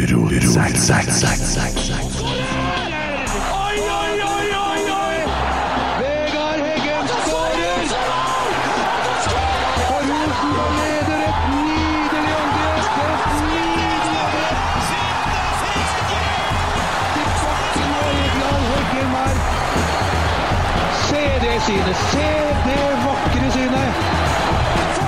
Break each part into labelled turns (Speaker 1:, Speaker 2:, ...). Speaker 1: Zack, zack, zack, zack, zack.
Speaker 2: Oi, oi, oi, oi, oi! Vegard Heggen skårer! Og Rosenborg leder et nydelig angrep! Et nydelig angrep! Til Martin Øyvind Heggen her. Se det synet! Se det vakre synet!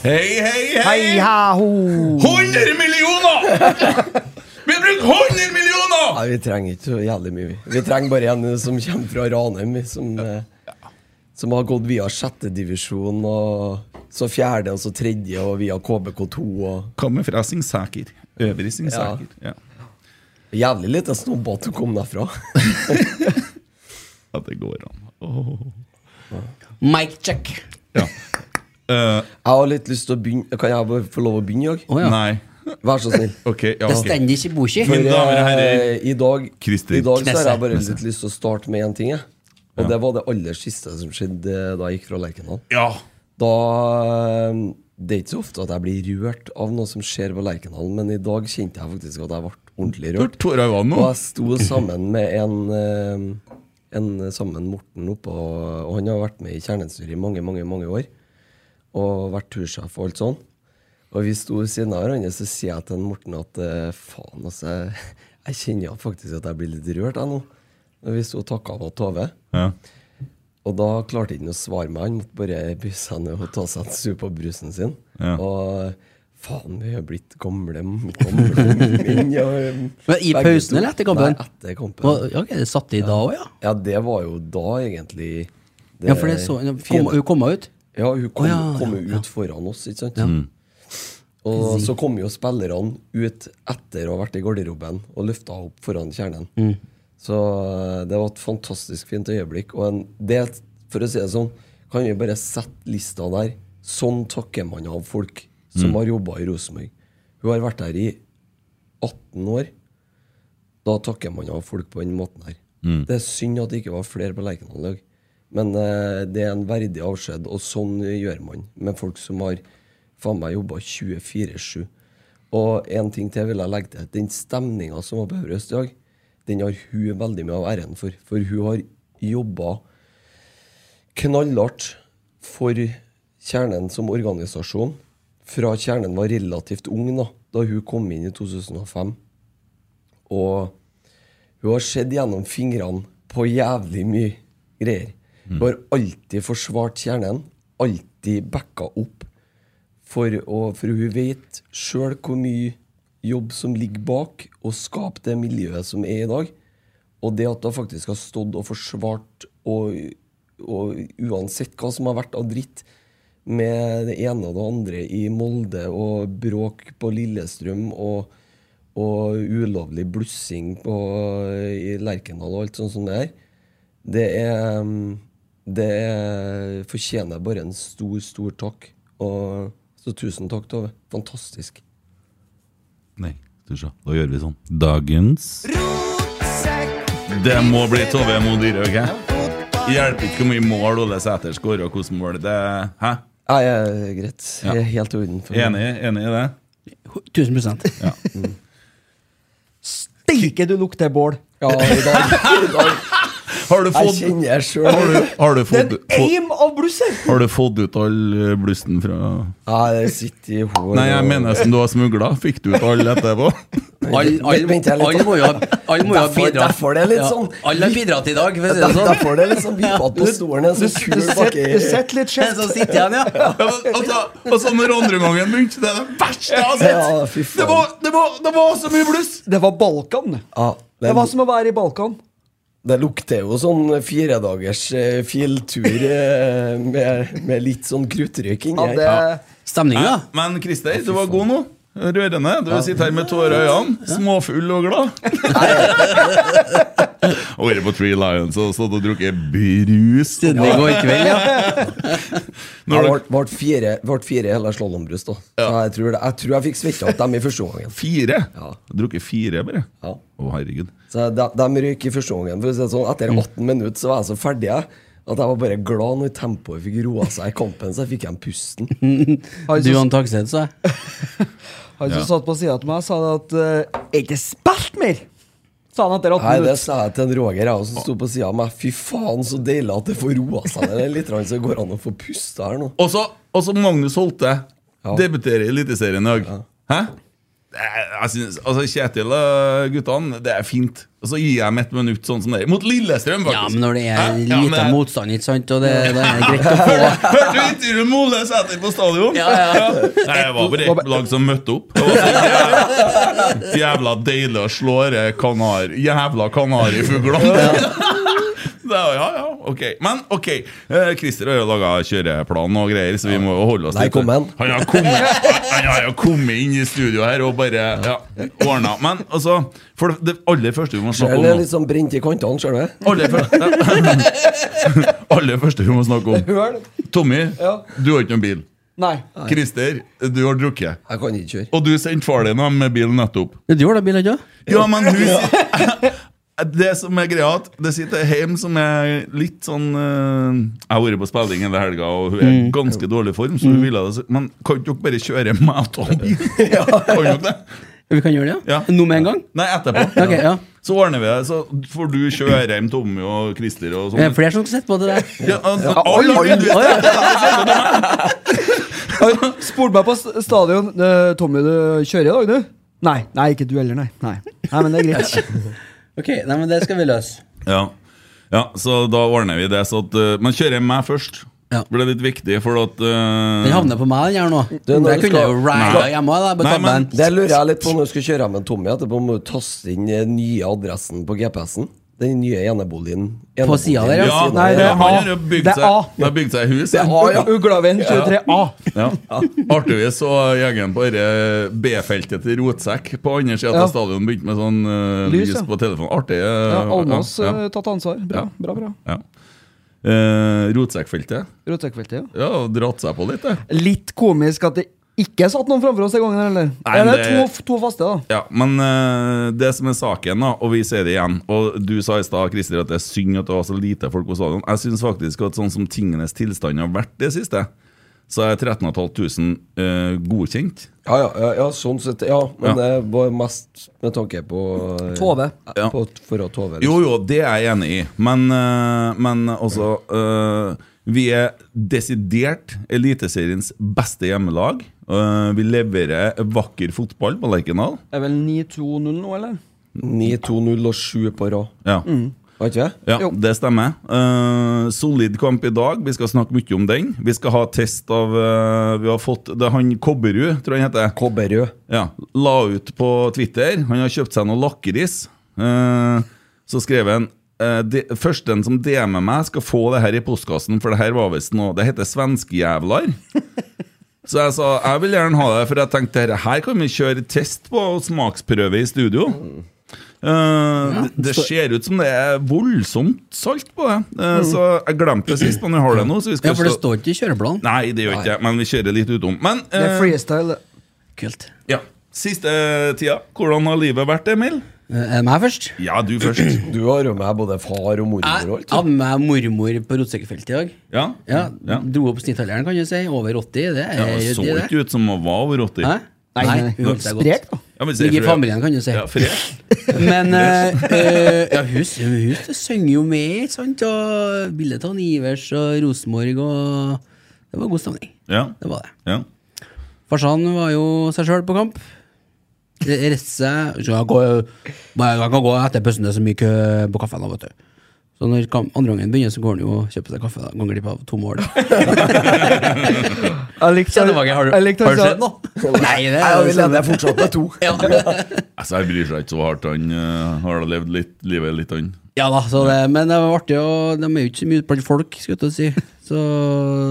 Speaker 3: Hei, hei, hei!
Speaker 4: Hei, ha, ho.
Speaker 3: 100 millioner! Vi bruker 100 millioner!
Speaker 5: Nei, vi trenger ikke så jævlig mye. vi. Vi trenger bare en som kommer fra Ranheim, vi, som, eh, som har gått via sjettedivisjon, og så fjerde, og så tredje, og via KBK2. Og
Speaker 3: Kommer fra Singsaker. Øvrig Singsaker. Ja.
Speaker 5: jævlig lite snobba til å komme derfra.
Speaker 3: At det går an. Åh.
Speaker 4: Mic check.
Speaker 3: Ja. Eh,
Speaker 5: Jeg har litt lyst til å begynne. Kan jeg bare få lov å begynne i dag?
Speaker 4: Å ja.
Speaker 3: Nei.
Speaker 5: Vær så snill.
Speaker 3: Ok. ja,
Speaker 4: Det
Speaker 3: ok.
Speaker 4: stender ikke i boka.
Speaker 3: Mine damer og herrer.
Speaker 5: Eh, I dag,
Speaker 3: Christer.
Speaker 5: i dag så har
Speaker 4: Knesse.
Speaker 5: jeg bare litt lyst til å starte med én ting. Jeg. Og det var det aller siste som skjedde eh, da jeg gikk fra Lerkendal.
Speaker 3: Ja.
Speaker 5: Da eh, Det er ikke så ofte at jeg blir rørt av noe som skjer på Lerkendal, men i dag kjente jeg faktisk at jeg ble ordentlig
Speaker 3: Du har
Speaker 5: rørt.
Speaker 3: tårer i vannet
Speaker 5: Og
Speaker 3: nå.
Speaker 5: jeg sto sammen med en, eh, en sammen Morten oppå Og han har vært med i kjernestyret i mange, mange mange år. Og vært tursjef og alt sånn. Og vi sto ved siden av hverandre, så sier jeg til en Morten at eh, faen, altså. jeg- Jeg kjenner faktisk at jeg blir litt rørt, jeg nå. Når vi sto og takka av Tove.
Speaker 3: Ja.
Speaker 5: Og da klarte han ikke å svare meg. Han måtte bare bysse seg ned og ta seg en sup på brusen sin.
Speaker 3: Ja.
Speaker 5: Og faen, vi er blitt gamle, gamle menn. ja, um,
Speaker 4: Men i
Speaker 5: begge
Speaker 4: pausen
Speaker 5: to.
Speaker 4: eller etter kampen?
Speaker 5: Nei, etter kampen.
Speaker 4: Å, Ok, det satt i da òg, ja.
Speaker 5: Ja, det var jo da, egentlig. det
Speaker 4: Ja, for det så hun kom,
Speaker 5: fine-
Speaker 4: hun kom ut.
Speaker 5: ja, hun kom,
Speaker 4: Å, ja,
Speaker 5: kom jo
Speaker 4: ja,
Speaker 5: ut
Speaker 4: ja.
Speaker 5: foran oss, ikke sant? Og så kom jo spillerne ut etter å ha vært i garderoben og løfta opp foran kjernen.
Speaker 4: Mm.
Speaker 5: Så eh, det var et fantastisk fint øyeblikk. Og en, det, for å si det sånn, kan vi bare sette lista der. Sånn takker man av folk som har jobba i Rosenborg. Hun har vært her i 18 år. Da takker man av folk på den måten her. Det er synd at det ikke var flere på Lerkendal i dag. Men eh, det er en verdig avskjed, og sånn gjør man med folk som har faen meg jobba 24-7. Og en ting til vil jeg legge til. Den stemninga som var på Øvre Øst i dag, den har hun veldig mye av æren for. For hun har jobba knallhardt for kjernen som organisasjon. Fra kjernen var relativt ung, da, da hun kom inn i 2005. Og hun har sett gjennom fingrene på jævlig mye greier. Hun har alltid forsvart kjernen, alltid backa opp. For, å, for hun vet sjøl hvor mye jobb som ligger bak å skape det miljøet som er i dag. Og det at hun faktisk har stått og forsvart, og, og uansett hva som har vært av dritt, med det ene og det andre i Molde og bråk på Lillestrøm og, og ulovlig blussing på, i Lerkendal og alt sånt som det er, det er um, Det er, fortjener bare en stor, stor takk. Og, så tusen takk, Tove. Fantastisk.
Speaker 3: Nei, du ser. Da gjør vi sånn. Dagens Det må bli Tove Mo Dyrhaug, hæ? Hjelper ikke hvor mye mål Ole Sæter skårer, og hvordan mål det er. Hæ?
Speaker 5: Nei, eh, greit. Jeg er helt i orden. for-
Speaker 3: Enig, enig i det?
Speaker 4: 1000
Speaker 3: Ja.
Speaker 4: Mm. Steike, du lukter bål!
Speaker 5: Ja, i dag, i dag.
Speaker 3: Har du
Speaker 5: Jeg
Speaker 3: fått
Speaker 5: kjenner jeg
Speaker 3: Har
Speaker 5: sjøl.
Speaker 3: du, har du fått, få-
Speaker 4: Aim av blusser!
Speaker 3: har du fått ut all eh, blusten fra
Speaker 5: Jeg sitter i hår
Speaker 3: Nei, jeg
Speaker 5: og-
Speaker 3: mener som du har smugla. Fikk du ut alle etterpå?
Speaker 4: Alle all,
Speaker 5: Vent, vent, jeg er litt
Speaker 4: all må jo ha all må jo ha
Speaker 5: Derfor-
Speaker 4: bidratt.
Speaker 5: derfor det er litt
Speaker 4: Ja,
Speaker 5: sånn.
Speaker 4: Alle har bidratt i dag, for å si liksom. det
Speaker 5: Der-
Speaker 4: sånn.
Speaker 5: Derfor er det liksom vippet på stolen. En sånn kul bakke i-
Speaker 4: litt kjeft. Så sitter igjen, ja.
Speaker 3: Ja, men, altså, altså, når andre gangen begynte, det er det verste jeg har sett!
Speaker 5: Ja, fy faen.
Speaker 3: det, var, det, var, det var så mye bluss!
Speaker 6: Det var Balkan.
Speaker 5: Ja,
Speaker 6: Det var som å være i Balkan.
Speaker 5: Det lukter jo sånn firedagers eh, fjelltur eh, med, med litt sånn kruttrøyking.
Speaker 6: Ja,
Speaker 5: her.
Speaker 6: det,
Speaker 4: Stemninga?
Speaker 3: Men Christer, du var god nå. Rørende. Du sitter her med tårer i øynene, småfull og glad. Og vært på Three Lions og stått og drukket brus.
Speaker 4: Siden i går kveld, ja.
Speaker 3: Når
Speaker 5: Jeg
Speaker 3: dere
Speaker 5: ble, ble fire, ble fire hele Slållombrus, da. Så jeg tror, det, jeg tror jeg fikk svetta opp dem i første omgangen.
Speaker 3: Fire? Drukket fire, bare?
Speaker 5: Ja.
Speaker 3: Å, herregud.
Speaker 5: Så de, de røyk i første omgangen. For å si det sånn, etter 18 minutter så var jeg så ferdig jeg, at jeg var bare glad når tempoet fikk roa seg i kampen, så jeg fikk igjen pusten.
Speaker 6: han
Speaker 4: Du
Speaker 6: som,
Speaker 4: og Takseth, sa jeg.
Speaker 6: han som satt på sida av meg, sa det at eh, Er ikke spilt mer! Sa han etter 18
Speaker 5: Nei, det
Speaker 6: minutter.
Speaker 5: sa jeg til en Roger jeg, også, som sto på sida av meg. Fy faen, så deilig at det får roa seg ned litt, grann, så det går an å få pusta her nå.
Speaker 3: Og så og så Magnus Holte debuterer i Eliteserien i dag. Hæ? Det er- Jeg synes, altså Kjetil og guttene, det er fint. Og så gir jeg dem ett minutt sånn som det er. Mot Lillestrøm, faktisk!
Speaker 4: Ja, men når det er
Speaker 3: Hæ? Ja, men
Speaker 4: lite
Speaker 3: det-
Speaker 4: motstand, ikke sant, og det, det er greit å få
Speaker 3: Hørte du intervjuet med Ole Sæter på stadion?
Speaker 4: Ja, ja.
Speaker 3: Nei, jeg var bare et lag som møtte opp. Det var så jævla- jævla deilig å slå de kanar, jævla kanarifuglene. Det er jo- Ja, ja, ok Men ok, eh, Christer har jo laga kjøreplan og greier, så vi må jo holde oss
Speaker 5: Der
Speaker 3: litt
Speaker 5: kom han.
Speaker 3: Han har kommet, han har jo kommet inn i studio her og bare ja, ordna. Men altså, for det- det aller første vi må snakke om
Speaker 5: Den er
Speaker 3: nå-
Speaker 5: litt sånn brent i kantene, ser du.
Speaker 3: Aller første, aller første vi må snakke om
Speaker 6: Hør,
Speaker 3: Tommy,
Speaker 6: Ja.
Speaker 3: du har ikke noen bil.
Speaker 6: Nei.
Speaker 3: Christer, du har drukket.
Speaker 5: Jeg kan ikke kjøre.
Speaker 3: Og du sendte far din hjem med bilen nettopp.
Speaker 4: Du har da bil, ikke sant?
Speaker 3: Ja, men hun sitter- Det som er greia, at det sitter hjem som er litt sånn eh, Jeg har vært på spilling hele helga, og hun er i ganske dårlig form, så hun ville det. så- Men kan dere bare kjøre meg og ta bil? Kan dere det?
Speaker 4: Vi kan gjøre det, ja?
Speaker 3: Ja.
Speaker 4: Nå med en gang?
Speaker 3: Nei, etterpå.
Speaker 4: Ok, ja.
Speaker 3: Så ordner vi det. Så får du kjøre hjem Tommy og Christer og
Speaker 4: Er
Speaker 3: sånn.
Speaker 4: det flere som sitter på det der?
Speaker 3: Ja, altså,
Speaker 6: alle-
Speaker 3: alle har jo
Speaker 4: Å, ja.
Speaker 6: Han spurte meg på st- stadion. eh, 'Tommy, du kjører i dag, du?' Nei. Nei, ikke du heller, nei. Nei, nei men det er greit.
Speaker 4: Ok, nei, men det skal vi løse.
Speaker 3: Ja. ja, så da ordner vi det. Så at, eh, men kjører jeg meg først?
Speaker 4: Ja.
Speaker 3: For det er litt viktig, for at eh,
Speaker 4: Den havner på meg, den her nå.
Speaker 5: Du, når
Speaker 4: Jeg
Speaker 5: du
Speaker 4: kunne
Speaker 5: skal-
Speaker 4: jo rida
Speaker 3: Nei.
Speaker 4: hjemme. Da, på
Speaker 3: Nei, men-
Speaker 4: tabben.
Speaker 5: Det lurer jeg litt på når du skal kjøre hjem med Tommy, etterpå må du taste inn eh, nye adressen på GPS-en. Den nye eneboligen.
Speaker 4: På siden der,
Speaker 3: Ja,
Speaker 5: Siden
Speaker 6: Nei,
Speaker 5: der,
Speaker 6: det
Speaker 3: ja,
Speaker 6: er
Speaker 3: han
Speaker 6: A.
Speaker 3: har jo bygd
Speaker 6: Det er
Speaker 3: seg,
Speaker 6: A.
Speaker 3: han har bygd seg hus.
Speaker 6: Det er
Speaker 3: Ja.
Speaker 6: A, ja. Uglaven 23A.
Speaker 3: Ja. Artigvis så gjengen på dette B-feltet til Rotsekk på andre sida
Speaker 6: Ja.
Speaker 3: av stadion begynte med sånn eh,
Speaker 6: Lys,
Speaker 3: lys
Speaker 6: ja.
Speaker 3: på telefonen. Artig. eh,
Speaker 6: Ja, Almås
Speaker 3: ja,
Speaker 6: eh, tatt ansvar. Bra, bra. bra.
Speaker 3: ja. Eh, Rotsekkfeltet.
Speaker 6: Rotsekkfeltet, ja.
Speaker 3: Ja, dratt seg på litt, det.
Speaker 6: Litt komisk at det ikke satt noen framfor oss den gangen, eller?
Speaker 3: Nei,
Speaker 6: Eller
Speaker 3: det-
Speaker 6: to, to faste, da.
Speaker 3: Ja, men eh, det som er saken, da, og vi sier det igjen Og du sa i stad, Christer, at det er synd at det var så lite folk på stadion. Jeg syns faktisk at sånn som tingenes tilstand har vært det siste, så er 13 500 eh, godkjent.
Speaker 5: Ja, ja, ja, ja, sånn sett. Ja, men
Speaker 3: Ja.
Speaker 5: det var mest med tanke på eh,
Speaker 6: Tove.
Speaker 3: Ja.
Speaker 5: På, for å Tove.
Speaker 3: Jo, jo, det er jeg enig i. Men, eh, men også eh, Vi er desidert Eliteseriens beste hjemmelag. Eh, vi leverer vakker fotball på Lerkendal.
Speaker 6: Er vel 9-2-0 nå, eller?
Speaker 5: 9-2-0 og 7 på rad.
Speaker 3: Ja.
Speaker 5: Var ikke det?
Speaker 3: Mm. Ja,
Speaker 6: Jo.
Speaker 3: det stemmer. Eh, solid kamp i dag. Vi skal snakke mye om den. Vi skal ha test av eh, Vi har fått det er han Kobberud, tror jeg han heter.
Speaker 5: Kobberrød.
Speaker 3: Ja, La ut på Twitter. Han har kjøpt seg noe lakris. Eh, så skrev han eh, de, Førsten som DM-er meg, skal få det her i postkassen, for det her var visst noe Det heter svenskejævlar. Så jeg sa jeg vil gjerne ha det, for jeg tenkte dette her kan vi kjøre test på og smaksprøve i studio. Eh, det- det ser ut som det er voldsomt salt på det.
Speaker 6: Mm.
Speaker 3: Eh, Så jeg glemte det sist, men jeg har det nå. Så vi skal
Speaker 4: Ja, for det
Speaker 3: slå-
Speaker 4: står ikke i kjøreplanen.
Speaker 3: Nei, det gjør ikke jeg, men vi kjører litt utom. Men
Speaker 6: Det er
Speaker 3: eh,
Speaker 6: freestyle. det.
Speaker 4: Kult.
Speaker 3: ja. Siste eh, tida, hvordan har livet vært, Emil?
Speaker 4: Eh, Er det meg først?
Speaker 3: Ja, du først.
Speaker 5: Du har jo med både far og mormor og
Speaker 4: Jeg
Speaker 5: alt.
Speaker 4: hadde med meg mormor på rotsekkefeltet i dag.
Speaker 3: Ja.
Speaker 4: Ja,
Speaker 3: Ja.
Speaker 4: Dro opp snittalderen, kan du si. Over 80. Det er
Speaker 3: Ja, det så
Speaker 4: det er det.
Speaker 3: ikke ut som hun var over 80.
Speaker 4: Hæ?
Speaker 6: Nei,
Speaker 4: Nei,
Speaker 6: nei,
Speaker 4: hun holdt seg
Speaker 6: Sprek,
Speaker 4: godt.
Speaker 6: da.
Speaker 3: Ja, men sier
Speaker 4: Ligger i
Speaker 3: Freja-
Speaker 4: familien, kan du si.
Speaker 3: Ja, Freja.
Speaker 4: Men eh, eh, ja, hun, s- hun s- synger jo med, ikke sant? Og bildet av han Ivers og Rosenborg og Det var god stemning.
Speaker 3: ja.
Speaker 4: Det var det.
Speaker 3: ja.
Speaker 4: Farsan var jo seg sjøl på kamp. Reiste seg så jeg, går- bare- jeg kan gå etter pøssen, det er så mye kø på kaffen. da, vet du. Så når kamp, andre gangen begynner, så går han jo og kjøper seg kaffe. da, Går glipp av to mål. da.
Speaker 6: Jeg likte
Speaker 4: Kjennefaget, har du-
Speaker 6: jeg likte
Speaker 4: har du
Speaker 6: han sa-
Speaker 4: sett noe? Nei, det
Speaker 5: Nei, og vi
Speaker 4: er sånn-
Speaker 5: leder fortsatt med to.
Speaker 4: ja.
Speaker 3: Altså, jeg bryr seg ikke så hardt. Han eh, har da levd litt, livet litt, han.
Speaker 4: Ja da, så det, men det var artig, og de er jo ikke så mye blant folk, skulle jeg til å si. Så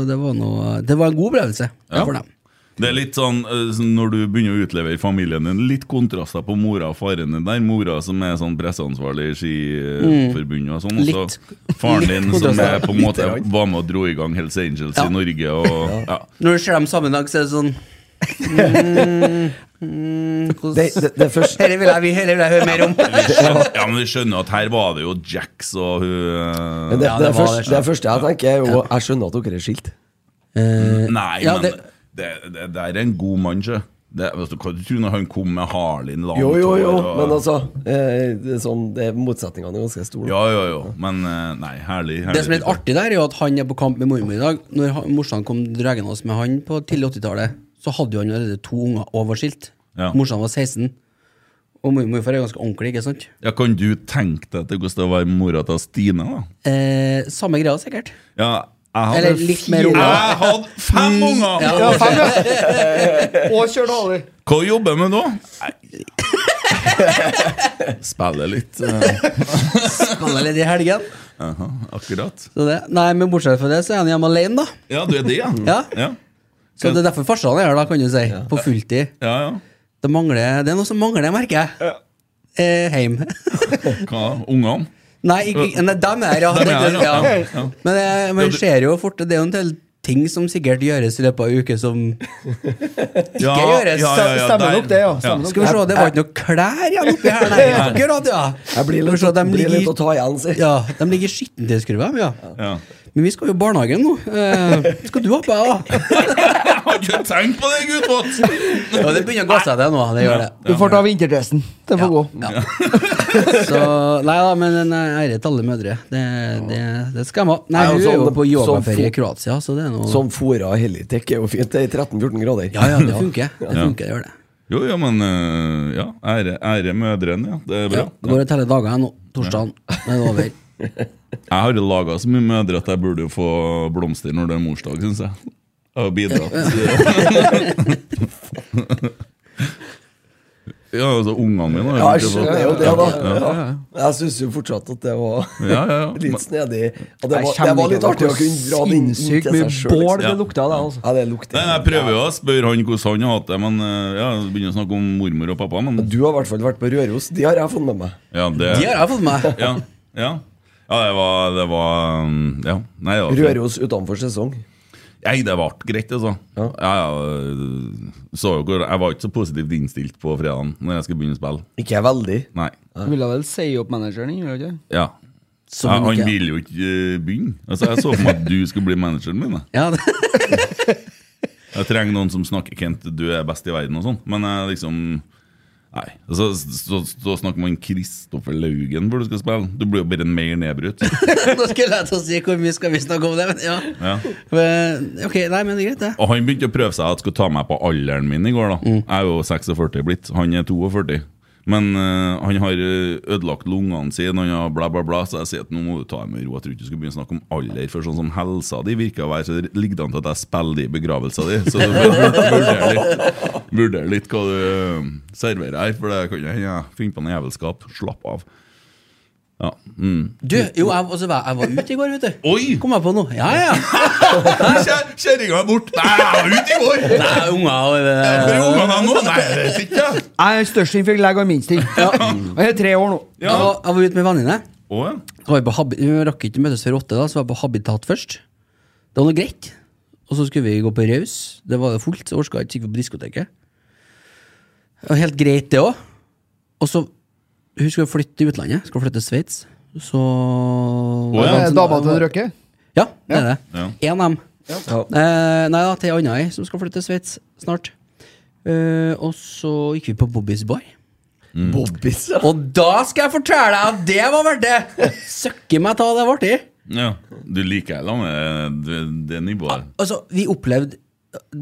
Speaker 4: det var, noe, det var en god opplevelse
Speaker 3: Ja.
Speaker 4: for dem.
Speaker 3: Det er litt sånn eh, sånn når du begynner å utlevere familien din, litt kontraster på mora og faren din der. Mora som er sånn presseansvarlig i Skiforbundet og sånn, og
Speaker 4: Mm. Litt.
Speaker 3: så faren din
Speaker 4: Litt
Speaker 3: som er
Speaker 4: kontraster.
Speaker 3: på en måte
Speaker 5: Lite grann.
Speaker 3: var med og dro i gang Hells Angels
Speaker 4: Ja.
Speaker 3: i Norge og ja.
Speaker 4: Når du ser dem sammen i dag, så er det sånn mm, mm, hvordan-
Speaker 5: Det, det, det første
Speaker 4: Dette vil, jeg- dette vil jeg høre mer om.
Speaker 3: Skjønner, ja, men vi skjønner at her var det jo Jacks og hun
Speaker 5: det,
Speaker 3: eh,
Speaker 5: det,
Speaker 4: Ja, det var
Speaker 5: første,
Speaker 4: det.
Speaker 5: det første jeg tenker, er jo Jeg skjønner at dere er skilt.
Speaker 3: Nei,
Speaker 4: ja,
Speaker 3: men det,
Speaker 4: det-
Speaker 3: det, der er en god mann, sjø. Det, vet du, hva du tror når han kom med Harlin langt
Speaker 5: Jo, jo, jo,
Speaker 3: hår og-
Speaker 5: men altså eh, det er sånn, det, Motsetningene er ganske store.
Speaker 3: Ja, jo, jo, men eh, nei, herlig. herlig
Speaker 4: Det som er litt artig der, er jo at han er på kamp med mormor i dag. Når han- morsan kom dragende oss med han på tidlig 80-tallet, så hadde jo han allerede to unger overskilt.
Speaker 3: Ja.
Speaker 4: Morsan var 16, og mormor er ganske ordentlig, ikke sant?
Speaker 3: Ja, Kan du tenke deg at det hvordan det var i mora til Stine, da?
Speaker 4: Eh, samme greia, sikkert.
Speaker 3: Ja, jeg hadde
Speaker 4: Eller litt mer
Speaker 3: fire-
Speaker 4: unger.
Speaker 3: Jeg hadde fem unger!
Speaker 6: Ja, fem, ja. Og kjør daler.
Speaker 3: Hva jobber jeg med nå? Nei. Spiller litt. eh,
Speaker 4: Spiller litt i helgen.
Speaker 3: aha, akkurat.
Speaker 4: Så det. Nei, men bortsett fra det, så er han hjemme alene, da.
Speaker 3: Ja, du er det, ja?
Speaker 4: Ja.
Speaker 3: Ja,
Speaker 4: Så det er derfor farsan er her, da, kan du si. På fulltid.
Speaker 3: ja. ja.
Speaker 4: Det, mangler, det er noe som mangler, merker jeg. Eh, heim.
Speaker 3: Hva? Ungene?
Speaker 4: Nei, ikke, nei, dem er ja.
Speaker 3: Dem er her, ja.
Speaker 4: ja.
Speaker 3: Ja.
Speaker 4: Men jeg,
Speaker 3: Ja,
Speaker 4: man
Speaker 3: du-
Speaker 4: ser jo fort Det er jo en del ting som sikkert gjøres i løpet av en uke som
Speaker 3: Ja,
Speaker 4: gjøres.
Speaker 6: Stemmer
Speaker 3: der.
Speaker 6: nok det, ja. Stemmer nok.
Speaker 4: Skal vi se, det var ikke noe klær igjen oppi her, nei. Akkurat, ja.
Speaker 5: Jeg blir
Speaker 4: Skal vi
Speaker 5: litt,
Speaker 4: se, dem
Speaker 5: blir
Speaker 4: ligger-
Speaker 5: litt å ta igjen, si.
Speaker 4: Ja, de ligger i skittentøyskurven, ja.
Speaker 3: Ja.
Speaker 4: Men vi skal jo i barnehagen nå. Eh, skal du opp, ja?
Speaker 3: Jeg har ikke tenkt på det, Gudbåt!
Speaker 4: Ja, det begynner å gå seg det nå. Det gjør det.
Speaker 6: Du får ta vinterdressen. Den får gå.
Speaker 4: Ja. Så, nei da, men en ære til alle mødre. Det, det, det skal jeg ha. Nei,
Speaker 5: Ja,
Speaker 4: hun
Speaker 5: sånn-
Speaker 4: er jo på
Speaker 5: sånn
Speaker 4: yogaferie i
Speaker 5: fo-
Speaker 4: Kroatia, så det er noe
Speaker 5: Som fôra Helitek er jo fint. Det er 13-14 grader.
Speaker 4: Ja, ja, det funker. Det funker, det gjør det.
Speaker 3: Jo, ja, men eh, ja. Ære, ære mødrene, ja. Det er bra.
Speaker 4: Ja, det går og teller dager her nå. Torsdagen den er over.
Speaker 3: Jeg har laga så mye mødre at jeg burde jo få blomster når det er morsdag, syns jeg. Jeg har bidratt. ja, altså ungene mine har
Speaker 5: Ja, jeg
Speaker 3: ikke fått-
Speaker 5: skjønner jo det, da.
Speaker 3: Ja,
Speaker 5: Ja. Jeg syns jo fortsatt at det var
Speaker 3: ja, ja. ja.
Speaker 5: litt snedig. At det, var,
Speaker 6: Jeg
Speaker 5: det
Speaker 6: kjenner
Speaker 5: var litt
Speaker 6: ikke
Speaker 5: artig å
Speaker 6: hvor
Speaker 5: kunne dra det inn inn
Speaker 6: Sinnssykt
Speaker 5: til
Speaker 6: mye
Speaker 5: seg sjøl.
Speaker 6: bål
Speaker 5: Liksom.
Speaker 6: det lukta av det, altså.
Speaker 5: Ja, det lukter
Speaker 3: Nei, jeg prøver jo å spørre han hvordan han har hatt det, men eh, ja, jeg begynner å snakke om mormor og pappa. Men
Speaker 5: Du har i hvert fall vært på Røros. De har jeg fått med meg.
Speaker 3: ja, det
Speaker 4: De har jeg fått med meg.
Speaker 3: ja, ja. ja, det var, det var mm, Ja. Nei, det var fint.
Speaker 5: Røros utenfor sesong.
Speaker 3: Nei, det ble greit, altså. Ja. Ja, øh, så jo hvor, jeg var ikke så positivt innstilt på fredagen når jeg skulle begynne å spille.
Speaker 5: Ikke jeg veldig.
Speaker 3: Nei.
Speaker 6: Du ville vel si opp manageren din, gjorde du ikke?
Speaker 3: Ja.
Speaker 4: Som
Speaker 3: Ja,
Speaker 4: om
Speaker 3: han
Speaker 4: ikke-
Speaker 3: ville jo ikke eh, begynne. Altså, jeg så for meg at du skulle bli manageren min. jeg.
Speaker 4: Ja, det-
Speaker 3: Jeg trenger noen som snakker 'Kent, du er best i verden' og sånn. Men jeg liksom Nei. Altså, så, så snakker man Kristoffer Laugen hvor du skal spille. Du blir jo bare mer nedbrutt.
Speaker 4: Nå skulle jeg til å si hvor mye skal vi snakke om det, men ja.
Speaker 3: Ja.
Speaker 4: Men, ok, nei, men det er greit, det.
Speaker 3: Og han begynte å prøve seg at skulle ta meg på alderen min i går. da Jeg er jo 46 blitt, han er 42. Men eh, han har eh, ødelagt lungene sine, han har bla, bla, bla, så jeg sier at nå må du ta det med ro. Jeg tror ikke du skulle begynne å snakke om alder, for sånn som helsa di virker å være, så det ligger det an til at jeg spiller i begravelsen din. Så du bør vur- vurdere litt, vurdere litt hva du eh, serverer her, for det kan jo hende jeg finner på noe jævelskap. Slapp av. Ja. Mm.
Speaker 4: Du, jo, jeg, også var, jeg var ute i går, vet du.
Speaker 3: Oi!
Speaker 4: Kom jeg på nå? Ja, ja.
Speaker 3: Kjer- Kjerringa er borte! Nei, jeg var ute i går!
Speaker 4: Nei, unger og
Speaker 3: Hvor er
Speaker 4: det.
Speaker 3: ungene nå? Nei, jeg vet ikke. jeg.
Speaker 6: Jeg er den største innfjell, jeg har minst ting. Og jeg er tre år nå.
Speaker 4: Jeg var, jeg var ute med venninne.
Speaker 3: Å, ja.
Speaker 4: Så var vi på habi- Vi rakk ikke møtes før åtte, da, så var jeg på Habitat først. Det var noe greit. Og så skulle vi gå på Raus. Det var det fullt, så orka ikke sikkert på diskoteket. Det var helt greit, det òg. Og så Hun skulle flytte til utlandet. Skulle flytte til Sveits. Så
Speaker 3: Å, ja.
Speaker 6: Er det Dama til Røkke?
Speaker 4: Ja, det er det.
Speaker 3: Ja.
Speaker 4: En av dem.
Speaker 5: Ja.
Speaker 4: Eh, nei da, til ei anna ei som skal flytte til Sveits snart. Eh, og så gikk vi på Bobbys bar.
Speaker 5: Bobbys, ja.
Speaker 4: Og da skal jeg fortelle deg at det var verdt det! Søkke meg ta det var artig.
Speaker 3: Ja, du liker jeg med det, det nivået.
Speaker 4: Altså, vi opplevde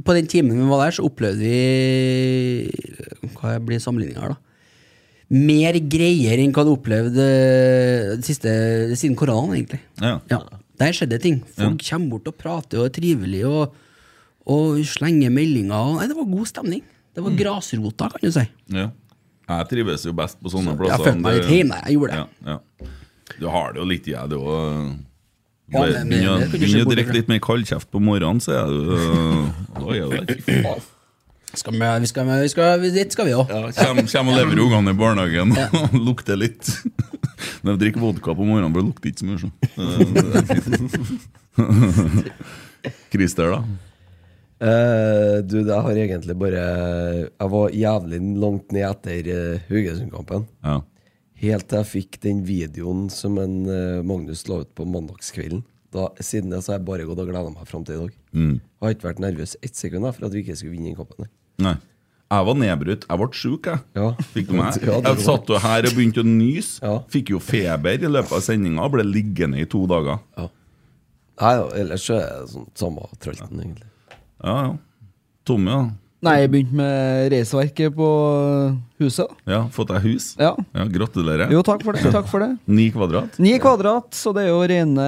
Speaker 4: På den timen vi var der, så opplevde vi Hva blir sammenligninga her, da? Mer greier enn hva du opplevde eh, det siste, siden koronaen, egentlig.
Speaker 3: Ja.
Speaker 4: Der skjedde ting. Folk kommer bort og prater og er trivelige og, og slenger meldinger. Og, nei, det var god stemning. Det var grasrota, kan du si.
Speaker 3: Ja. Jeg trives jo best på sånne
Speaker 4: Jeg
Speaker 3: plasser.
Speaker 4: følte meg litt hjemme. Jeg gjorde det.
Speaker 3: Ja, ja. Du har det jo litt i deg, du òg.
Speaker 4: Ja, men-
Speaker 3: Begynner å-
Speaker 4: men det kan du se
Speaker 3: begynner å
Speaker 4: bort
Speaker 3: drikke
Speaker 4: fra.
Speaker 3: litt mer kaldkjeft på morgenen, så er du øh, Da er du der.
Speaker 4: Skal vi, vi skal, vi skal, vi, dit skal vi òg.
Speaker 3: Kjem, kjem og leverer ungene i barnehagen og lukter litt. Når jeg drikker vodka på morgenen, for det lukter ikke så mye. så. Det er fint. Christer, da?
Speaker 5: Eh, du, det har egentlig bare Jeg var jævlig langt ned etter eh, Haugesund-kampen.
Speaker 3: Ja.
Speaker 5: Helt til jeg fikk den videoen som en eh, Magnus la ut på mandagskvelden. Da, siden det så har jeg bare gått og gleda meg fram til i dag. Jeg har ikke vært nervøs ett sekund da, for at vi ikke skulle vinne den kampen. her.
Speaker 3: Nei. Jeg var nedbrutt. Jeg ble sjuk, jeg.
Speaker 5: Ja.
Speaker 3: Fikk du meg?
Speaker 5: Ja, det
Speaker 3: Jeg satt jo her og begynte å nyse.
Speaker 5: Ja.
Speaker 3: Fikk jo feber i løpet av sendinga og ble liggende i to dager.
Speaker 5: Nei, ja, ellers så er det sånn samme tralten, egentlig.
Speaker 3: Ja, ja. Tommy, da.
Speaker 6: Nei, jeg begynte med reisverket på huset.
Speaker 3: Ja, fått deg hus?
Speaker 6: Ja.
Speaker 3: Gratulerer.
Speaker 6: Jo, takk for det. takk for det
Speaker 3: Ni kvadrat?
Speaker 6: Ni kvadrat, så det er jo rene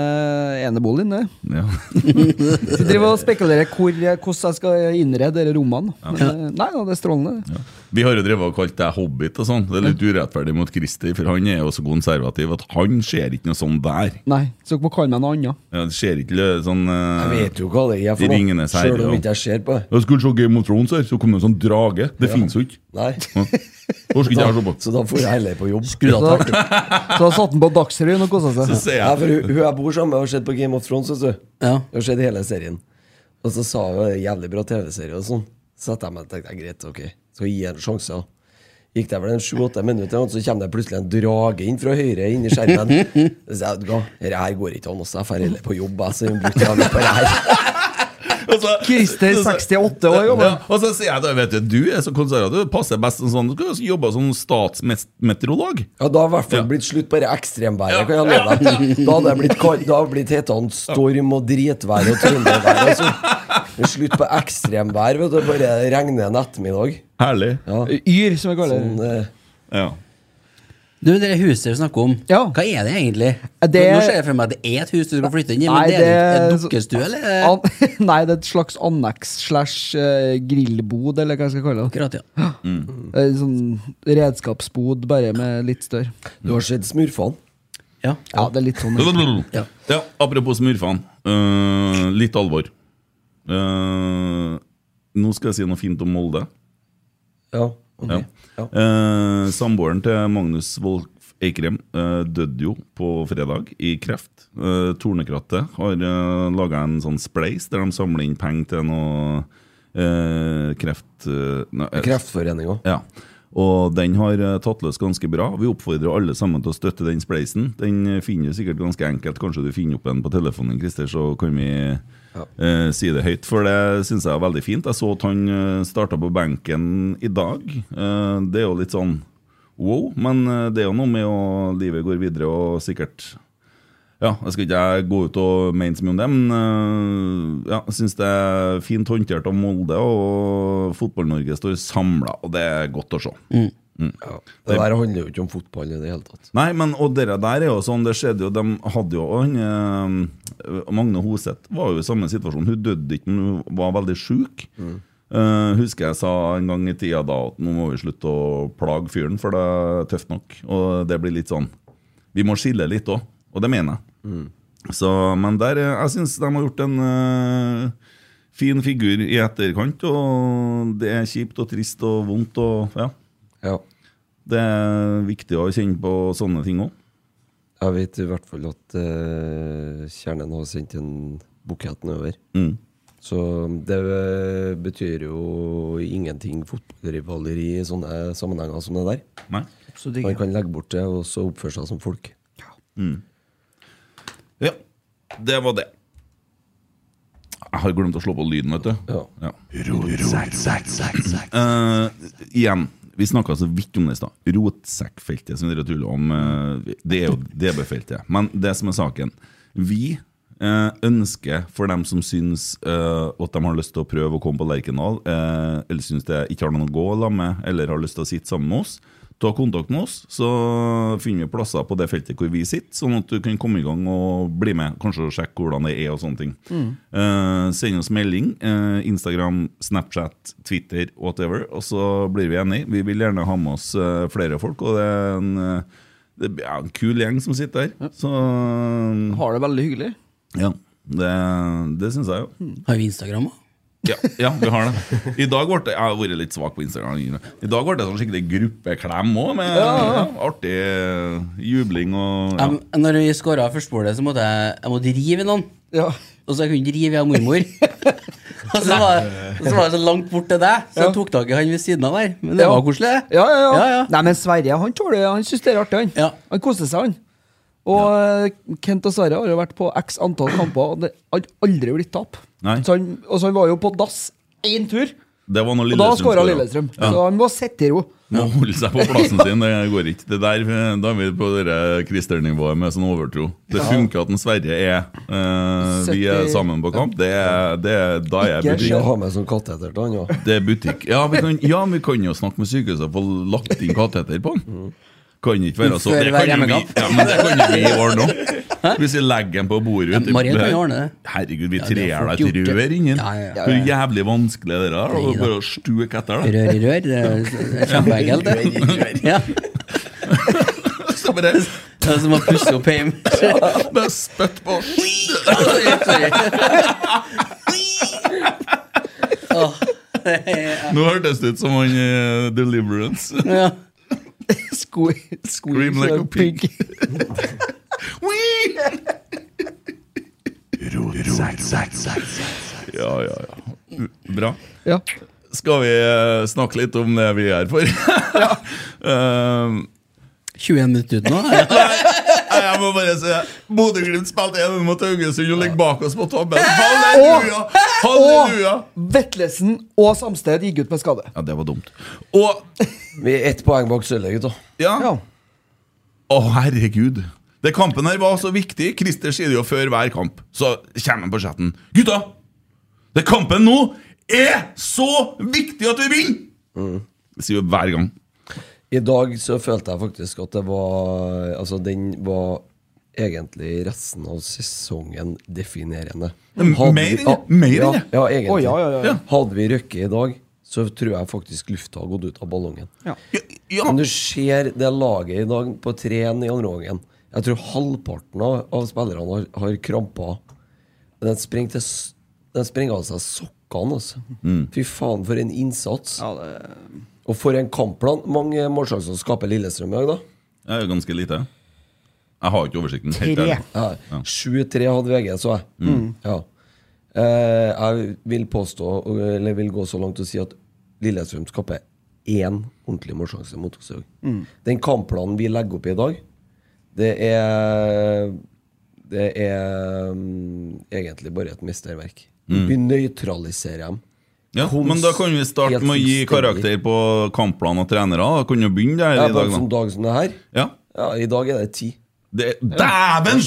Speaker 6: eneboligen, det.
Speaker 3: Ja.
Speaker 6: Så jeg driver og spekulerer hvor, jeg- hvordan jeg skal innrede disse rommene. Men, eh, Nei da, det er strålende.
Speaker 3: Vi har jo drevet og kalt deg hobbit og sånn. Det er litt urettferdig mot Christer, for han er jo så konservativ at han ser ikke noe sånn der.
Speaker 6: Nei, så dere må kalle meg noe annet.
Speaker 3: Ja, det ser ikke lø- sånn eh,
Speaker 5: Jeg vet jo hva det er for noe,
Speaker 3: Ringenes herre,
Speaker 5: sjøl
Speaker 3: ja.
Speaker 5: om ikke jeg ser på det.
Speaker 3: Jeg skulle se Game of Thrones her, så kom det en sånn drage. Det finnes jo ikke.
Speaker 5: Nei.
Speaker 3: Orker ikke jeg se på.
Speaker 5: Så da får jeg heller på jobb.
Speaker 6: Så, så da satte han på Dagsrevyen og kosa seg.
Speaker 3: Så ser
Speaker 5: Ja,
Speaker 3: jeg
Speaker 5: for hun, hun jeg bor sammen med, har sett på Game of Thrones. Vet du.
Speaker 4: Ja.
Speaker 5: Hun har sett hele serien. Og så sa hun "Det er jævlig bra TV-serie og sånn. Så satte jeg meg og tenkte "Ja, greit, ok, skal gi henne en sjanse. da." Gikk det vel en sju-åtte minutter, og så kommer det plutselig en drage inn fra høyre inn i skjermen. Så sa jeg at her går ikke an, også, jeg drar heller på jobb. jeg." Så hun brukte jævlig på det her.
Speaker 3: Og så-
Speaker 6: Christer,
Speaker 3: så- så-
Speaker 6: 68 år, jobber.
Speaker 3: Ja, og så sier jeg da, vet du, du er så konservativ, du passer best som sånn. Du skulle jo jobba som statsmeteorolog.
Speaker 5: Ja, da har i hvert fall
Speaker 3: Ja.
Speaker 5: blitt slutt på det ekstremværet. kan jeg love deg. Da hadde det blitt, kald- da hadde det blitt hetende storm og dritvær og trøndervær. Altså. Det er Slutt på ekstremvær. vet du, Bare regner en ettermiddag.
Speaker 3: Herlig.
Speaker 5: Ja.
Speaker 6: Yr, som jeg kaller
Speaker 5: Sånn,
Speaker 6: det.
Speaker 5: eh,
Speaker 3: Ja.
Speaker 4: Du, det huset vi snakker om,
Speaker 6: Ja.
Speaker 4: hva er det egentlig?
Speaker 6: Det-
Speaker 4: Nå ser jeg for meg at det er et hus du skal flytte inn i, men
Speaker 6: Nei,
Speaker 4: det er en
Speaker 6: det-
Speaker 4: dukkestue, eller?
Speaker 6: eh. An nei, det er et slags anneks slash eh, grillbod, eller hva jeg skal kalle det.
Speaker 4: Akkurat, ja.
Speaker 6: Eh, Sånn redskapsbod, bare med litt større.
Speaker 5: Du har sett Smurfene?
Speaker 4: ja.
Speaker 6: Ja, det er litt sånn.
Speaker 3: Ja. apropos smurfene. Eh, litt alvor. Eh, nå skal jeg si noe fint om Molde.
Speaker 5: Ja. ok.
Speaker 3: Ja. Eh, samboeren til Magnus Wolff Eikrem eh, døde jo på fredag i kreft. Eh, Tornekrattet har eh, laga en sånn spleis der de samler inn penger til noe eh, kreft... eh, nei, eh,
Speaker 5: Kreftforeninga.
Speaker 3: Ja. Og den har eh, tatt løs ganske bra. Vi oppfordrer alle sammen til å støtte den spleisen. Den eh, finner du sikkert ganske enkelt. Kanskje du finner opp den på telefonen, Christer, så kan vi eh, si det høyt. For det syns jeg er veldig fint. Jeg så at han eh, starta på benken i dag. Eh, det er jo litt sånn wow, men eh, det er jo noe med å livet går videre, og sikkert ja, jeg skal ikke jeg gå ut og mene så mye om det, men øh, ja, jeg syns det er fint håndtert av Molde, og Fotball-Norge står samla, og det er godt å se.
Speaker 5: Ja. Det der handler jo ikke om fotball i det hele tatt.
Speaker 3: Nei, men og dere der er jo sånn, det skjedde jo, de hadde jo og han, eh, Magne Hoseth var jo i samme situasjon, hun døde ikke, men hun var veldig syk. Eh, husker jeg sa en gang i tida da at nå må vi slutte å plage fyren, for det er tøft nok. Og det blir litt sånn, vi må skille litt òg, og det mener jeg. Så, men der, eh, jeg syns de har gjort en eh, fin figur i etterkant, og det er kjipt og trist og vondt og ja.
Speaker 5: Ja.
Speaker 3: Det er viktig å kjenne på sånne ting òg.
Speaker 5: Jeg vet i hvert fall at eh, Kjernen har sendt en bukett nedover.
Speaker 3: Mm.
Speaker 5: Så det eh, betyr jo ingenting fotballrivaleri i sånne sammenhenger som det der.
Speaker 3: Nei.
Speaker 4: Absolutt
Speaker 5: Man
Speaker 4: ikke.
Speaker 5: kan legge bort det og så oppføre seg som folk.
Speaker 3: Ja, det var det. Jeg har glemt å slå på lyden, vet du.
Speaker 5: Ja.
Speaker 3: Eh, igjen, vi snakka så vidt om det i stad. Rotsekkfeltet, som dere tuller om, eh, det er jo DB-feltet. Men det som er saken Vi eh, ønsker for dem som syns eh, at de har lyst til å prøve å komme på Lerkendal, eh, eller syns det ikke har noen å gå sammen med, eller har lyst til å sitte sammen med oss, ta kontakt med oss, så finner vi plasser på det feltet hvor vi sitter, sånn at du kan komme i gang og bli med. Kanskje og sjekke hvordan det er og sånne ting. Eh, send oss melding. eh, Instagram, Snapchat, Twitter, whatever. Og så blir vi enige. Vi vil gjerne ha med oss eh, flere folk. og det er en... eh, det er en kul gjeng som sitter der. Så eh,
Speaker 7: Har det veldig hyggelig.
Speaker 3: ja, det, det syns jeg jo.
Speaker 4: Har vi Instagram òg?
Speaker 3: Ja, ja, vi har det. I dag ble det, Jeg har vært litt svak på Instagram. I dag ble det sånn skikkelig gruppeklem òg, med ja, artig eh, jubling og ja.
Speaker 6: Um,
Speaker 4: Jeg- Når vi skåra førstmålet, så måtte jeg, jeg måtte rive noen.
Speaker 7: Ja.
Speaker 4: Og så jeg kunne ikke rive jeg mormor. og så var, og så var det så langt bort til deg, så jeg tok tak i han ved siden av der. Men det
Speaker 7: Ja.
Speaker 4: var koselig, det.
Speaker 7: Ja, ja, ja.
Speaker 4: Ja, ja.
Speaker 6: Nei, men Sverre han tåler Han syns det er artig, han.
Speaker 4: Ja.
Speaker 6: Han koser seg, han. Og eh, Kent og Sverre har jo vært på x antall kamper, og det har aldri blitt tap.
Speaker 3: Nei.
Speaker 6: Så han, og så han var jo på dass én tur,
Speaker 3: Det var når
Speaker 6: og da
Speaker 3: Lillestrøm
Speaker 6: skåra
Speaker 3: scoret.
Speaker 6: Lillestrøm.
Speaker 3: Ja.
Speaker 6: Så han må sitte i ro.
Speaker 3: Må holde seg på plassen sin, det går ikke. Det der, eh, da er vi på det der Christer-nivået med sånn overtro. Det funker at en Sverre er eh, Vi er
Speaker 6: Sytti-
Speaker 3: sammen på kamp. Det er, det er, da er jeg
Speaker 5: Vi
Speaker 3: butikk.
Speaker 5: skal ha med sånn katteter til han òg.
Speaker 3: Det er eh, butikk. Ja, vi kan, ja, vi kan jo snakke med sykehuset og få lagt inn kateter på den. Kan ikke være så
Speaker 4: Før
Speaker 3: Det
Speaker 4: hver
Speaker 3: kan jo vi,
Speaker 4: hjemmekamp.
Speaker 3: ja, men det kan jo vi ordne òg. Hvis vi legger den på bordet
Speaker 4: Ja,
Speaker 3: ute i-
Speaker 4: Marian kan jo ordne det.
Speaker 3: Herregud, vi
Speaker 4: det har
Speaker 3: trer
Speaker 4: folk
Speaker 3: deg et
Speaker 4: gjort det.
Speaker 3: rør inni den.
Speaker 4: Ja, ja, ja.
Speaker 3: Hvor jævlig vanskelig er det der
Speaker 4: Nei, da.
Speaker 3: Bare å stuke etter det.
Speaker 4: Rør i rør. Det er det er kjempeekkelt, det. Ja.
Speaker 3: Så bare,
Speaker 4: Det er som å pusse opp hjemme.
Speaker 3: bare spytt på.
Speaker 4: Sorry, sorry. Åh, det er-
Speaker 3: Nå hørtes det ut som han eh, Deliverance.
Speaker 4: ja.
Speaker 6: Sko,
Speaker 3: Scream like a pig. Wee! ja, ja, ja. Bra.
Speaker 6: Ja.
Speaker 3: Skal vi eh, snakke litt om det vi er her for? Eh,
Speaker 4: 21 minutter ut nå. Ja.
Speaker 3: jeg må bare si Bodø-Glimt spilte 1 mot Haugesund og ligger bak oss på tabben. Halleluja! Halleluja!
Speaker 6: Og Vetlesen og Samsted gikk ut med skade.
Speaker 3: Ja, det var dumt. Og
Speaker 5: Vi er ett poeng bak sølvet, gutta.
Speaker 3: Ja.
Speaker 6: Ja.
Speaker 3: Å, herregud. Det kampen her var så viktig. Christer sier det jo før hver kamp. Så kommer han på chatten. Gutta! Det kampen nå er så viktig at vi vinner! Det sier jo hver gang.
Speaker 5: I dag så følte jeg faktisk at det var Altså, den var egentlig resten av sesongen definerende.
Speaker 3: Men
Speaker 5: Hadde
Speaker 3: mer
Speaker 5: vi-
Speaker 3: enn det, mer enn
Speaker 5: ja,
Speaker 3: det.
Speaker 5: ja, egentlig.
Speaker 6: Å, ja, ja, ja, ja.
Speaker 5: Hadde vi Røkke i dag, så tror jeg faktisk lufta har gått ut av ballongen.
Speaker 3: Ja, ja.
Speaker 5: Men du ser det laget i dag på 3-1 i andre omgangen. Jeg tror halvparten av, av spillerne har, har krampa. Den sprengte s- Den sprenger av seg sokkene, altså. Fy faen, for en innsats.
Speaker 6: Ja, det,
Speaker 5: Og for en kampplan. Mange målsjanser skaper Lillestrøm i dag, da.
Speaker 3: Det er jo ganske lite. Jeg har ikke oversikten. Helt
Speaker 6: Tre.
Speaker 3: ærlig.
Speaker 5: Ja. 7-3 hadde VG, så jeg.
Speaker 3: Mm.
Speaker 5: Ja. Eh, jeg vil påstå, eller vil gå så langt å si at Lillestrøm skaper én ordentlig målsjanse mot oss i dag.
Speaker 3: Mm.
Speaker 5: Den kampplanen vi legger opp i i dag, det er Det er mm, egentlig bare et mesterverk.
Speaker 3: Mm.
Speaker 5: Vi nøytraliserer dem.
Speaker 3: Ja, men da kan vi starte med å gi
Speaker 5: Helt
Speaker 3: karakter på kampplan og trenere. Da kan vi begynne der
Speaker 5: Ja,
Speaker 3: i
Speaker 5: på en
Speaker 3: dag,
Speaker 5: sånn
Speaker 3: da.
Speaker 5: dag som det her,
Speaker 3: Ja.
Speaker 5: ja, i dag er det ti.
Speaker 3: Det, dæven!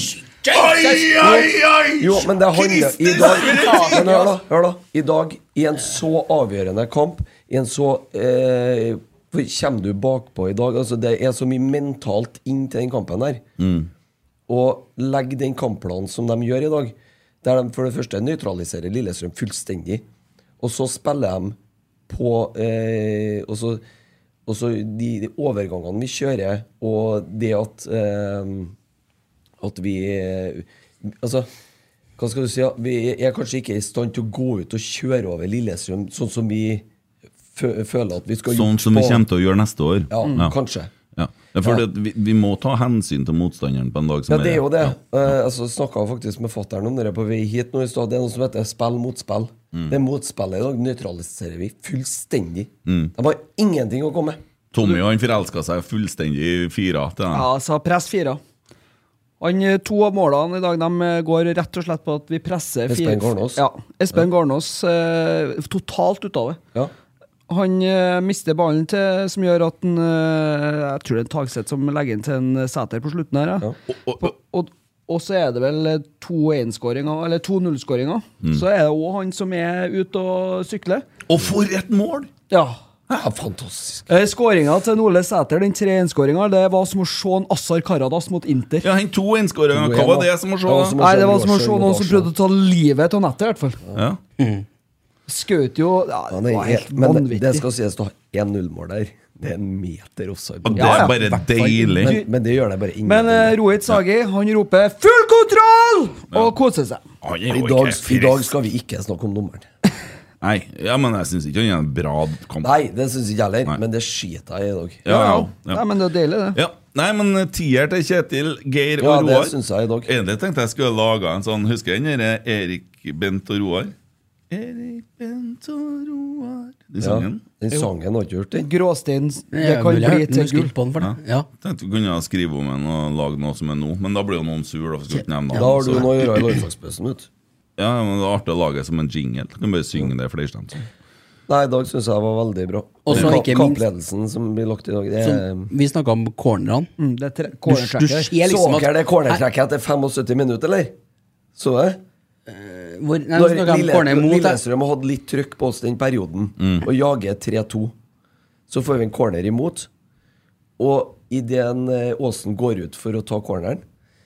Speaker 3: Oi, oi, oi!
Speaker 5: Jo, men det handler i
Speaker 3: Christer,
Speaker 5: dag,
Speaker 3: for et
Speaker 5: men hør da, hør da. I dag, i en så avgjørende kamp I en så eh, for Kommer du bakpå i dag? Altså, det er så mye mentalt inn til den kampen her. Og legg den kampplanen som de gjør i dag, der de for det første nøytraliserer Lillestrøm fullstendig, og så spiller de på eh, og, så, og så de, de overgangene vi kjører, og det at eh, at vi Altså, hva skal du si? ja, Vi er kanskje ikke i stand til å gå ut og kjøre over Lillestrøm sånn som vi fø føler at vi skal
Speaker 3: Sånn som vi kommer til å gjøre neste år.
Speaker 5: Ja, kanskje.
Speaker 3: Ja. Ja, for Det, vi, vi må ta hensyn til motstanderen på en dag som
Speaker 5: Ja, det er jo det.
Speaker 3: Ja.
Speaker 5: Eh, altså, Snakka faktisk med fattern om det på vei hit nå i stad. Det er noe som heter spill mot spill.
Speaker 3: Mm.
Speaker 5: Det motspillet i dag nøytraliserer vi fullstendig.
Speaker 3: Mm.
Speaker 5: De har ingenting å komme med.
Speaker 3: Tommy han forelska seg fullstendig i fyra til den.
Speaker 6: ja altså press fire. Han, eh, to av målene i dag de eh, går rett og slett på at vi presser
Speaker 5: Espen
Speaker 6: fire-
Speaker 5: Garnås.
Speaker 6: Ja, Espen Garnås eh, totalt ut av det.
Speaker 5: Ja.
Speaker 6: Han eh, mister ballen til, som gjør at han eh, Jeg tror det er en Tagseth som legger inn til en Sæter på slutten her. Ja.
Speaker 3: Og- og-
Speaker 6: På- Og, og så er det vel eh, to 1-skåringer, eller to 0-skåringer. Så er det òg han som er ute og sykler.
Speaker 3: Og for et mål!
Speaker 6: Ja.
Speaker 5: ja, fantastisk.
Speaker 6: Eh, Skåringa til Ole Sæter, den 3-1-skåringa, det var som å se en Assar Karadas mot Inter.
Speaker 3: Ja, han to innskåringer. Hva var det som var
Speaker 5: Det var
Speaker 3: så?
Speaker 5: som-
Speaker 6: Nei, det var som å se
Speaker 5: Mot
Speaker 6: noen som
Speaker 5: Arsenal.
Speaker 6: prøvde å ta livet av nettet, i hvert fall.
Speaker 3: Ja.
Speaker 6: Skjøt jo ja,
Speaker 5: Ja,
Speaker 6: Det
Speaker 5: nei,
Speaker 6: var helt
Speaker 5: men det, det
Speaker 6: vanvittig.
Speaker 5: skal sies, du har 1-0-mål der. Det er en meter offside.
Speaker 3: Og det
Speaker 6: Ja,
Speaker 3: er
Speaker 6: ja.
Speaker 3: bare
Speaker 5: Men,
Speaker 3: deilig.
Speaker 5: men det gjør deg bare ingenting.
Speaker 6: Men eh, Rohit Sagi han roper 'full kontroll!' og koser seg.
Speaker 3: Han er
Speaker 5: I
Speaker 3: jo
Speaker 5: dag,
Speaker 3: ikke
Speaker 5: I dag
Speaker 3: frisk.
Speaker 5: skal vi ikke snakke om dommeren.
Speaker 3: Nei, ja, men jeg syns ikke han er en bra kamp.
Speaker 5: Nei, det syns ikke jeg
Speaker 3: Nei.
Speaker 5: heller, men det skiter jeg i i dag.
Speaker 3: Ja, ja, ja.
Speaker 6: Nei, men det er deilig, det.
Speaker 3: Ja. Nei, men eh, tier til Kjetil, Geir
Speaker 5: Ja,
Speaker 3: og
Speaker 5: det
Speaker 3: Roar.
Speaker 5: syns jeg i dag.
Speaker 3: Egentlig tenkte jeg skulle laga en sånn Husker jeg den derre Erik, Bent og Roar? Erik, Bent og Roar Den
Speaker 5: Ja,
Speaker 3: sangen?
Speaker 5: den sangen har ikke hørt den.
Speaker 6: Gråstein det
Speaker 4: Ja,
Speaker 6: kan
Speaker 4: mulig jeg hørte
Speaker 6: bli
Speaker 4: den,
Speaker 6: til
Speaker 4: husker
Speaker 6: gull.
Speaker 4: ikke på den for det. Ja.
Speaker 3: Tenkte vi kunne skrive om den og lage noe som er nå, men da blir jo noen sur. Da, for jeg skal ikke nevne
Speaker 5: Da har du
Speaker 3: navn, så-
Speaker 5: noe å gjøre i landslagspausen, vet du.
Speaker 3: Ja, men Det er artig å lage det som en jingle. Du kan bare synge det flerstemt.
Speaker 5: Nei, i dag syns jeg var veldig bra.
Speaker 4: Og så
Speaker 5: Ka-
Speaker 4: ikke minst-
Speaker 5: Kappledelsen som blir lagt i dag, det er
Speaker 4: Sånn, vi snakka om cornerne.
Speaker 6: Mm, det er tre-
Speaker 4: Du, du
Speaker 6: cornertracker.
Speaker 4: ser liksom
Speaker 5: Så dere det
Speaker 4: at
Speaker 5: cornertrekket etter 75 minutter, eller? Så jeg?
Speaker 4: hvor, Nei, vi
Speaker 5: Når
Speaker 4: snakket om
Speaker 5: Lille-
Speaker 4: corner mot her.
Speaker 5: Lillestrøm har hatt litt trykk på oss den perioden, og jager 3-2. Så får vi en corner imot, og idet Åsen eh, går ut for å ta corneren,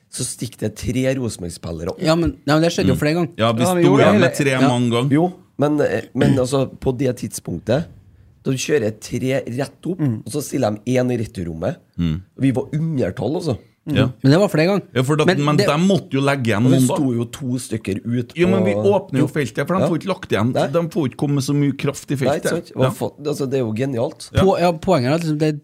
Speaker 5: så stikker det tre Rosenborg-spillere opp.
Speaker 4: Ja, men, nei, men det skjedde jo flere ganger.
Speaker 3: Mm. Ja, vi
Speaker 6: Ja, vi
Speaker 3: sto
Speaker 6: gjorde
Speaker 3: igjen
Speaker 6: det.
Speaker 3: med tre
Speaker 4: Ja.
Speaker 3: mange ganger.
Speaker 5: Jo, men, men altså, på det tidspunktet Da kjører jeg tre rett opp,
Speaker 3: Mm.
Speaker 5: og så stiller de én i returrommet. Vi var undertall, altså.
Speaker 3: Ja.
Speaker 4: Men det var flere ganger.
Speaker 3: Ja, for da, men
Speaker 4: det-
Speaker 3: de måtte jo legge igjen
Speaker 5: Og det
Speaker 3: noen, da.
Speaker 5: sto jo to stykker ut.
Speaker 3: Jo, men vi
Speaker 5: på-
Speaker 3: åpner jo feltet, for de
Speaker 5: Ja.
Speaker 3: får ikke lagt igjen.
Speaker 5: Nei.
Speaker 3: De får ikke komme så mye kraft i
Speaker 5: Nei, ikke
Speaker 3: feltet.
Speaker 5: sant? Hva
Speaker 3: Ja.
Speaker 5: faen? altså, det er jo genialt.
Speaker 4: på, ja, poenget er at liksom, det er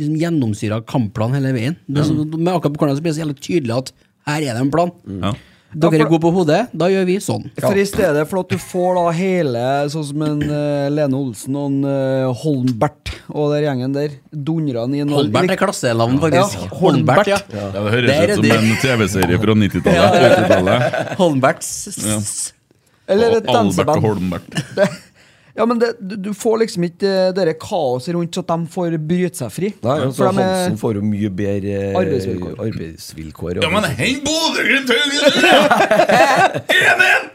Speaker 4: liksom gjennomsyra kampplan hele veien. Det, er så, med akkurat på cornerne så blir det så jævlig tydelig at her er det en plan.
Speaker 3: Mm. Ja.
Speaker 4: Dere er gode på hodet, da gjør vi sånn.
Speaker 6: For i stedet for at du får da hele, sånn som en eh, Lene Olsen og en eh, Holmbert og der gjengen der, dundra han i en
Speaker 4: Holmbert er klassenavn, faktisk.
Speaker 6: Ja,
Speaker 4: Holmbert, ja.
Speaker 3: Ja, det høres
Speaker 4: Der er
Speaker 3: ut som
Speaker 4: det.
Speaker 3: en TV-serie fra 90-tallet. 80-tallet.
Speaker 4: Holmbert s- s-
Speaker 3: Ja.
Speaker 4: s-
Speaker 6: Eller et
Speaker 3: Albert og
Speaker 6: danseband.
Speaker 3: Holmbert.
Speaker 6: Ja, men det, du, du får liksom ikke eh, dere kaoset rundt så at de får bryte seg fri.
Speaker 5: Nei, altså,
Speaker 6: For de er-
Speaker 5: Hansen får jo mye bedre eh,
Speaker 6: Arbeidsvilkår.
Speaker 5: arbeidsvilkår,
Speaker 3: Ja, men hent Bodø-Glimt høyre! 1-1!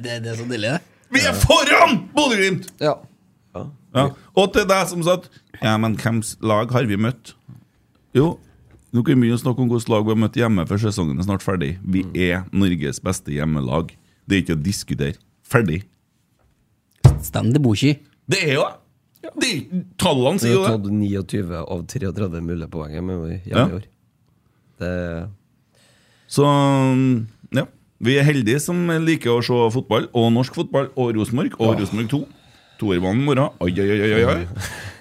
Speaker 4: Det, det er så deilig, det.
Speaker 3: Vi er foran Bodø-Glimt!
Speaker 6: ja.
Speaker 3: Ja. Og til deg som satt Ja, men hvems lag har vi møtt? Jo, nå kan vi begynne å snakke om hvilket lag vi har møtt hjemme før sesongen er snart ferdig. Vi er Norges beste hjemmelag. Det er ikke å diskutere. Ferdig.
Speaker 4: Stanley Bochi.
Speaker 3: Det er jo det. Det er- Tallene
Speaker 5: Vi
Speaker 3: sier jo
Speaker 5: har
Speaker 3: det.
Speaker 5: tatt 29 av 33 mulige poeng med vår hjemme
Speaker 3: Ja.
Speaker 5: i år. Det,
Speaker 3: Så mm, ja. Vi er heldige som liker å se fotball, og norsk fotball, og Rosenborg, og Rosenborg 2. Toerbanen i morgen. Oi, oi, oi, oi, oi.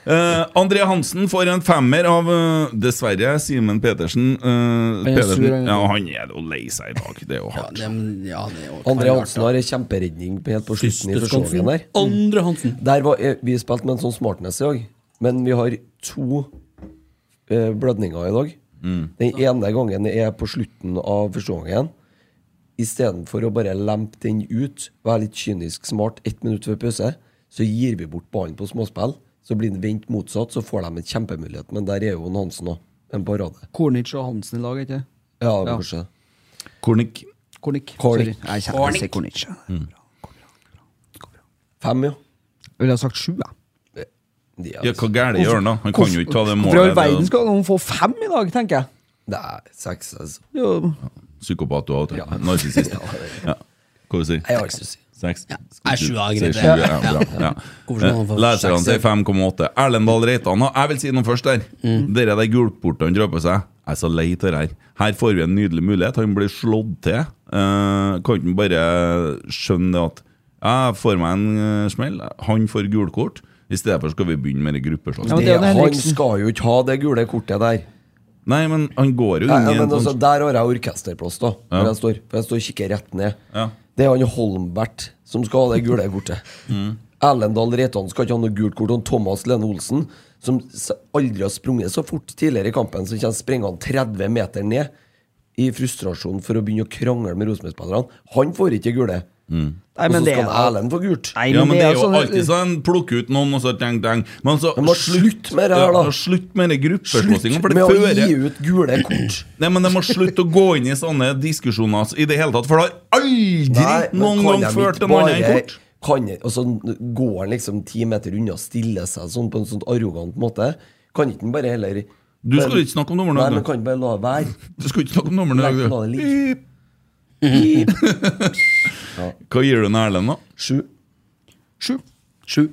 Speaker 3: Eh, André Hansen får en femmer av eh, dessverre Simen Petersen. eh,
Speaker 6: er sur,
Speaker 3: Pedersen.
Speaker 6: han.
Speaker 3: Ja, han er jo lei seg i dag. Det er jo
Speaker 4: Ja,
Speaker 3: hardt.
Speaker 4: det, ja, det er jo
Speaker 5: André Hansen har en kjemperedning på- helt på slutten i første gangen der.
Speaker 4: Andre Hansen.
Speaker 5: Der var, eh, vi spilte med en sånn smartness i dag, men vi har to eh, blødninger i dag.
Speaker 3: Mm.
Speaker 5: Den ene gangen er på slutten av første gangen. Istedenfor å bare lempe den ut, være litt kynisk smart ett minutt før pause, så gir vi bort ballen på småspill. Så blir den vendt motsatt, så får de en kjempemulighet. Men der er jo en Hansen òg. En parade.
Speaker 6: Kornic og Hansen i lag, ikke
Speaker 5: Ja, kanskje.
Speaker 3: Kornik.
Speaker 6: Kornic.
Speaker 5: Kornic. Mm.
Speaker 6: Sorry. Nei, Jeg kjenner ikke Kornic.
Speaker 5: Fem, ja.
Speaker 6: Jeg ville ha sagt sju, jeg.
Speaker 5: De er- altså-
Speaker 3: Ja, hva gærent gjør han, da? Han kan jo ikke ta det
Speaker 6: Hvorfor i all
Speaker 3: målet.
Speaker 6: verden
Speaker 3: Det
Speaker 6: skal noen få fem i dag, tenker jeg?
Speaker 5: Det er seks, altså.
Speaker 6: Det er jo-
Speaker 3: er Psykopat du er. Ja. Narsissist. Ja. Hva sier du?
Speaker 5: Jeg har ikke lyst til å si
Speaker 3: Seks?
Speaker 4: Nei, sju er greit,
Speaker 3: Sier sju,
Speaker 4: det.
Speaker 3: ja, bra, ja.
Speaker 4: Hvorfor skal
Speaker 3: Eh,
Speaker 4: man få
Speaker 3: Leserne
Speaker 4: seks,
Speaker 3: sier 5,8. Erlend Dahl Reitan og Jeg vil si noe først der. Dere de gulportene drar på seg. Jeg er så lei av det her. Her får vi en nydelig mulighet. Han blir slått til. Eh, kan ikke han bare skjønne det at jeg får meg en eh, smell, han får gult kort. I stedet for skal vi begynne med det
Speaker 6: Ja,
Speaker 3: gruppeslagsmål.
Speaker 6: men det er jo
Speaker 5: det. Han
Speaker 6: Henriksen.
Speaker 5: skal jo ikke ha det gule kortet der.
Speaker 3: Nei, men han går jo
Speaker 5: Nei,
Speaker 3: inn i
Speaker 5: ja,
Speaker 3: en
Speaker 5: men altså,
Speaker 3: sånn
Speaker 5: Der har jeg orkesterplass, da. Hvor jeg står, for jeg står og kikker rett ned.
Speaker 3: Ja.
Speaker 5: Det er han Holmbert som skal ha det gule kortet.
Speaker 3: Mm.
Speaker 5: Erlend Dahl Reitan skal ikke ha noe gult kort. Og Thomas Lene Olsen, som s- aldri har sprunget så fort tidligere i kampen, som kommer springende 30 meter ned i frustrasjon for å begynne å krangle med Rosenborg-spillerne, han får ikke gule.
Speaker 6: Nei,
Speaker 5: og
Speaker 6: men
Speaker 5: så
Speaker 6: det er
Speaker 5: skal Erlend få gult.
Speaker 6: Nei,
Speaker 3: Ja, men det er jo
Speaker 6: sånn-
Speaker 3: alltid sånn Plukke ut noen, og så deng, deng. Men så
Speaker 5: Men må slutt med det her, da.
Speaker 3: Ja, Slutt med det
Speaker 5: Slutt
Speaker 3: gruppeslåssingen, for
Speaker 5: med
Speaker 3: det
Speaker 5: å
Speaker 3: fører
Speaker 5: gi ut gule kort.
Speaker 3: Nei, men De må slutte å gå inn i sånne diskusjoner altså, i det hele tatt. For det har aldri
Speaker 5: Nei, men
Speaker 3: noen
Speaker 5: kan
Speaker 3: gang
Speaker 5: de
Speaker 3: ført
Speaker 5: ikke
Speaker 3: til noe annet enn
Speaker 5: bare-
Speaker 3: kort.
Speaker 5: Kan, og så går han liksom ti meter unna og stiller seg sånn på en sånn arrogant måte. Kan ikke han bare heller
Speaker 3: Du skulle ikke snakke om dommeren,
Speaker 5: Nei,
Speaker 3: du.
Speaker 5: men kan ikke bare la være.
Speaker 3: Du skulle ikke snakke om nummerne i
Speaker 5: Legg
Speaker 3: dag,
Speaker 5: la det
Speaker 3: du.
Speaker 5: ligge.
Speaker 3: Hva gir du til Erlend, da?
Speaker 5: Sju.
Speaker 6: Sju.
Speaker 4: Sju.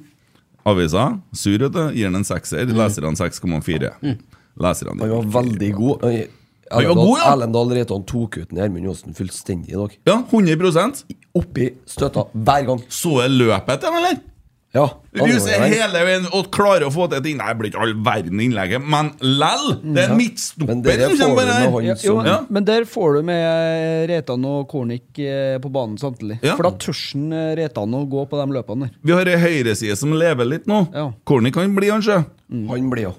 Speaker 3: Avisa, sur, vet du. Gir den en sekser. Leserne 6,4. Leserne
Speaker 5: Mm. Han var veldig god. Han-
Speaker 3: Han var god, ja.
Speaker 5: Erlend Dahl Reitan tok ut den Gjermund Johnsen fullstendig i dag.
Speaker 3: Ja, 100
Speaker 5: Oppi støtta hver gang.
Speaker 3: Så er løpet til dem, eller?
Speaker 5: Ja,
Speaker 3: Ruser
Speaker 5: andre gang.
Speaker 3: hele veien og klarer å få til ting. Nei, det blir ikke all verden innlegget, men lell! Det er en
Speaker 5: Men
Speaker 3: midtstopper
Speaker 5: dere
Speaker 3: som
Speaker 5: får
Speaker 3: kommer
Speaker 5: det med
Speaker 3: her.
Speaker 5: han
Speaker 6: Jo,
Speaker 5: som
Speaker 6: men,
Speaker 3: Ja.
Speaker 6: men der får du med eh, Reitan og Kornik eh, på banen samtidig.
Speaker 3: Ja.
Speaker 6: For da tør han, eh, Reitan å gå på de løpene der.
Speaker 3: Vi har ei høyreside som lever litt nå.
Speaker 6: Ja.
Speaker 3: Corny kan bli, han, sjø.
Speaker 5: Han blir jo.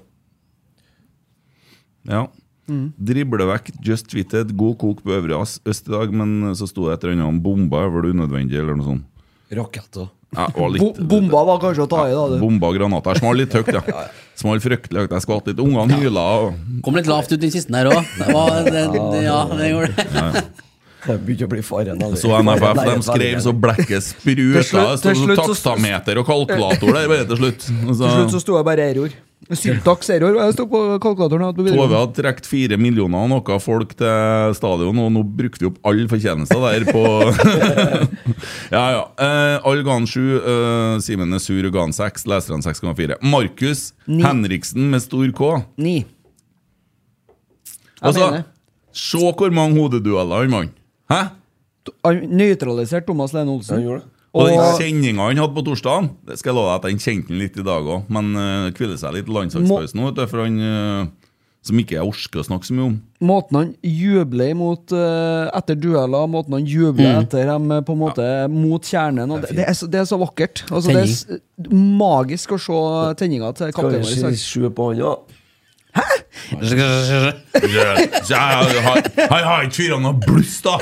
Speaker 3: Ja.
Speaker 6: Mm.
Speaker 3: Dribler vekk Just Tweeted, god kok på Øvre As- Øst i dag, men så sto det et eller annet om bomba, var det unødvendig, eller noe sånt.
Speaker 5: Raketter.
Speaker 3: Ja, det var
Speaker 6: Bo
Speaker 3: litt,
Speaker 6: bomba var kanskje å ta i, da. Du.
Speaker 3: bomba og granater. Smal litt høyt, ja. Smal fryktelig høyt. Jeg skvatt litt. Ungene hyla. og...
Speaker 4: Kom litt lavt ut den siste der òg. Ja, det gjorde det.
Speaker 5: Det begynte å bli faren. eller?
Speaker 3: Så NFF
Speaker 5: Nei,
Speaker 3: de skrev så blekket spruta.
Speaker 6: Til
Speaker 3: Det
Speaker 6: slutt-
Speaker 3: sto
Speaker 6: til slutt så-
Speaker 3: takstameter og kalkulator der bare til slutt. Og så-
Speaker 6: Til slutt så sto jeg bare error. Syntax-error. Jeg sto på kalkulatoren. og på
Speaker 3: Tove
Speaker 6: videregående.
Speaker 3: hadde trukket fire millioner og noe folk til stadion, og nå brukte vi opp all fortjeneste der på Ja, ja. Eh, all gan 7, eh, Simen er sur og gan 6, leserne 6,4. Markus Henriksen med stor K.
Speaker 6: Ni. Jeg
Speaker 3: Altså,
Speaker 6: mener.
Speaker 3: se hvor mange hodedueller han vant. Hæ?
Speaker 6: Han nøytraliserte Thomas Lene
Speaker 5: Han
Speaker 6: Olsen.
Speaker 5: gjorde det.
Speaker 3: Og den
Speaker 6: Og
Speaker 3: kjenninga han hadde på torsdagen Det skal jeg love deg at han kjente den litt i dag òg, men uh, hviler seg litt i landslagspausen nå, vet du, for han eh, som ikke jeg orker å snakke så mye om.
Speaker 6: måten han jubler imot eh, etter dueller, måten han jubler etter dem eh, på en måte mot kjernen og det, det, er så, det er så vakkert. Altså, det er s magisk å se tenninga til
Speaker 5: Kan
Speaker 6: kapteinen
Speaker 5: vi
Speaker 6: vår. i
Speaker 5: si
Speaker 6: dag.
Speaker 5: sju på han, ja?
Speaker 3: Så jeg har jeg har ikke fyra noe bluss, da!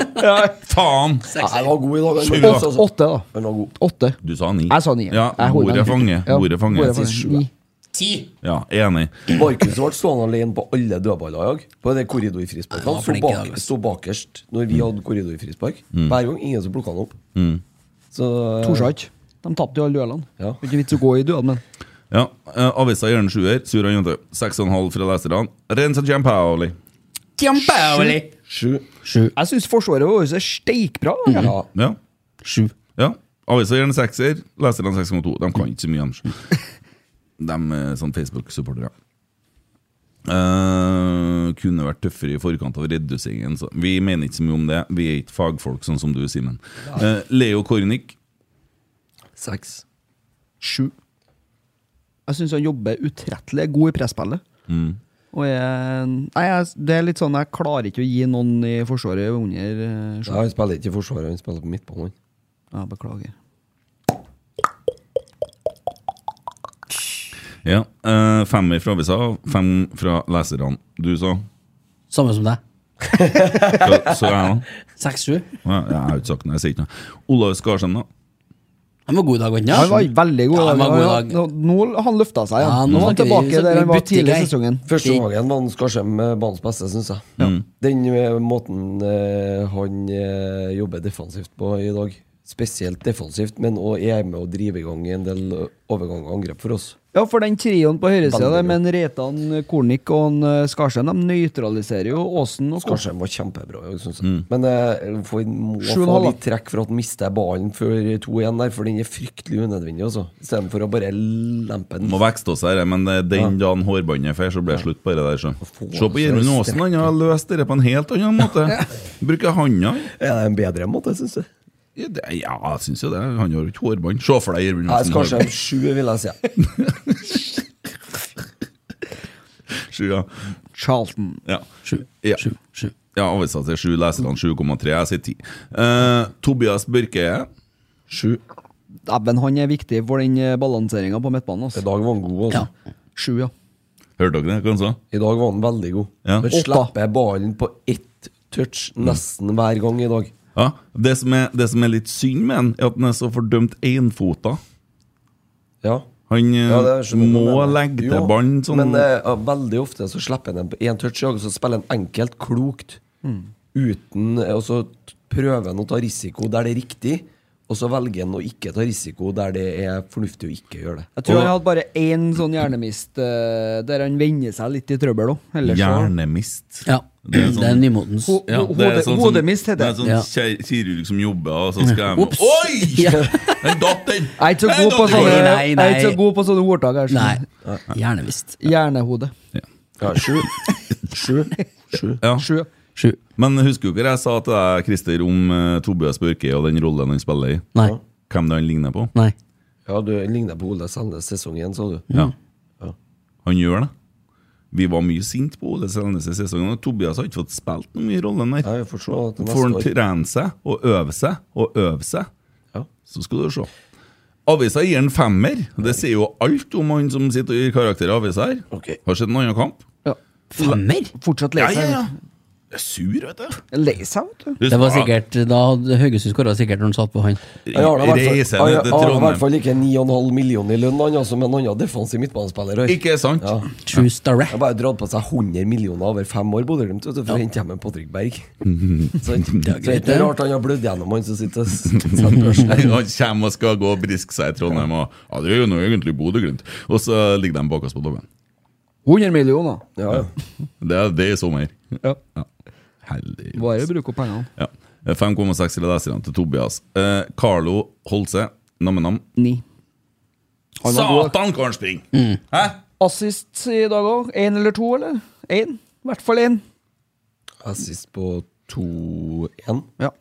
Speaker 3: Faen!
Speaker 5: Nei, Han var god i dag.
Speaker 3: Sju,
Speaker 5: han.
Speaker 3: ja.
Speaker 5: Altså, altså.
Speaker 6: Åtte, da.
Speaker 5: Han var god.
Speaker 6: Åtte.
Speaker 3: Du sa ni.
Speaker 6: Jeg sa ni.
Speaker 3: Ja,
Speaker 6: Jeg holder
Speaker 3: ordet
Speaker 6: meg.
Speaker 3: fanger.
Speaker 6: Ja,
Speaker 3: Ordet fanger.
Speaker 6: ordet fanger.
Speaker 3: Jeg sier sju,
Speaker 6: Ni.
Speaker 3: Ja, enig.
Speaker 5: Markus ble stående alene på alle dødballer i dag. På det korridorfrisparket.
Speaker 4: Han var
Speaker 5: Han sto,
Speaker 4: flink i dag,
Speaker 5: bak,
Speaker 4: ass. Mm.
Speaker 5: sto bakerst når vi hadde korridorfrispark. Hver gang ingen som plukka han opp. Så eh,
Speaker 6: Torsdag. De tapte jo alle duellene.
Speaker 5: Ja.
Speaker 6: Det er Ikke vits å gå i duell, men
Speaker 3: Ja, eh, Avisa gjør en sjuer. Sur og jente. Seks og en halv fra leserne. Rensa Giampaoli.
Speaker 4: Kjempeærlig!
Speaker 5: Sju.
Speaker 6: Jeg syns Forsvaret vårt er steikbra. da.
Speaker 5: Ja.
Speaker 3: Ja.
Speaker 4: Sju.
Speaker 3: ja. Avisa gjør en sekser. Leserne 6,2. De kan ikke så mye, de. De er sånn Facebook-supportere. Eh, kunne vært tøffere i forkant av reduseringen. Så. Vi mener ikke så mye om det. Vi er ikke fagfolk, sånn som du, Simen. Eh, Leo Kornic.
Speaker 5: Seks.
Speaker 6: Sju. Jeg syns han jobber utrettelig, er god i presspillet. Og jeg, nei, jeg, det er litt sånn, jeg klarer ikke å gi noen i Forsvaret under eh, sju.
Speaker 5: Nei, han spiller ikke i Forsvaret, han spiller på midtbanen.
Speaker 6: Ja, beklager.
Speaker 3: Ja. eh, femmer fra avisa, fem fra leserne. Du sa?
Speaker 4: Samme som deg.
Speaker 3: Så, så jeg, da?
Speaker 4: Seks-sju.
Speaker 3: Ja, jeg har ikke sagt noe. Jeg sier ikke noe. Olav Skarsen, da?
Speaker 4: Han var god i dag, var
Speaker 6: Han
Speaker 4: han
Speaker 6: var
Speaker 4: ikke?
Speaker 6: veldig god.
Speaker 4: Ja, han var god i
Speaker 6: Ja,
Speaker 4: dag.
Speaker 6: Nå, nå han løfta seg.
Speaker 4: Ja,
Speaker 6: Ja,
Speaker 4: nå
Speaker 6: nå er han
Speaker 4: snakker vi-
Speaker 6: tilbyer der han var
Speaker 4: butikk,
Speaker 6: tidlig i
Speaker 4: jeg.
Speaker 6: sesongen.
Speaker 5: Første gangen var han Skarsheim eh, banens beste, syns jeg. Den eh, måten eh, han eh, jobber defensivt på i dag, spesielt defensivt, men òg er med å drive i gang en del eh, overgang og angrep for oss.
Speaker 6: Ja, for den trioen på høyresida
Speaker 5: Veldig
Speaker 6: der,
Speaker 5: god.
Speaker 6: men Reitan, Kornik og han, eh, Skarstein, de nøytraliserer jo Åsen og Kopp.
Speaker 5: Skarsheim var kjempebra, jeg synes jeg. Men eh, får- må
Speaker 6: Mm. Sju og en
Speaker 5: få
Speaker 6: halv,
Speaker 5: litt trekk for at han mister ballen før 2-1 der, for den er fryktelig unødvendig, altså. Istedenfor å bare lempe den.
Speaker 3: Må vekste oss her, men det er den dagen hårbåndet fer, så blir det slutt på det der. Så.
Speaker 5: Få
Speaker 3: Se på Gjermund
Speaker 5: seg
Speaker 3: Aasen, han har løst det på en helt annen måte. Bruker handa.
Speaker 5: Er det en bedre måte, syns jeg?
Speaker 3: Ja, det- ja, jeg syns jo det. Han har jo ikke hårbånd. Se for deg Gjermund
Speaker 5: Nei,
Speaker 3: Aasen.
Speaker 5: Skarsheim 7, vil jeg si.
Speaker 3: hårbånd. Sju, ja.
Speaker 6: Charlton.
Speaker 3: Ja.
Speaker 4: Sju.
Speaker 3: Ja.
Speaker 4: Sju. Sju.
Speaker 3: ja, avisa til sju, leserne 7,3. Jeg sier ti. Eh, Tobias Børke.
Speaker 5: Sju.
Speaker 6: Dæven, han er viktig for den balanseringa på midtbanen.
Speaker 5: I
Speaker 6: Altså.
Speaker 5: dag var han god, altså.
Speaker 4: Ja.
Speaker 6: Sju, ja.
Speaker 3: Hørte dere det? Hva han sa?
Speaker 5: I dag var han veldig god.
Speaker 3: Ja.
Speaker 5: Han
Speaker 6: Åtta.
Speaker 5: slipper ballen på ett touch nesten hver gang i dag.
Speaker 3: Ja, det som, er, det som er litt synd med han, er at han er så fordømt énfota.
Speaker 5: Ja,
Speaker 3: Han eh,
Speaker 5: ja det skjønner jeg
Speaker 3: må
Speaker 5: hva du mener.
Speaker 3: legge
Speaker 5: Jo,
Speaker 3: til ballen sånn
Speaker 5: Men eh, ja, veldig ofte så slipper han den på én touch, og så spiller han enkelt, klokt. Uten eh, Og så t- prøver han å ta risiko der det er riktig, og Og så velger en å ikke ta risiko der det er fornuftig å ikke gjøre det.
Speaker 6: Jeg tror
Speaker 5: Og-
Speaker 6: han hadde bare én sånn hjernemist eh, der han vender seg litt i trøbbel òg.
Speaker 3: Hjernemist.
Speaker 4: Ja, det er, nymotens.
Speaker 6: Ho-
Speaker 3: Ja,
Speaker 6: ho-
Speaker 3: det er
Speaker 6: hode-
Speaker 3: sånn som-
Speaker 6: Hodemist
Speaker 3: Det er
Speaker 6: heter det.
Speaker 3: sånn
Speaker 4: Ja.
Speaker 3: kjær- kirurg som jobber, og så skal jeg
Speaker 4: Ops!
Speaker 3: Oi!
Speaker 4: Ja.
Speaker 3: Den datt, den!
Speaker 6: Jeg er ikke så
Speaker 3: Den
Speaker 6: god
Speaker 3: datt
Speaker 6: på
Speaker 3: i
Speaker 6: sånne,
Speaker 3: går.
Speaker 4: Nei,
Speaker 6: jeg
Speaker 4: nei.
Speaker 6: er ikke så god på sånne ordtak. her,
Speaker 4: Nei,
Speaker 6: sånn.
Speaker 4: gjerne visst.
Speaker 6: Hjernehode.
Speaker 5: Ja, sju. Sju. Sju.
Speaker 3: Ja.
Speaker 6: Sju.
Speaker 4: Sju.
Speaker 3: Men husker du hva jeg sa til deg, Christer, om eh, Tobias Børke og den rollen han spiller i?
Speaker 4: Nei.
Speaker 3: Hvem det han ligner på?
Speaker 4: Nei.
Speaker 5: Ja, du ligner på Ole Sandnes sesong igjen, sa du.
Speaker 3: Ja.
Speaker 4: Mm.
Speaker 3: Han gjør det. Vi var mye sint på Ole Selnes i sesongen, og Tobias har ikke fått spilt noe mye i rollen der.
Speaker 5: Ja, jeg får se at det
Speaker 3: Får han
Speaker 5: neste år
Speaker 3: trene seg og øve seg og øve seg,
Speaker 5: Ja.
Speaker 3: så skal du se. Avisa gir en femmer. Det sier jo alt om han som sitter og gir karakter i avisa her.
Speaker 5: Ok.
Speaker 3: Har sett en annen kamp?
Speaker 6: Ja.
Speaker 4: Femmer?
Speaker 6: Fortsatt
Speaker 3: Ja,
Speaker 6: lei
Speaker 3: ja,
Speaker 6: seg.
Speaker 3: ja. Jeg er sur, vet du.
Speaker 6: Lei seg, vet du.
Speaker 4: Det var sikkert, Da hadde Haugesund skåra sikkert når han satt på han.
Speaker 5: Jeg har da i hvert
Speaker 3: Reise ned
Speaker 5: fall- jeg
Speaker 3: til
Speaker 5: har da i hvert
Speaker 3: Trondheim.
Speaker 5: fall ikke 9,5 millioner i lønn, han altså, men han har defensiv midtbanespiller. her.
Speaker 3: Ikke sant?
Speaker 5: Ja.
Speaker 4: True starre.
Speaker 5: Jeg har bare dratt på seg 100 millioner over fem år, Bodø-Glimt, vet du, for å hente hjem en Patrick Berg. Så så det er
Speaker 4: greit,
Speaker 5: ikke
Speaker 4: det.
Speaker 5: rart han har blødd gjennom, han som sitter og s- setter børsen.
Speaker 3: Han kommer og skal gå og briske seg i Trondheim. Og, ja, det er jo noe egentlig Bodø-Glimt. Og så ligger de bak oss på dommen.
Speaker 6: 100 millioner.
Speaker 5: Ja, ja.
Speaker 3: Det er det er i sommer.
Speaker 6: Ja.
Speaker 3: Ja. Heldig.
Speaker 6: Bare bruk opp pengene.
Speaker 3: Ja. 5,6 i leserne til Tobias. Eh, Carlo Holse, nam-nam.
Speaker 6: Ni. Han var god.
Speaker 3: Satan, hvor han springer! Hæ?
Speaker 6: Assist i dag òg. Én eller to, eller? Én. I hvert fall én.
Speaker 5: Assist på 2-1.
Speaker 6: Ja.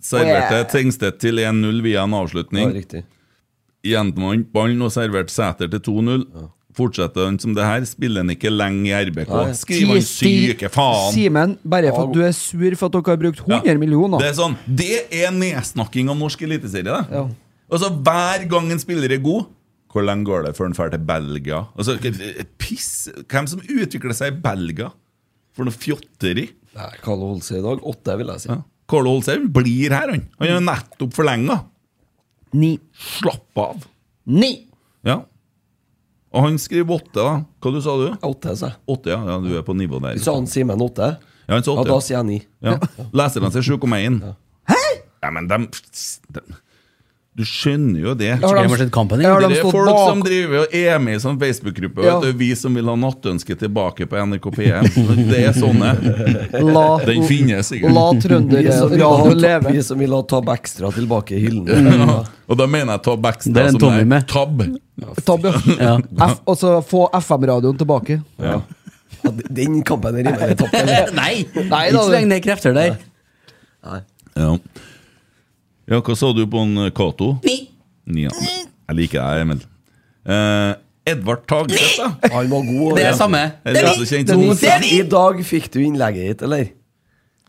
Speaker 3: Serverte Tengstedt til 1-0 via en
Speaker 5: Ja,
Speaker 3: avslutning.
Speaker 5: riktig.
Speaker 3: Gjenvant ballen og serverte Sæter til 2-0. Fortsetter han som det her, spiller han ikke lenge i RBK. Skriv han syke faen!
Speaker 6: Simen, bare for at du er sur for at dere har brukt 100 millioner.
Speaker 3: Det er sånn, det er nedsnakking av norsk eliteserie. det. Altså, hver gang en spiller er god Hvor lenge går det før han drar til Belgia? Altså, k- piss! Hvem som utvikler seg i Belgia? For noe fjotteri!
Speaker 5: Nei, Kalle Holse i dag. Åtte, vil jeg si.
Speaker 3: Ja. Karl Olsheim blir her, han. Han er nettopp forlenga.
Speaker 6: Ni.
Speaker 3: Slapp av.
Speaker 6: Ni!
Speaker 3: Ja. Og han skriver åtte, da. Hva du sa du?
Speaker 5: Åtte, sa jeg.
Speaker 3: Åtte, ja. ja du er på nivå der.
Speaker 5: Sa han Simen åtte?
Speaker 3: Ja, han sa
Speaker 5: Ja, da
Speaker 3: åtte.
Speaker 5: sier jeg ni.
Speaker 3: Ja. Leserne sier 7,1. Hæ?! Ja, men dem, dem Du skjønner jo det.
Speaker 4: Skulle jeg bare sett kampen?
Speaker 6: Ja,
Speaker 4: Jeg.
Speaker 6: da-
Speaker 3: Det
Speaker 6: de
Speaker 3: er
Speaker 6: stått
Speaker 3: folk
Speaker 6: bak?
Speaker 3: som driver og er med i sånn Facebook-gruppe.
Speaker 6: Ja.
Speaker 3: vet du, Vi som vil ha nattønsket tilbake på NRK P1. Det er sånne.
Speaker 6: La,
Speaker 3: Den finnes
Speaker 6: la
Speaker 3: sikkert.
Speaker 5: Vi som
Speaker 6: trøndere
Speaker 5: vil
Speaker 6: ja,
Speaker 5: ha,
Speaker 6: leve.
Speaker 5: vi som vil ha Tab Extra tilbake i hyllene.
Speaker 3: Og da mener jeg Tab
Speaker 4: Det er
Speaker 3: Backstad
Speaker 4: en
Speaker 3: som
Speaker 4: Tommy
Speaker 3: er
Speaker 4: med.
Speaker 3: Tab.
Speaker 6: Tab, ja. F, og så få FM-radioen tilbake.
Speaker 5: Ja. Ja, d- den kampen er rimelig tapt, eller?
Speaker 4: Nei!
Speaker 6: Nei,
Speaker 4: Ikke
Speaker 6: da,
Speaker 4: så
Speaker 6: du-
Speaker 4: lenge det er krefter der.
Speaker 3: Ja. ja, hva sa du på en Cato? Ja. Jeg liker deg, Emil. Eh, Edvard Tagseth, da.
Speaker 5: Han var god.
Speaker 4: Det er
Speaker 5: ja.
Speaker 4: samme.
Speaker 3: Eller også kjent
Speaker 5: I
Speaker 3: som
Speaker 5: dag- I dag fikk du innlegget ditt, eller?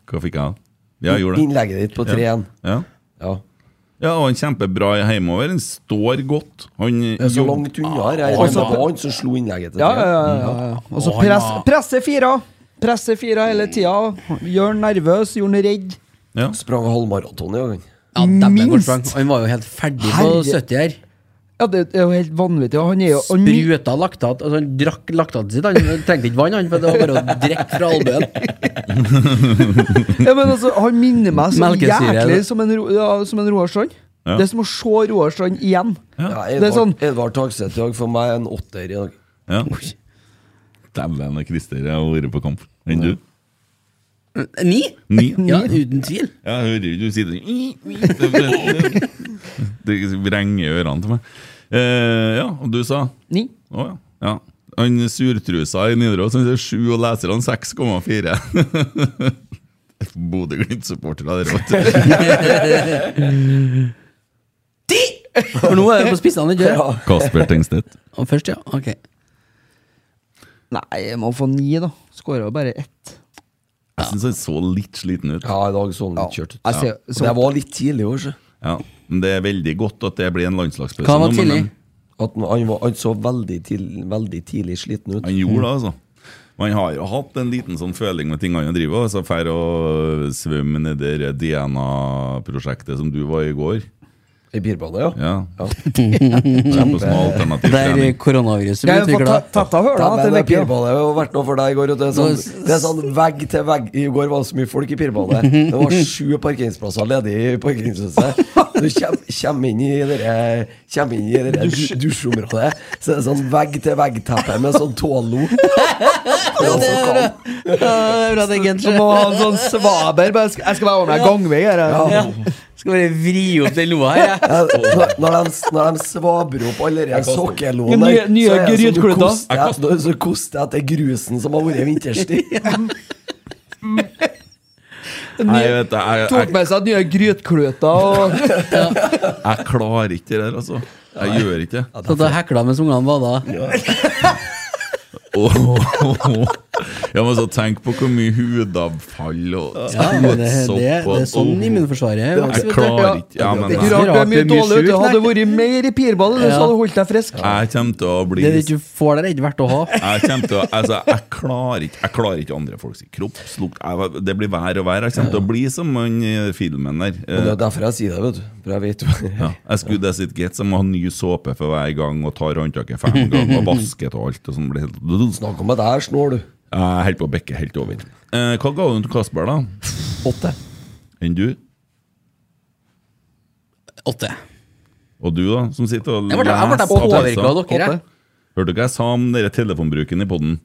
Speaker 3: Hva fikk jeg? av? Ja, jeg gjorde det.
Speaker 5: Innlegget ditt på 3-1.
Speaker 3: Ja.
Speaker 5: Ja.
Speaker 3: ja, og han er kjempebra hjemover. Han står godt. Han
Speaker 5: Det er så
Speaker 3: jobb-
Speaker 5: langt unna her. Altså, Jeg
Speaker 6: Og Ah, så-
Speaker 5: regner med det var han som slo innlegget til
Speaker 6: Ja,
Speaker 5: 3-1.
Speaker 6: ja, ja, ja, ja. Og så press, presse fire. Presse fire hele tida. Gjør han nervøs, gjør han redd.
Speaker 3: ja.
Speaker 5: Sprang halvmaraton i gang.
Speaker 4: Ja, dæven
Speaker 6: Minst.
Speaker 4: korsfang. Han var jo helt ferdig på
Speaker 6: Herre-
Speaker 4: 70 her.
Speaker 6: Ja, det er jo helt vanvittig. og Han er jo og ny-
Speaker 4: Spruta laktat. Altså, han drakk laktatet sitt. Han trengte ikke vann, han, for det var bare å drikke fra albuen.
Speaker 6: ja, men altså, Han minner meg så
Speaker 4: Melkesyre,
Speaker 6: jæklig
Speaker 4: det.
Speaker 6: som en, Ro- ja, som en Roar Strand.
Speaker 3: Ja.
Speaker 6: Det er som å se Roar Strand igjen.
Speaker 5: Ja,
Speaker 6: Det er
Speaker 5: Edvard,
Speaker 6: sånn-
Speaker 5: Edvard Tagseth i dag for meg en åtter i dag.
Speaker 3: ja. Dæven, Christer, jeg har vært på kamp. Enn du?
Speaker 4: Ni?
Speaker 3: Ni?
Speaker 4: Ja, uten
Speaker 3: Jeg
Speaker 4: tvil.
Speaker 3: hører jo du sier det Det vrenger i ørene til meg. Eh, ja, og du sa
Speaker 6: Ni.
Speaker 3: Å ja. ja. Han surtrusa i Nidaros han sier sju, og leserne 6,4. Bodø-Glimt-supportere der vet du.
Speaker 4: For nå er det på spissene, ikke sant?
Speaker 3: Kasper Tengstedt.
Speaker 4: Og Først, ja. Ok.
Speaker 6: Nei, jeg må få ni, da. Skåra jo bare ett.
Speaker 3: Jeg syns han så litt sliten ut.
Speaker 5: Ja, i dag så han litt kjørt ut.
Speaker 6: Jeg ser-
Speaker 5: Og
Speaker 6: så-
Speaker 5: Det var litt tidlig i år, så.
Speaker 3: Ja, Men det er veldig godt at det blir en landslagspause.
Speaker 4: Hva var
Speaker 3: nå, men
Speaker 4: tidlig?
Speaker 3: han-
Speaker 5: At han, han, var, han så veldig, tidlig- veldig tidlig sliten ut.
Speaker 3: Han gjorde
Speaker 4: Mm.
Speaker 3: det, altså. Man har jo hatt en liten sånn føling med ting han altså driver med. Drar og svømmer nedi det DNA-prosjektet som du var i går.
Speaker 5: I birbane, ja.
Speaker 3: Ja. Kjempesmå alternativ
Speaker 4: Der
Speaker 3: trening.
Speaker 4: koronaviruset
Speaker 6: Jeg
Speaker 4: blir
Speaker 6: får
Speaker 4: utvikla.
Speaker 6: ta- tatt av høla
Speaker 5: Nei,
Speaker 6: til
Speaker 5: det er
Speaker 6: Vekke.
Speaker 5: pirbane har vært noe for deg i går. vet du. Det er sånn, det er sånn vegg til vegg. I går var det så mye folk i pirbane. Det var sju parkeringsplasser ledig i parkeringshuset. Du kommer kjem inn i det der- kjem inn i det der dus- dusjområdet, så er det sånn vegg til vegg-teppe med sånn tålo.
Speaker 4: Bra, det er
Speaker 6: Du
Speaker 4: genser.
Speaker 6: må ha en sånn svaber. bare sk- Jeg skal bare ordne en gangvei her. jeg.
Speaker 5: Ja.
Speaker 4: Skal bare vri opp den loa her, jeg.
Speaker 5: Ja, Når, når, de, når de svabrer opp alle de sokkelåene
Speaker 6: Nye- nye
Speaker 5: så er det som du
Speaker 6: grytkludder.
Speaker 5: koster- ja, så- Så koster jeg etter grusen som har vært vinterstid.
Speaker 3: Nei, jeg vet det, jeg,
Speaker 6: Tok
Speaker 3: jeg,
Speaker 6: med seg nye grytkløter og
Speaker 3: jeg, klarer ikke det der, altså. Jeg gjør ikke det.
Speaker 4: Så da hekla mens ungene bada.
Speaker 3: Åh, åh, åh. Ja, men så tenk på hvor mye hudavfall og
Speaker 4: Ja, men det, det,
Speaker 3: tåsopp
Speaker 4: det
Speaker 3: og-
Speaker 4: er sånn immunforsvaret er.
Speaker 3: Jeg
Speaker 4: vet du.
Speaker 3: klarer ikke Ja, men
Speaker 6: Det
Speaker 3: jeg,
Speaker 6: er
Speaker 3: jeg
Speaker 6: rart du er mye
Speaker 4: det er mye
Speaker 6: dårlig. vet du.
Speaker 4: sjukt,
Speaker 6: Hadde vært mer i pirball, så hadde du holdt deg frisk.
Speaker 3: kommer til å bli
Speaker 4: Det du ikke får der, er ikke verdt å ha.
Speaker 3: jeg kommer til å, altså, jeg klarer ikke Jeg klarer ikke andre folks kroppslukt. Jeg- Det blir vær og vær. Jeg kommer til å bli som han i filmen der.
Speaker 5: Og Det
Speaker 3: Eh,
Speaker 5: er derfor jeg sier det, vet du. For jeg vet jo
Speaker 3: Ja. Jeg skulle det sitt gitt, så jeg må ha ny såpe for hver gang og tar håndtaket fem ganger og vasket og alt. Og sånn blir helt
Speaker 5: Snakk om at jeg er snål, du.
Speaker 3: Jeg holder på å bikke helt over. Eh, hva ga du til Kasper, da?
Speaker 5: Åtte.
Speaker 3: Enn du?
Speaker 4: Åtte.
Speaker 3: Og du, da? Som sitter og
Speaker 4: Jeg ble, jeg ble
Speaker 3: leser
Speaker 4: påvirket av
Speaker 3: aviser.
Speaker 4: dere. jeg.
Speaker 3: Hørte du hva jeg sa om dere telefonbruken i podden?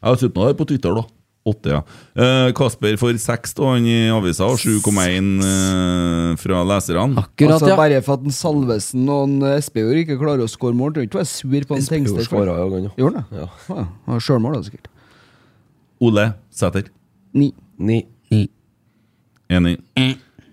Speaker 3: Jeg har sett noe her på Twitter, da. Åtte, ja. Eh, Kasper får seks da, han i avisa, og 7,1 eh, fra leserne.
Speaker 4: Akkurat,
Speaker 6: altså,
Speaker 4: ja.
Speaker 6: Bare for at en Salvesen og en Espejord ikke klarer å score mål, trenger du ikke være sur på en Tengsted. for det.
Speaker 5: Skåra jo en gang, ja.
Speaker 6: Gjorde han det? Ja. ja, Sjølmål, da, sikkert.
Speaker 3: Ole Sæter,
Speaker 6: Ni.
Speaker 5: Ni.
Speaker 4: Mm.
Speaker 3: enig.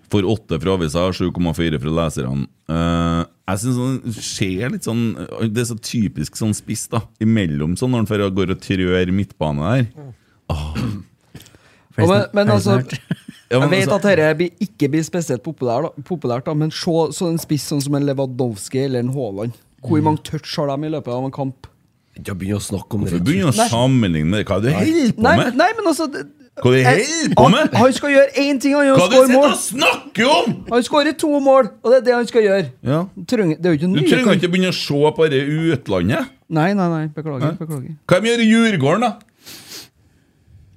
Speaker 3: Får åtte fra avisa, 7,4 fra leserne. Eh, jeg syns han ser litt sånn Det er så typisk sånn spiss, da. Imellom sånn, når han fører- går og trør midtbane der.
Speaker 6: Ja, men, men altså,
Speaker 3: Ja, men
Speaker 6: jeg vet
Speaker 3: altså-
Speaker 6: at dette blir- ikke blir spesielt populært, da, populært da, men se så en spiss sånn som en Lewandowski eller en Haaland. Hvor mange touch har de i løpet av en kamp?
Speaker 5: Ikke begynn å snakke om det.
Speaker 3: Du begynner å sammenligne med det. Hva er det du holder på
Speaker 6: Nei,
Speaker 3: med?
Speaker 6: nei, men altså det-
Speaker 3: Hva er det du
Speaker 6: jeg-
Speaker 3: holder på
Speaker 6: han,
Speaker 3: med?
Speaker 6: han skal gjøre én ting, han gjør
Speaker 3: Hva
Speaker 6: å
Speaker 3: er det du
Speaker 6: skåre
Speaker 3: sitter
Speaker 6: mål.
Speaker 3: og snakker om?!
Speaker 6: Han skårer to mål, og det er det han skal gjøre.
Speaker 3: Ja.
Speaker 6: Trenger, det er jo ikke
Speaker 3: Du
Speaker 6: nye
Speaker 3: trenger
Speaker 6: kamp-
Speaker 3: ikke begynne å se på det i utlandet.
Speaker 6: Nei, nei, nei, beklager. beklager.
Speaker 3: Hva de gjør i Djurgården, da?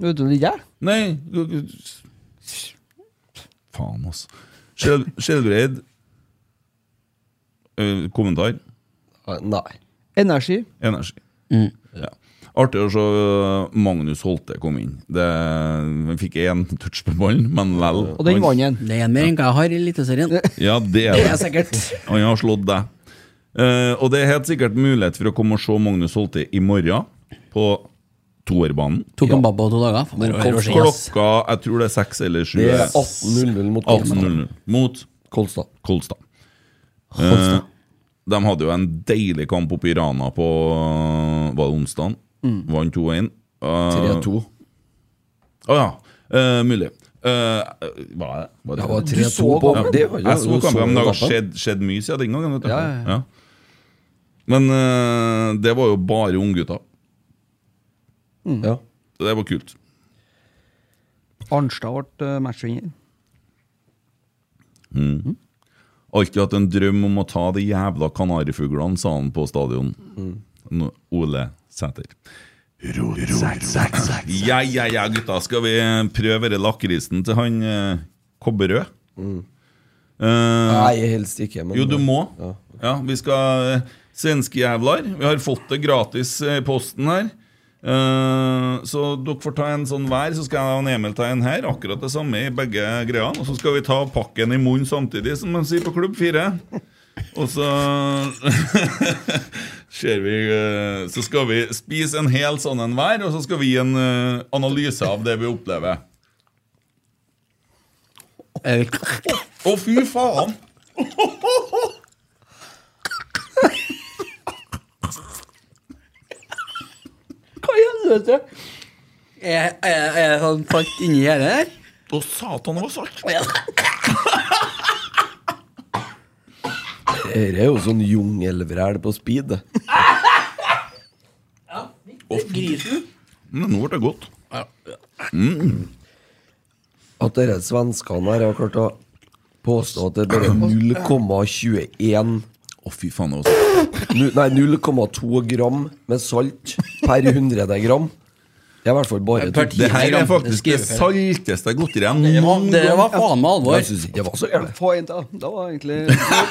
Speaker 6: Vet du, det gjør jeg.
Speaker 3: Nei du- du- Faen, altså. Skjel- Skjelbreid Eh, Kommentar.
Speaker 5: Ah, Nei.
Speaker 6: Energi.
Speaker 3: Energi.
Speaker 6: Mm.
Speaker 3: Ja. Artig å se eh, Magnus Holte komme inn. Det, han fikk én touch på ballen, men lell.
Speaker 6: Og den
Speaker 3: Han-
Speaker 6: vant han.
Speaker 4: Det er en mer enn hva jeg har i Eliteserien. Det
Speaker 3: Ja, det er
Speaker 4: er
Speaker 3: det.
Speaker 4: sikkert.
Speaker 3: Og han har slått deg. Eh, og det er helt sikkert mulighet for å komme og se Magnus Holte i morgen, på toerbanen.
Speaker 4: Tok en babba på to dager. Faen, det var rosé, ass.
Speaker 3: Klokka jeg tror det er seks eller sju.
Speaker 5: Det er 18-0-0 mot Kolstad.
Speaker 3: 18.00 mot
Speaker 5: Kolstad.
Speaker 3: Kolstad. Eh, de hadde jo en deilig kamp oppe i Rana på eh, Var det onsdag?
Speaker 5: Mm.
Speaker 3: Vant 2-1. Eh, Å
Speaker 5: 3-2.
Speaker 3: ja. Eh, mulig. Eh, hva er det? Var det?
Speaker 5: Det var
Speaker 6: Du
Speaker 5: 3-2
Speaker 6: så
Speaker 5: på
Speaker 6: kampen?
Speaker 5: Det var-
Speaker 3: jeg så
Speaker 5: du
Speaker 3: kampen, men det har
Speaker 5: kampen.
Speaker 3: skjedd, skjedd mye siden den gangen. Vet du. Ja. Men eh, det var jo bare unggutter.
Speaker 5: Ja.
Speaker 3: Så Det var kult.
Speaker 6: Arnstad ble eh, matchvinner.
Speaker 3: Alltid hatt en drøm om å ta de jævla kanarifuglene, sa han på stadion. Nå- Ole Sæter. Ja, ja, ja, gutta. Skal vi prøve denne lakrisen til han eh, Kobberød? Mm. Eh,
Speaker 5: Nei, helst ikke. Men
Speaker 3: jo, du må. Ja, vi skal eh, Svenskejævlar. Vi har fått det gratis eh, i posten her. Eh, så dere får ta en sånn hver, så skal jeg og Emil ta en her. Akkurat det samme i begge greiene. Og så skal vi ta pakken i munnen samtidig, som man sier på Klubb 4. Og så ser vi eh, Så skal vi spise en hel sånn en hver, og så skal vi gi en eh, analyse av det vi opplever.
Speaker 4: Jeg
Speaker 3: Å, fy faen!
Speaker 6: Hva i helvete?
Speaker 4: jeg- jeg- jeg sånn falt inni gjerdet der.
Speaker 3: Å, satan, det var salt!
Speaker 5: Dette er jo sånn jungelvræl på speed. det.
Speaker 3: Men nå ble det godt.
Speaker 5: At dere svenskene her har klart å påstå at det er bare 0,21
Speaker 3: Å, fy faen. det var så-
Speaker 5: nu- Nei, 0,2 gram med salt per 100 gram. Det er i hvert fall bare
Speaker 4: Per
Speaker 5: to-
Speaker 4: ti.
Speaker 3: Det her er faktisk det
Speaker 4: Det skriver
Speaker 3: salteste jeg har gått i det noen gang.
Speaker 4: Det var faen meg alvor.
Speaker 5: Jeg synes ikke det var så gærent.
Speaker 6: Få en til. da. Det var egentlig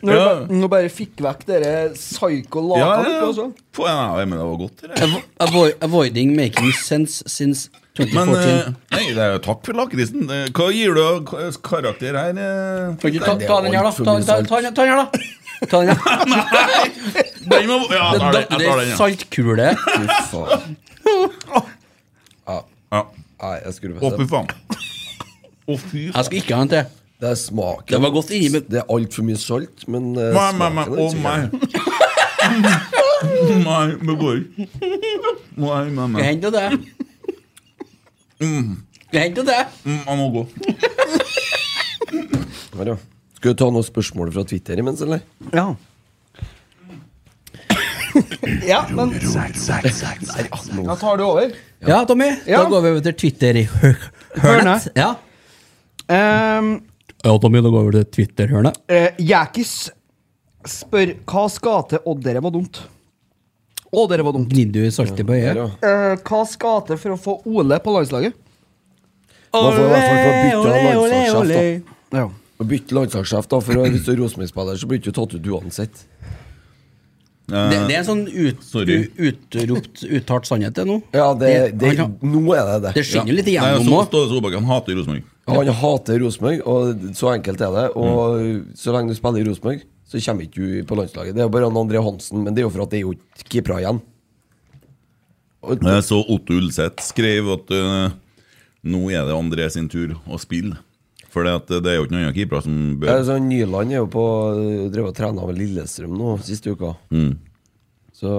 Speaker 6: Når du bare, når du bare fikk vekk dere psyko-laka
Speaker 3: Ja,
Speaker 6: dere,
Speaker 3: ja,
Speaker 6: altså.
Speaker 3: ja. Få en av dem, men det var godt. Det. der.
Speaker 4: Avo- avoid- Avoiding making sense since
Speaker 3: Men
Speaker 4: 2014.
Speaker 3: eh, nei, det er jo takk for lakrisen. Eh, Hva gir du av k- karakter her? eh?
Speaker 4: Kan ikke ta,
Speaker 5: det
Speaker 4: ta
Speaker 5: var
Speaker 4: den her, da.
Speaker 5: altfor
Speaker 4: Ta,
Speaker 5: mye
Speaker 4: ta,
Speaker 5: salt.
Speaker 4: ta, den- ta den her, da. Ta den her.
Speaker 3: Den må- Ja, jeg tar
Speaker 4: Det,
Speaker 3: den, jeg
Speaker 4: det
Speaker 3: tar
Speaker 4: er
Speaker 3: den. ja.
Speaker 4: saltkule.
Speaker 5: Fy faen.
Speaker 3: Ja.
Speaker 5: Nei, jeg skulle
Speaker 3: Å, fy
Speaker 5: bestemt.
Speaker 3: faen. Å, fy
Speaker 4: Jeg
Speaker 3: faen.
Speaker 4: skal ikke ha en til.
Speaker 5: Det er smaken.
Speaker 4: Det var godt inni, men-
Speaker 5: Det er altfor mye salt, men eh,
Speaker 3: Nei, nei, nei.
Speaker 5: smaken er
Speaker 3: Å,
Speaker 5: ikke
Speaker 3: nei.
Speaker 5: gæren.
Speaker 3: Nei, det går ikke. Nei, nei,
Speaker 4: Skal
Speaker 3: nei.
Speaker 4: hente jo det. Skal hente jo det.
Speaker 3: Mm, Jeg må gå.
Speaker 5: Her, ja. Skal du ta noen spørsmål fra Twitter imens, eller?
Speaker 6: Ja. ja, men da tar du over.
Speaker 4: Ja, Tommy. Da
Speaker 6: Ja.
Speaker 4: går vi over til Twitter-hørnet.
Speaker 6: Hørnet.
Speaker 4: Ja.
Speaker 6: Um,
Speaker 4: ja, Tommy. Da går vi over til Twitter-hørnet.
Speaker 6: Eh, Jakis spør hva skal til Å, dere var dumt. Å, dere var dumt.
Speaker 4: Gnir du i saltet på
Speaker 5: Her,
Speaker 4: øyet?
Speaker 5: ja.
Speaker 6: Eh, hva skal til for å få Ole på landslaget?
Speaker 5: Man får i hvert fall få bytte av landslagssjef, da.
Speaker 6: Ja.
Speaker 5: Å bytte landslagssjef, da, for hvis du er Rosenborg-spiller, så blir du ikke tatt ut uansett.
Speaker 4: Det,
Speaker 3: Eh,
Speaker 4: det er en sånn ut,
Speaker 3: Sorry.
Speaker 4: u- utropt, uttalt sannhet, det nå.
Speaker 5: Ja, det, det,
Speaker 4: han, kan-
Speaker 5: nå er det
Speaker 4: det
Speaker 5: det.
Speaker 4: skinner litt
Speaker 3: Nei,
Speaker 4: igjennom
Speaker 3: så
Speaker 4: òg.
Speaker 3: Ståle Solbakken hater Rosenborg.
Speaker 5: Han hater Rosenborg, og så enkelt er det. Og så lenge du spiller i Rosenborg, så kommer ikke du på landslaget. Det er jo bare han André Hansen, men det er jo for at det er jo ikke keepere igjen. Og,
Speaker 3: Jeg så Otto Ulseth skrev at eh, nå er det André sin tur å spille. For det at det er jo ikke noen andre keepere som
Speaker 5: Ja,
Speaker 3: bør
Speaker 5: altså, Nyland er jo på drevet og trena med Lillestrøm nå siste uka. Så,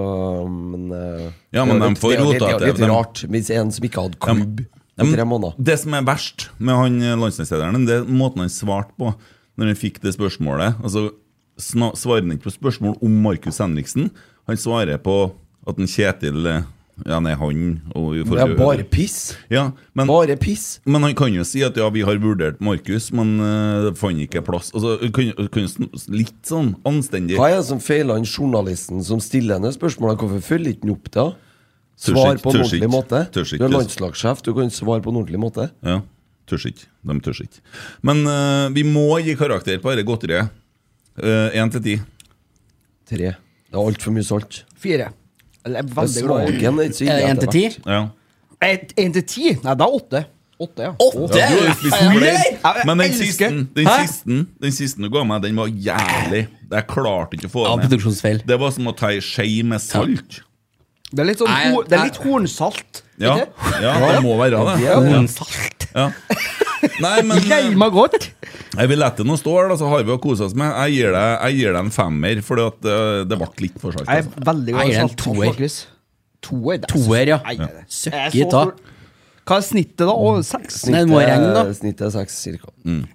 Speaker 5: men eh,
Speaker 3: Mm. Ja, men
Speaker 5: det er
Speaker 3: de
Speaker 5: litt-
Speaker 3: får
Speaker 5: det er litt-
Speaker 3: rota
Speaker 5: Det er
Speaker 3: til-
Speaker 5: litt
Speaker 3: de-
Speaker 5: rart hvis en som ikke hadde klubb
Speaker 3: Ja,
Speaker 5: i
Speaker 3: men
Speaker 5: tre måneder.
Speaker 3: Det som er verst med han eh, landslagslederen, det er måten han svarte på når han fikk det spørsmålet. Altså, sna- svarer han ikke på spørsmål om Markus Henriksen. Han svarer på at en Kjetil eh, Ja, nei, han og for,
Speaker 5: Det er bare piss!
Speaker 3: ja, men,
Speaker 5: Bare piss!
Speaker 3: men han kan jo si at ja, vi har vurdert Markus, men eh, det fant ikke plass. Altså, kan, kan jo sn- litt sånn anstendig
Speaker 5: Hva er det som feiler han journalisten som stiller henne spørsmålet? Hvorfor følger ikke han opp det?
Speaker 3: Tørs
Speaker 5: Svar
Speaker 3: ikke,
Speaker 5: på en
Speaker 3: tørs
Speaker 5: ordentlig
Speaker 3: ikke,
Speaker 5: måte.
Speaker 3: tørs
Speaker 5: Du
Speaker 3: ikke.
Speaker 5: er landslagssjef, du kan svare på en ordentlig måte.
Speaker 3: Ja, tørs ikke. De tørs ikke. Men eh, vi må gi karakter på dette godteriet. Én til ti.
Speaker 5: Tre. Det er altfor mye salt.
Speaker 6: Fire. Eller jeg er
Speaker 5: Det er
Speaker 6: veldig glad i
Speaker 5: Smaken er ikke så ille.
Speaker 4: Er det én
Speaker 5: etter
Speaker 4: Eh, til ti?
Speaker 5: hvert.
Speaker 3: Ja.
Speaker 6: Et- En til ti? Nei, det er åtte. Åtte, ja.
Speaker 4: Åtte?
Speaker 3: Du er litt fornøyd.
Speaker 6: jeg
Speaker 3: Men den
Speaker 6: elsker-
Speaker 3: siste, den,
Speaker 4: Hæ?
Speaker 3: siste, den siste du ga meg, den var jævlig. Jeg klarte ikke å få
Speaker 4: Ja,
Speaker 3: den ned.
Speaker 4: produksjonsfeil.
Speaker 3: Det var som å ta ei skje med salt.
Speaker 6: Det er litt sånn
Speaker 4: Nei,
Speaker 6: ho Det er litt
Speaker 4: nei.
Speaker 6: hornsalt.
Speaker 3: Ja,
Speaker 6: ikke?
Speaker 3: ja det må være det.
Speaker 4: Hornsalt.
Speaker 3: Ja. Nei, men eh,
Speaker 6: Lei meg godt.
Speaker 3: jeg vil lette den å stå her, da, så har vi å kose oss med. Jeg gir deg, jeg gir deg en femmer, for det ble litt for salt.
Speaker 6: Jeg er
Speaker 3: Altså.
Speaker 6: veldig glad
Speaker 4: Jeg
Speaker 6: i
Speaker 4: gir den
Speaker 6: salt.
Speaker 4: toer.
Speaker 6: faktisk. Toer, det er så-
Speaker 4: Toer, ja.
Speaker 6: Nei, det er-
Speaker 4: Søkke
Speaker 6: Jeg er så
Speaker 4: ta.
Speaker 6: stor- Hva er snittet, da? Å, seks?
Speaker 4: Nei, det må regne, da.
Speaker 5: Eh, Snittet er seks, cirka.
Speaker 3: Mm.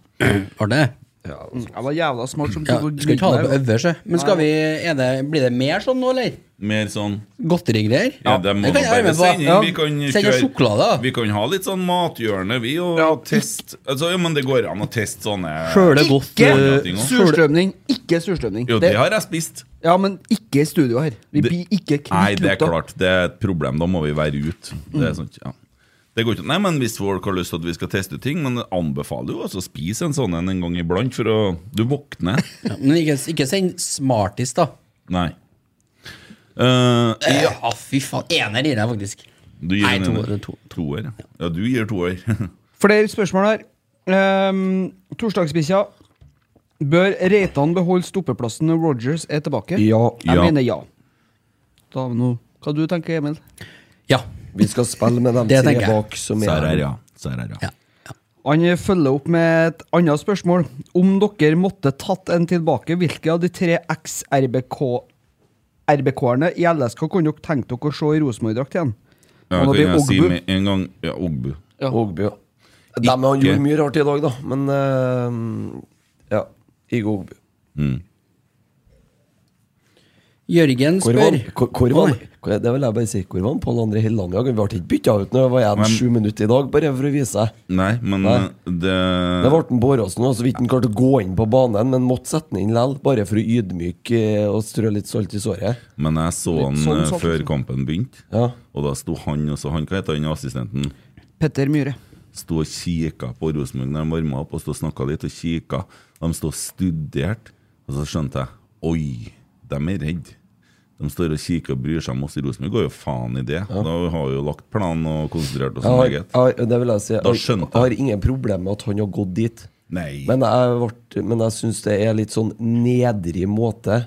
Speaker 4: Var det?
Speaker 6: Jeg var jævla smart som
Speaker 4: Ja,
Speaker 6: tok og
Speaker 4: skal vi ta det
Speaker 6: gnidde
Speaker 4: på
Speaker 6: meg.
Speaker 4: øverste? Men skal vi, er det, blir det mer sånn nå, eller?
Speaker 3: Mer sånn
Speaker 4: Godterigreier?
Speaker 3: Ja, det må
Speaker 4: kan jeg
Speaker 3: bare
Speaker 4: være med på.
Speaker 3: sende inn.
Speaker 4: Ja.
Speaker 3: Vi kan
Speaker 4: Send oss
Speaker 3: kjøre-
Speaker 4: sjokolade, da.
Speaker 3: Vi kan ha litt sånn mathjørne, vi, og teste altså, ja, Men det går an å teste sånne
Speaker 4: Sjøle godt
Speaker 3: Andre
Speaker 6: Ikke
Speaker 3: ting også.
Speaker 6: surstrømning. Ikke surstrømning.
Speaker 3: Jo, det har jeg spist.
Speaker 6: Ja, men ikke i studio her. Vi
Speaker 3: Det-
Speaker 6: blir ikke
Speaker 3: Nei, det er
Speaker 6: lukta.
Speaker 3: klart. Det er et problem. Da må vi være ute. Det er sant, ja. Det går ikke. Nei, men Hvis folk har lyst til at vi skal teste ut ting Men jeg anbefaler jo altså å spise en sånn en en gang iblant, for å Du våkner.
Speaker 4: Ja, men ikke, ikke send Smarties, da.
Speaker 3: Nei. Eh,
Speaker 4: Ja, fy faen. Ener gir jeg faktisk.
Speaker 3: du gir
Speaker 4: Nei,
Speaker 3: en
Speaker 4: toer, to-
Speaker 3: toer. ja. Ja, du gir toer.
Speaker 6: Flere spørsmål her. Um, Torsdagsbikkja. Bør Reitan beholde stoppeplassen når Rogers er tilbake?
Speaker 5: Ja.
Speaker 6: Jeg
Speaker 3: Ja.
Speaker 6: mener ja. Da har vi noe Hva du tenker Emil?
Speaker 4: Ja.
Speaker 5: Vi skal spille med dem
Speaker 4: Det
Speaker 5: tre
Speaker 4: tenker jeg.
Speaker 5: bak som er
Speaker 3: Serr
Speaker 5: her.
Speaker 3: er ja. Serr er ja.
Speaker 4: ja.
Speaker 6: Han følger opp med et annet spørsmål. Om dere måtte tatt en tilbake, hvilke av de tre eks-RBK-erne i LSK kunne dere tenkt dere å se i Rosenborg-drakt igjen?
Speaker 3: Ja,
Speaker 6: Han
Speaker 3: kan
Speaker 6: har blitt
Speaker 3: jeg si
Speaker 6: Ogbu.
Speaker 3: med en gang Ja, Ogbu.
Speaker 5: Ågbø. Dem han gjorde mye rart i dag, da, men eh, Ja. Igo Ågbø.
Speaker 4: Jørgen
Speaker 5: Hvor var han?
Speaker 4: spør
Speaker 5: Hvor- Hvor var
Speaker 4: Å,
Speaker 5: han?
Speaker 4: nei.
Speaker 5: Hvor- Det vil jeg bare si. Hvor var han Pål André Helland i dag? Vi ble ikke bytta ut når jeg var igjen sju minutter i dag, bare for å vise deg.
Speaker 3: Nei, men
Speaker 5: Nei.
Speaker 3: eh, det
Speaker 5: Det ble han Båråsen, og så vidt han klarte å gå inn på banen, men måtte sette han inn likevel, bare for å ydmyke eh, og strø litt salt i såret.
Speaker 3: Men jeg så han
Speaker 6: sånn
Speaker 3: eh,
Speaker 6: satt,
Speaker 3: før
Speaker 6: liksom.
Speaker 3: kampen begynte,
Speaker 5: Ja.
Speaker 3: og da sto han også han, Hva heter han assistenten?
Speaker 6: Petter Myhre.
Speaker 3: Sto og kikka på Rosenborg når de varma opp, og sto og snakka litt og kikka. De sto og studerte, og så skjønte jeg Oi, de er redde. De står og kikker og bryr seg om oss i Rosenborg. Går jo faen i det. Da har vi jo lagt planen og konsentrert oss
Speaker 5: Jeg
Speaker 3: om
Speaker 5: har,
Speaker 3: eget.
Speaker 5: jeg har, det vil jeg si. Jeg
Speaker 3: Da
Speaker 5: har-
Speaker 3: skjønte jeg.
Speaker 5: jeg har ingen problemer med at han har gått dit.
Speaker 3: Nei.
Speaker 5: Men jeg, ble, men jeg syns det er litt sånn nedrig måte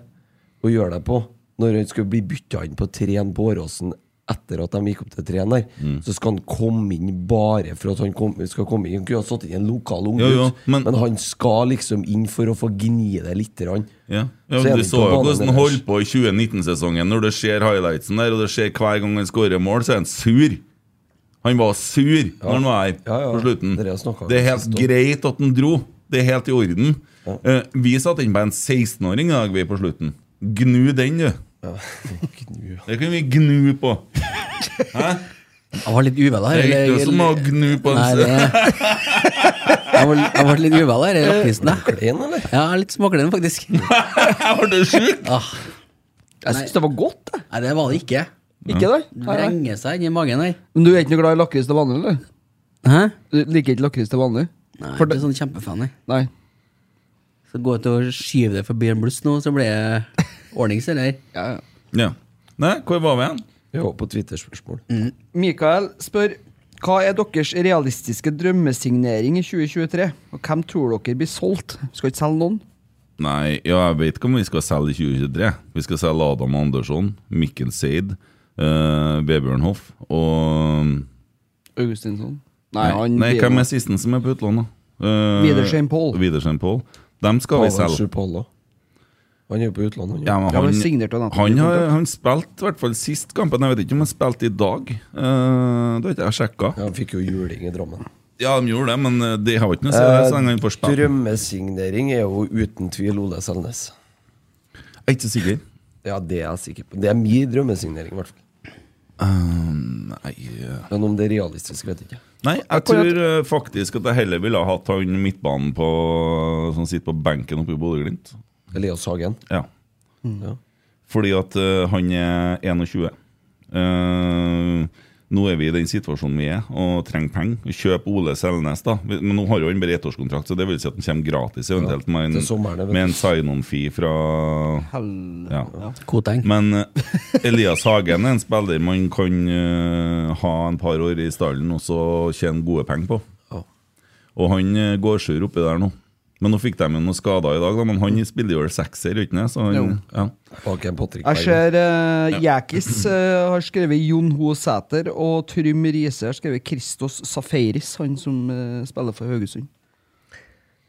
Speaker 5: å gjøre det på. Når han skulle bli bytta inn på 3-1 på Åråsen etter at de gikk opp til 3-1 der,
Speaker 3: Mm.
Speaker 5: så skal han komme inn bare for at han kom, skal komme inn. Han kunne ha satt inn en lokal unggutt,
Speaker 3: Jo, jo, men-
Speaker 5: men, han skal liksom inn for å få gni det lite grann.
Speaker 3: Ja. ja
Speaker 5: Så er
Speaker 3: du
Speaker 5: det
Speaker 3: så
Speaker 5: på
Speaker 3: jo
Speaker 5: banen
Speaker 3: hvordan han
Speaker 5: ellers.
Speaker 3: holdt på i 2019-sesongen. Når du ser highlightsen der, og du ser hver gang han skårer mål, så er han sur. Han var sur når han var her
Speaker 5: Ja, ja.
Speaker 3: på slutten.
Speaker 5: Dere snakket om
Speaker 3: Det er
Speaker 5: det
Speaker 3: helt
Speaker 5: sist også.
Speaker 3: greit at han dro. Det er helt i orden. Eh, vi satte inn på en 16-åring i dag vi på slutten. Gnu den, du.
Speaker 5: Gnu.
Speaker 3: Det kan vi gnu på.
Speaker 4: Jeg var litt uvel her.
Speaker 3: Det er ikke
Speaker 4: eller-
Speaker 3: som å gnu på en
Speaker 4: Nei, det...
Speaker 3: se-
Speaker 4: Jeg var- jeg ble litt uvel her, jeg lakkisen. jeg.
Speaker 5: Klein, eller?
Speaker 4: Ja, jeg er litt småklen, faktisk.
Speaker 3: Jeg ble sjuk!
Speaker 4: Ah,
Speaker 6: Jeg syns det var godt, jeg.
Speaker 4: nei, det var det ikke.
Speaker 6: Ikke det?
Speaker 4: Det vrenger seg inni magen her.
Speaker 6: Men du er ikke noe glad i lakris til vanlig, eller?
Speaker 4: Hæ?
Speaker 6: Du liker ikke lakris til vanlig?
Speaker 4: Nei, jeg
Speaker 6: For
Speaker 4: er
Speaker 6: det-
Speaker 4: ikke sånn kjempefan, jeg.
Speaker 6: Nei.
Speaker 4: Så gå ut og skyve det forbi en bluss nå, så blir det ordnings, eller?
Speaker 6: Ja, ja.
Speaker 3: Ja. Nei, hvor var vi igjen?
Speaker 5: Vi var på Twitter-spørsmål.
Speaker 6: Mikael spør hva er deres realistiske drømmesignering i 2023? Og hvem tror dere blir solgt? Skal ikke selge noen?
Speaker 3: Nei, ja, jeg vet ikke om vi skal selge i 2023. Vi skal selge Adam Andersson, Mikkel Seid, eh, Vebjørn Hoff og
Speaker 6: Augustinsson?
Speaker 3: Nei, nei
Speaker 6: blir-
Speaker 3: hvem er sisten som er på utlandet? Uh,
Speaker 6: Vidar St. Paul.
Speaker 3: Dem skal vi
Speaker 5: Pavel
Speaker 3: selge.
Speaker 5: Sjupalla. Han er jo på utlandet, han.
Speaker 3: Ja, men
Speaker 6: Ja, men
Speaker 3: han,
Speaker 6: signert av
Speaker 3: han,
Speaker 6: Napoli,
Speaker 3: har,
Speaker 6: kontrakt.
Speaker 3: han spilte i hvert fall sist kampen. Jeg vet ikke om han spilte i dag. Eh, det har ikke jeg sjekka.
Speaker 5: Ja, han fikk jo juling i Drammen. Eh,
Speaker 3: Ja, de gjorde det, men eh, det har jo ikke noe å si. det, Så lenge han får spille.
Speaker 5: Drømmesignering er jo uten tvil Ole Selnes.
Speaker 3: Jeg er ikke så sikker.
Speaker 5: Ja, det er jeg sikker på. Det er min drømmesignering, i hvert fall.
Speaker 3: Nei, eh,
Speaker 5: Men om det er realistisk, vet jeg ikke.
Speaker 3: nei jeg tror eh, faktisk at jeg heller ville ha hatt han midtbanen på, som sitter på benken oppe i Bodø-Glimt.
Speaker 5: Elias Hagen.
Speaker 3: Ja.
Speaker 6: Mm.
Speaker 5: Ja.
Speaker 3: Fordi at eh, han er 21. Eh, nå er vi i den situasjonen vi er, og trenger penger. Kjøp Ole Selnes, da. Men nå har jo han bare ettårskontrakt, så det vil si at han kommer gratis eventuelt med
Speaker 5: til
Speaker 3: en,
Speaker 5: sommeren, det vet
Speaker 3: med
Speaker 5: du.
Speaker 3: en sign-on-fee fra ja.
Speaker 4: Koteng.
Speaker 3: Men eh, Elias Hagen er en spiller man kan eh, ha en par år i stallen og så tjene gode penger på.
Speaker 5: Ja.
Speaker 3: Og han eh, går sur oppi der nå. Men nå fikk de jo noen skader i dag, da, men han spiller jo vel sekser, gjør han ikke det? Så han- Ja.
Speaker 5: Bak en Patrick
Speaker 6: Jeg
Speaker 5: Berger.
Speaker 6: ser uh, Jakis eh, har skrevet Jon Ho Sæter, og Trym Riise har skrevet Kristos Safaris, han som eh, spiller for Haugesund.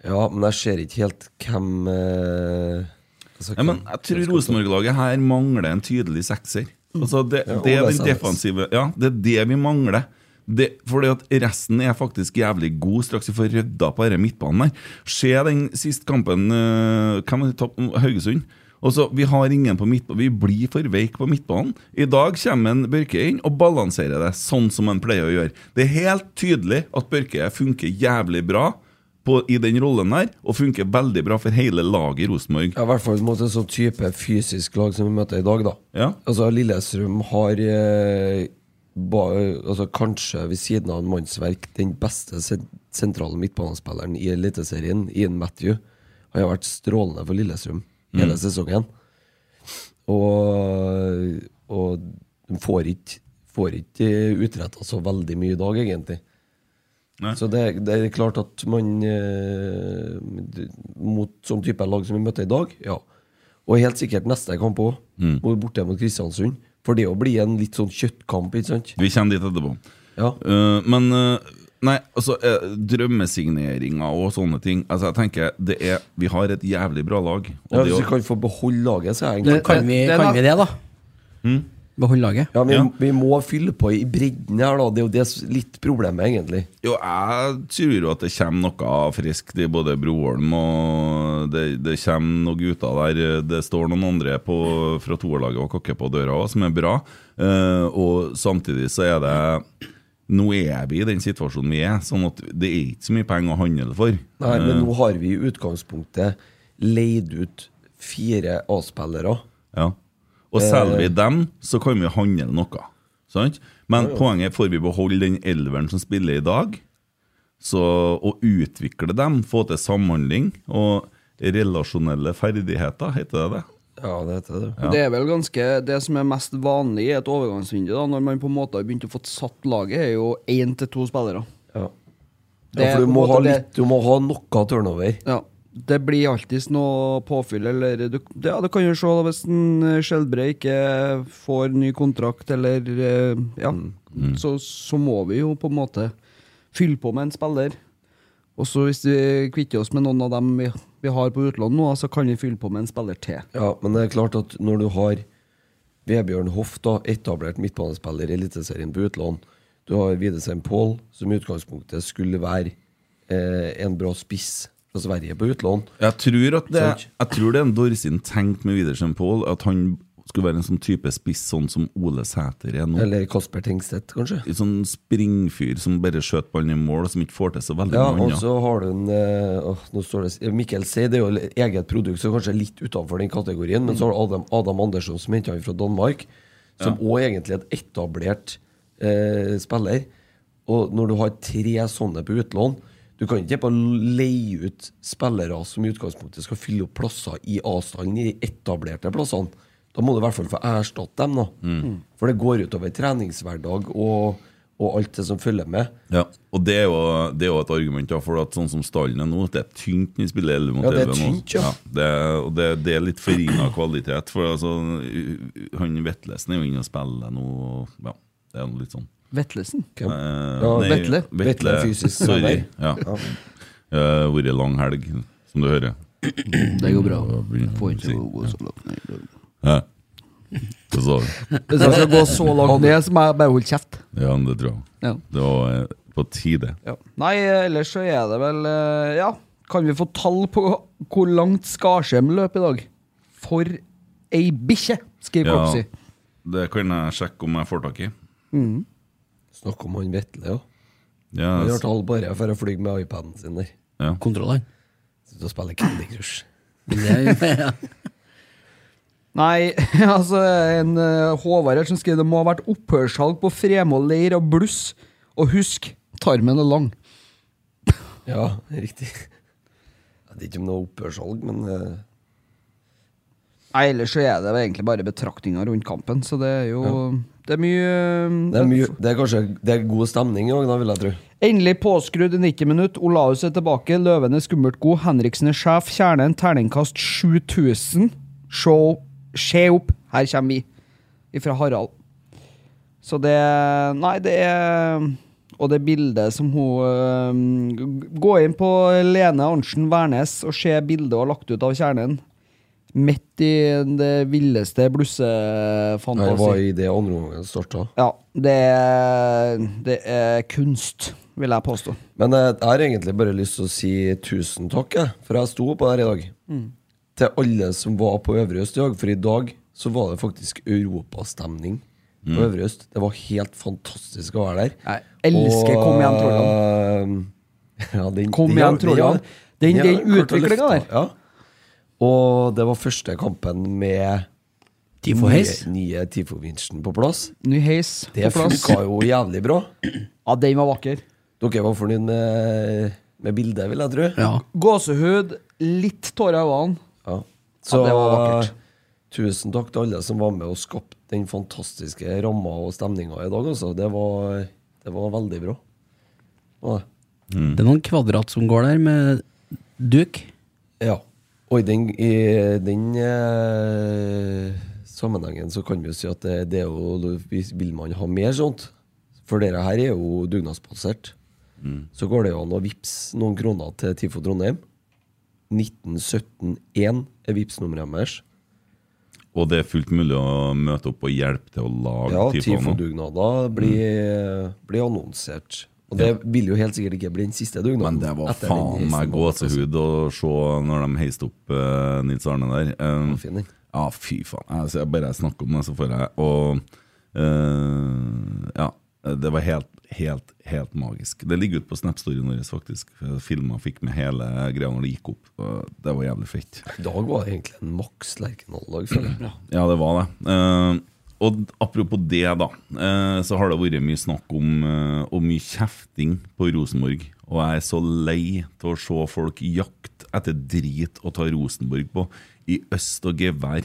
Speaker 5: Ja, men jeg ser ikke helt hvem eh, altså,
Speaker 3: Ja, men
Speaker 5: hvem-
Speaker 3: jeg tror Rosenborg-laget her mangler en tydelig sekser. Altså det,
Speaker 5: Ja,
Speaker 3: det er
Speaker 5: Ole
Speaker 3: den
Speaker 5: Selnes.
Speaker 3: defensive Ja, det er det vi mangler. Det, fordi at Resten er faktisk jævlig god straks vi får rydda på denne midtbanen. her Se den siste kampen eh, Hvem var det? Topp- Haugesund. Altså, Vi har ingen på midtbanen. Vi blir for veike på midtbanen. I dag kommer en Børke inn og balanserer det, sånn som han pleier å gjøre. Det er helt tydelig at Børke funker jævlig bra på, i den rollen der, og funker veldig bra for hele laget i Rosenborg.
Speaker 5: Ja, I hvert fall mot en sånn type fysisk lag som vi møter i dag, da.
Speaker 3: Ja.
Speaker 5: Altså, Lillestrøm har eh, ba, altså, kanskje ved siden av en mannsverk den beste sen sentrale midtbanespilleren i Eliteserien, Ian Matthew. Han har vært strålende for Lillestrøm
Speaker 3: Mm.
Speaker 5: hele sesongen. Og, og de får ikke, får ikke utretta så veldig mye i dag, egentlig.
Speaker 3: Nei.
Speaker 5: Så det, det er klart at man eh, d- Mot sånn type lag som vi møtte i dag, ja. Og helt sikkert neste kamp òg, borte mot Kristiansund. For det å bli en litt sånn kjøttkamp, ikke sant?
Speaker 3: Vi kommer dit etterpå.
Speaker 5: Ja.
Speaker 3: Eh, men eh, Nei, altså, eh, drømmesigneringer og sånne ting Altså, jeg tenker det er Vi har et jævlig bra lag. Og
Speaker 5: Ja,
Speaker 3: det
Speaker 5: hvis
Speaker 3: å-
Speaker 5: vi kan få beholde laget, så er jeg
Speaker 4: Kan
Speaker 5: egentlig
Speaker 4: vi
Speaker 6: det-
Speaker 4: kan vi det, da? Beholde laget.
Speaker 5: Ja, vi,
Speaker 3: Ja.
Speaker 5: vi må fylle på i bredden her, da. Det er jo det s- litt problemet, egentlig.
Speaker 3: Jo, jeg tror jo at det kommer noe friskt i både Broholm og det, det kommer noen gutter der. Det står noen andre på, fra toerlaget og kokker på døra òg, som er bra. Eh, og samtidig så er det Nå er vi i den situasjonen vi er, sånn at det er ikke så mye penger å handle for.
Speaker 5: Nei,
Speaker 6: Eh.
Speaker 5: men nå har vi i utgangspunktet leid ut fire A-spillere.
Speaker 3: Ja. Og selger vi dem, så kan vi handle noe. Sant? Men poenget er får vi beholde den elveren som spiller i dag, så å utvikle dem, få til samhandling og relasjonelle ferdigheter, heter det det?
Speaker 5: Ja, det heter det.
Speaker 6: Det er vel ganske Det som er mest vanlig i et overgangsvindu, da, når man på en måte har begynt å få satt laget, er jo én til to spillere.
Speaker 5: Ja,
Speaker 6: Det
Speaker 5: ja
Speaker 6: er
Speaker 5: for du
Speaker 6: på en
Speaker 5: må,
Speaker 6: måte
Speaker 5: ha
Speaker 6: det-
Speaker 5: litt, du må ha noe turnover.
Speaker 6: Ja. Det blir alltids noe påfyll, eller du, ja, du kan jo se da, hvis en eh, Skjelbre ikke får ny kontrakt, eller eh, Ja. Så, så må vi jo på en måte fylle på med en spiller. Og så hvis vi kvitter oss med noen av dem vi, vi har på utlån nå, så kan vi fylle på med en spiller til.
Speaker 5: Ja, men det er klart at når du har Vebjørn Hoff, da, etablert midtbanespiller i Eliteserien på utlån Du har Videsheim Pål, som i utgangspunktet skulle være eh, en bra spiss fra Sverige på utlån.
Speaker 3: Jeg tror, at det,
Speaker 5: Sant.
Speaker 3: jeg tror det er en Dorsin tenkt med Widersen Pål, at han skulle være en sånn type spiss sånn som Ole Sæter er nå.
Speaker 5: Eller Kasper Tengstedt, kanskje.
Speaker 3: En sånn springfyr som bare skjøt ballen i mål, og som ikke får til så veldig
Speaker 5: Ja,
Speaker 3: mye
Speaker 5: og
Speaker 3: annet.
Speaker 5: så har du en eh, åh, nå står det, s- Mikkel Seid er jo l- eget produkt, så kanskje litt utenfor den kategorien. Men så har du Adam, Adam Andersson, som henta han fra Danmark, som også egentlig er et etablert eh, spiller. Og når du har tre sånne på utlån Du kan ikke bare leie ut spillere som i utgangspunktet skal fylle opp plasser i avstanden, i de etablerte plassene. Da må du i hvert fall få erstatte dem, da. Mm. For det går utover treningshverdag og, og alt det som følger med.
Speaker 3: Ja, og det er jo, det er jo et argument, ja, for at sånn som stallen er nå, det er tynt når vi spiller 11 mot
Speaker 5: Ja, det er
Speaker 3: 11 nå.
Speaker 5: tynt, ja.
Speaker 3: det, er- og det, det er litt forringa kvalitet, for altså, han Vetlesen er jo inne og spiller nå, og ja, det er noe litt sånn.
Speaker 6: Vetlesen.
Speaker 5: Hvem?
Speaker 3: Eh,
Speaker 5: Ja,
Speaker 3: nei,
Speaker 5: Vetle.
Speaker 3: Vetle,
Speaker 5: Vetle er fysisk
Speaker 3: Sorry.
Speaker 5: trener.
Speaker 3: Ja. Det har vært lang helg, som du hører.
Speaker 4: Det går bra.
Speaker 3: Får ikke
Speaker 4: gå så langt
Speaker 3: Hæ? Hva sa du?
Speaker 6: Hvis jeg skal gå så langt ned, så må jeg bare holde kjeft.
Speaker 3: Ja, men det tror jeg.
Speaker 6: Ja.
Speaker 3: Det var eh, på tide.
Speaker 6: Ja. Nei, eh, ellers så er det vel eh, Ja, kan vi få tall på hvor langt Skarsheim løp i dag? For ei bikkje, skriver
Speaker 3: Ja,
Speaker 6: Kopsi.
Speaker 3: det kan jeg sjekke om jeg får tak i.
Speaker 5: Snakk om han Vetle, ja.
Speaker 3: Ja,
Speaker 5: Han har
Speaker 3: s-
Speaker 5: tall bare for å fly med iPaden sin der.
Speaker 3: ja.
Speaker 4: Kontrollene.
Speaker 5: Sitter og spiller Candy Crush.
Speaker 6: Nei, altså en eh, Håvard her som skriver det må ha vært opphørssalg på Fremold leir og bluss. Og husk, tarmen er lang.
Speaker 5: Ja, riktig. Jeg vet ikke om det var opphørssalg, men eh,
Speaker 6: Nei, ellers så er det vel egentlig bare betraktninger rundt kampen, så det er jo Det er mye eh,
Speaker 5: det, er mye, det er kanskje det er god stemning i dag, da, vil jeg tro.
Speaker 6: Endelig påskrudd i 90 minutt. Olaus er tilbake. Løven er skummelt god. Henriksen er sjef. Kjernen terningkast 7000. Se opp. Se opp. Her kommer vi. Ifra Harald. Så det Nei, det er Og det bildet som hun øhm, Gå inn på Lene Arntzen Wærnes og se bildet hun har lagt ut av kjernen. Midt i det villeste
Speaker 5: Det var
Speaker 6: blussefantasi.
Speaker 5: i det andre omgangen starta.
Speaker 6: Ja, det er, det er kunst, vil jeg påstå.
Speaker 5: Men eh, jeg har egentlig bare lyst til å si tusen takk, jeg, for jeg sto på der i dag.
Speaker 6: Mm.
Speaker 5: Til alle som var på Øvre Øst i dag, for i dag så var det faktisk europastemning på Øvre Øst. Det var helt fantastisk å være der.
Speaker 6: Jeg elsker
Speaker 5: Og,
Speaker 6: Kom igjen,
Speaker 5: eh, ja, den,
Speaker 6: Kom
Speaker 5: den
Speaker 6: igjen,
Speaker 5: har- den
Speaker 6: Trolland.
Speaker 5: har-
Speaker 6: Den-
Speaker 5: har
Speaker 6: den
Speaker 5: klart å
Speaker 6: utviklingen
Speaker 5: løfte, Ja. Og det var første kampen med
Speaker 4: Tifo Heis.
Speaker 5: nye, nye Tifo-vinsjen på plass.
Speaker 6: Ny heis
Speaker 5: Det
Speaker 6: på plass.
Speaker 5: funka jo jævlig bra.
Speaker 6: Ja, den var vakker.
Speaker 5: Dere var fornøyd med, eh, med bildet, vil jeg tro.
Speaker 4: Ja.
Speaker 6: Gåsehud, litt tårer i øynene.
Speaker 5: Ja.
Speaker 6: Ja,
Speaker 5: Så
Speaker 6: det var vakkert.
Speaker 5: tusen takk til alle som var med og skapte den fantastiske ramma og stemninga i dag. Altså. Det, var, det var veldig bra. Ja.
Speaker 4: Det er noen kvadrat som går der med duk.
Speaker 5: Ja. Og i den, i den eh, sammenhengen så kan vi jo si at det, det er jo hvis- Vil man ha mer sånt? For dere her er jo dugnadsbasert.
Speaker 3: Mm.
Speaker 5: Så går det jo an å vippse noen kroner til Tifo Trondheim. 1917-1 er vippsnummeret deres.
Speaker 3: Og det er fullt mulig å møte opp og hjelpe til å lage
Speaker 5: Ja,
Speaker 3: Tifo nå. Mm.
Speaker 5: TIFO-dugnader blir, blir annonsert. Og det vil jo helt sikkert ikke bli den siste dugnaden.
Speaker 3: Men det var
Speaker 5: etter den
Speaker 3: faen meg
Speaker 5: heisen.
Speaker 3: gåsehud å se når de heiste opp eh, Nils Arne der. Eh,
Speaker 5: Fin, den.
Speaker 3: ja, fy faen. Altså, jeg bare snakker om det, så får jeg Og eh, ja. Det var helt, helt, helt magisk. Det ligger ute på Snap-storyen vår, faktisk. Filma fikk med hele greia når det gikk opp. og Det var jævlig fett.
Speaker 5: I dag var det egentlig en maks Lerkendal-dag, føler jeg.
Speaker 3: Ja, det var det. Eh, og apropos det, da, eh, så har det vært mye snakk om eh, og mye kjefting på Rosenborg. Og jeg er så lei til å se folk jakte etter drit å ta Rosenborg på i øst og gevær.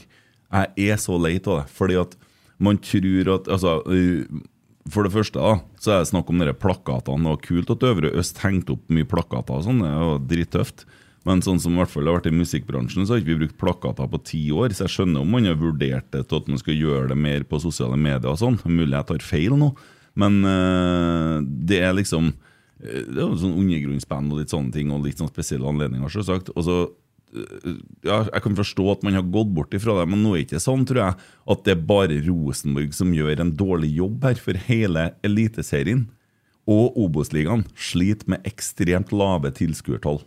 Speaker 3: Jeg er så lei av det, fordi at man tror at altså, eh, for det første da, så er det snakk om dere plakatene. Det var kult at Øvre Øst hengte opp mye plakater og sånn. Det var drittøft. Men sånn som i hvert fall det har vært i musikkbransjen, så har ikke vi brukt plakater på ti år. Så jeg skjønner om man har vurdert det til at man skal gjøre det mer på sosiale medier og sånn. Mulig jeg tar feil nå, men øh, det er liksom øh, Det er jo sånn undergrunnsband og litt sånne ting, og litt sånn spesielle anledninger, selvsagt. Og så ja, jeg kan forstå at man har gått bort ifra det, men nå er det ikke sånn, tror jeg, at det er bare Rosenborg som gjør en dårlig jobb her, for hele Eliteserien og Obos-ligaen sliter med ekstremt lave tilskuertall.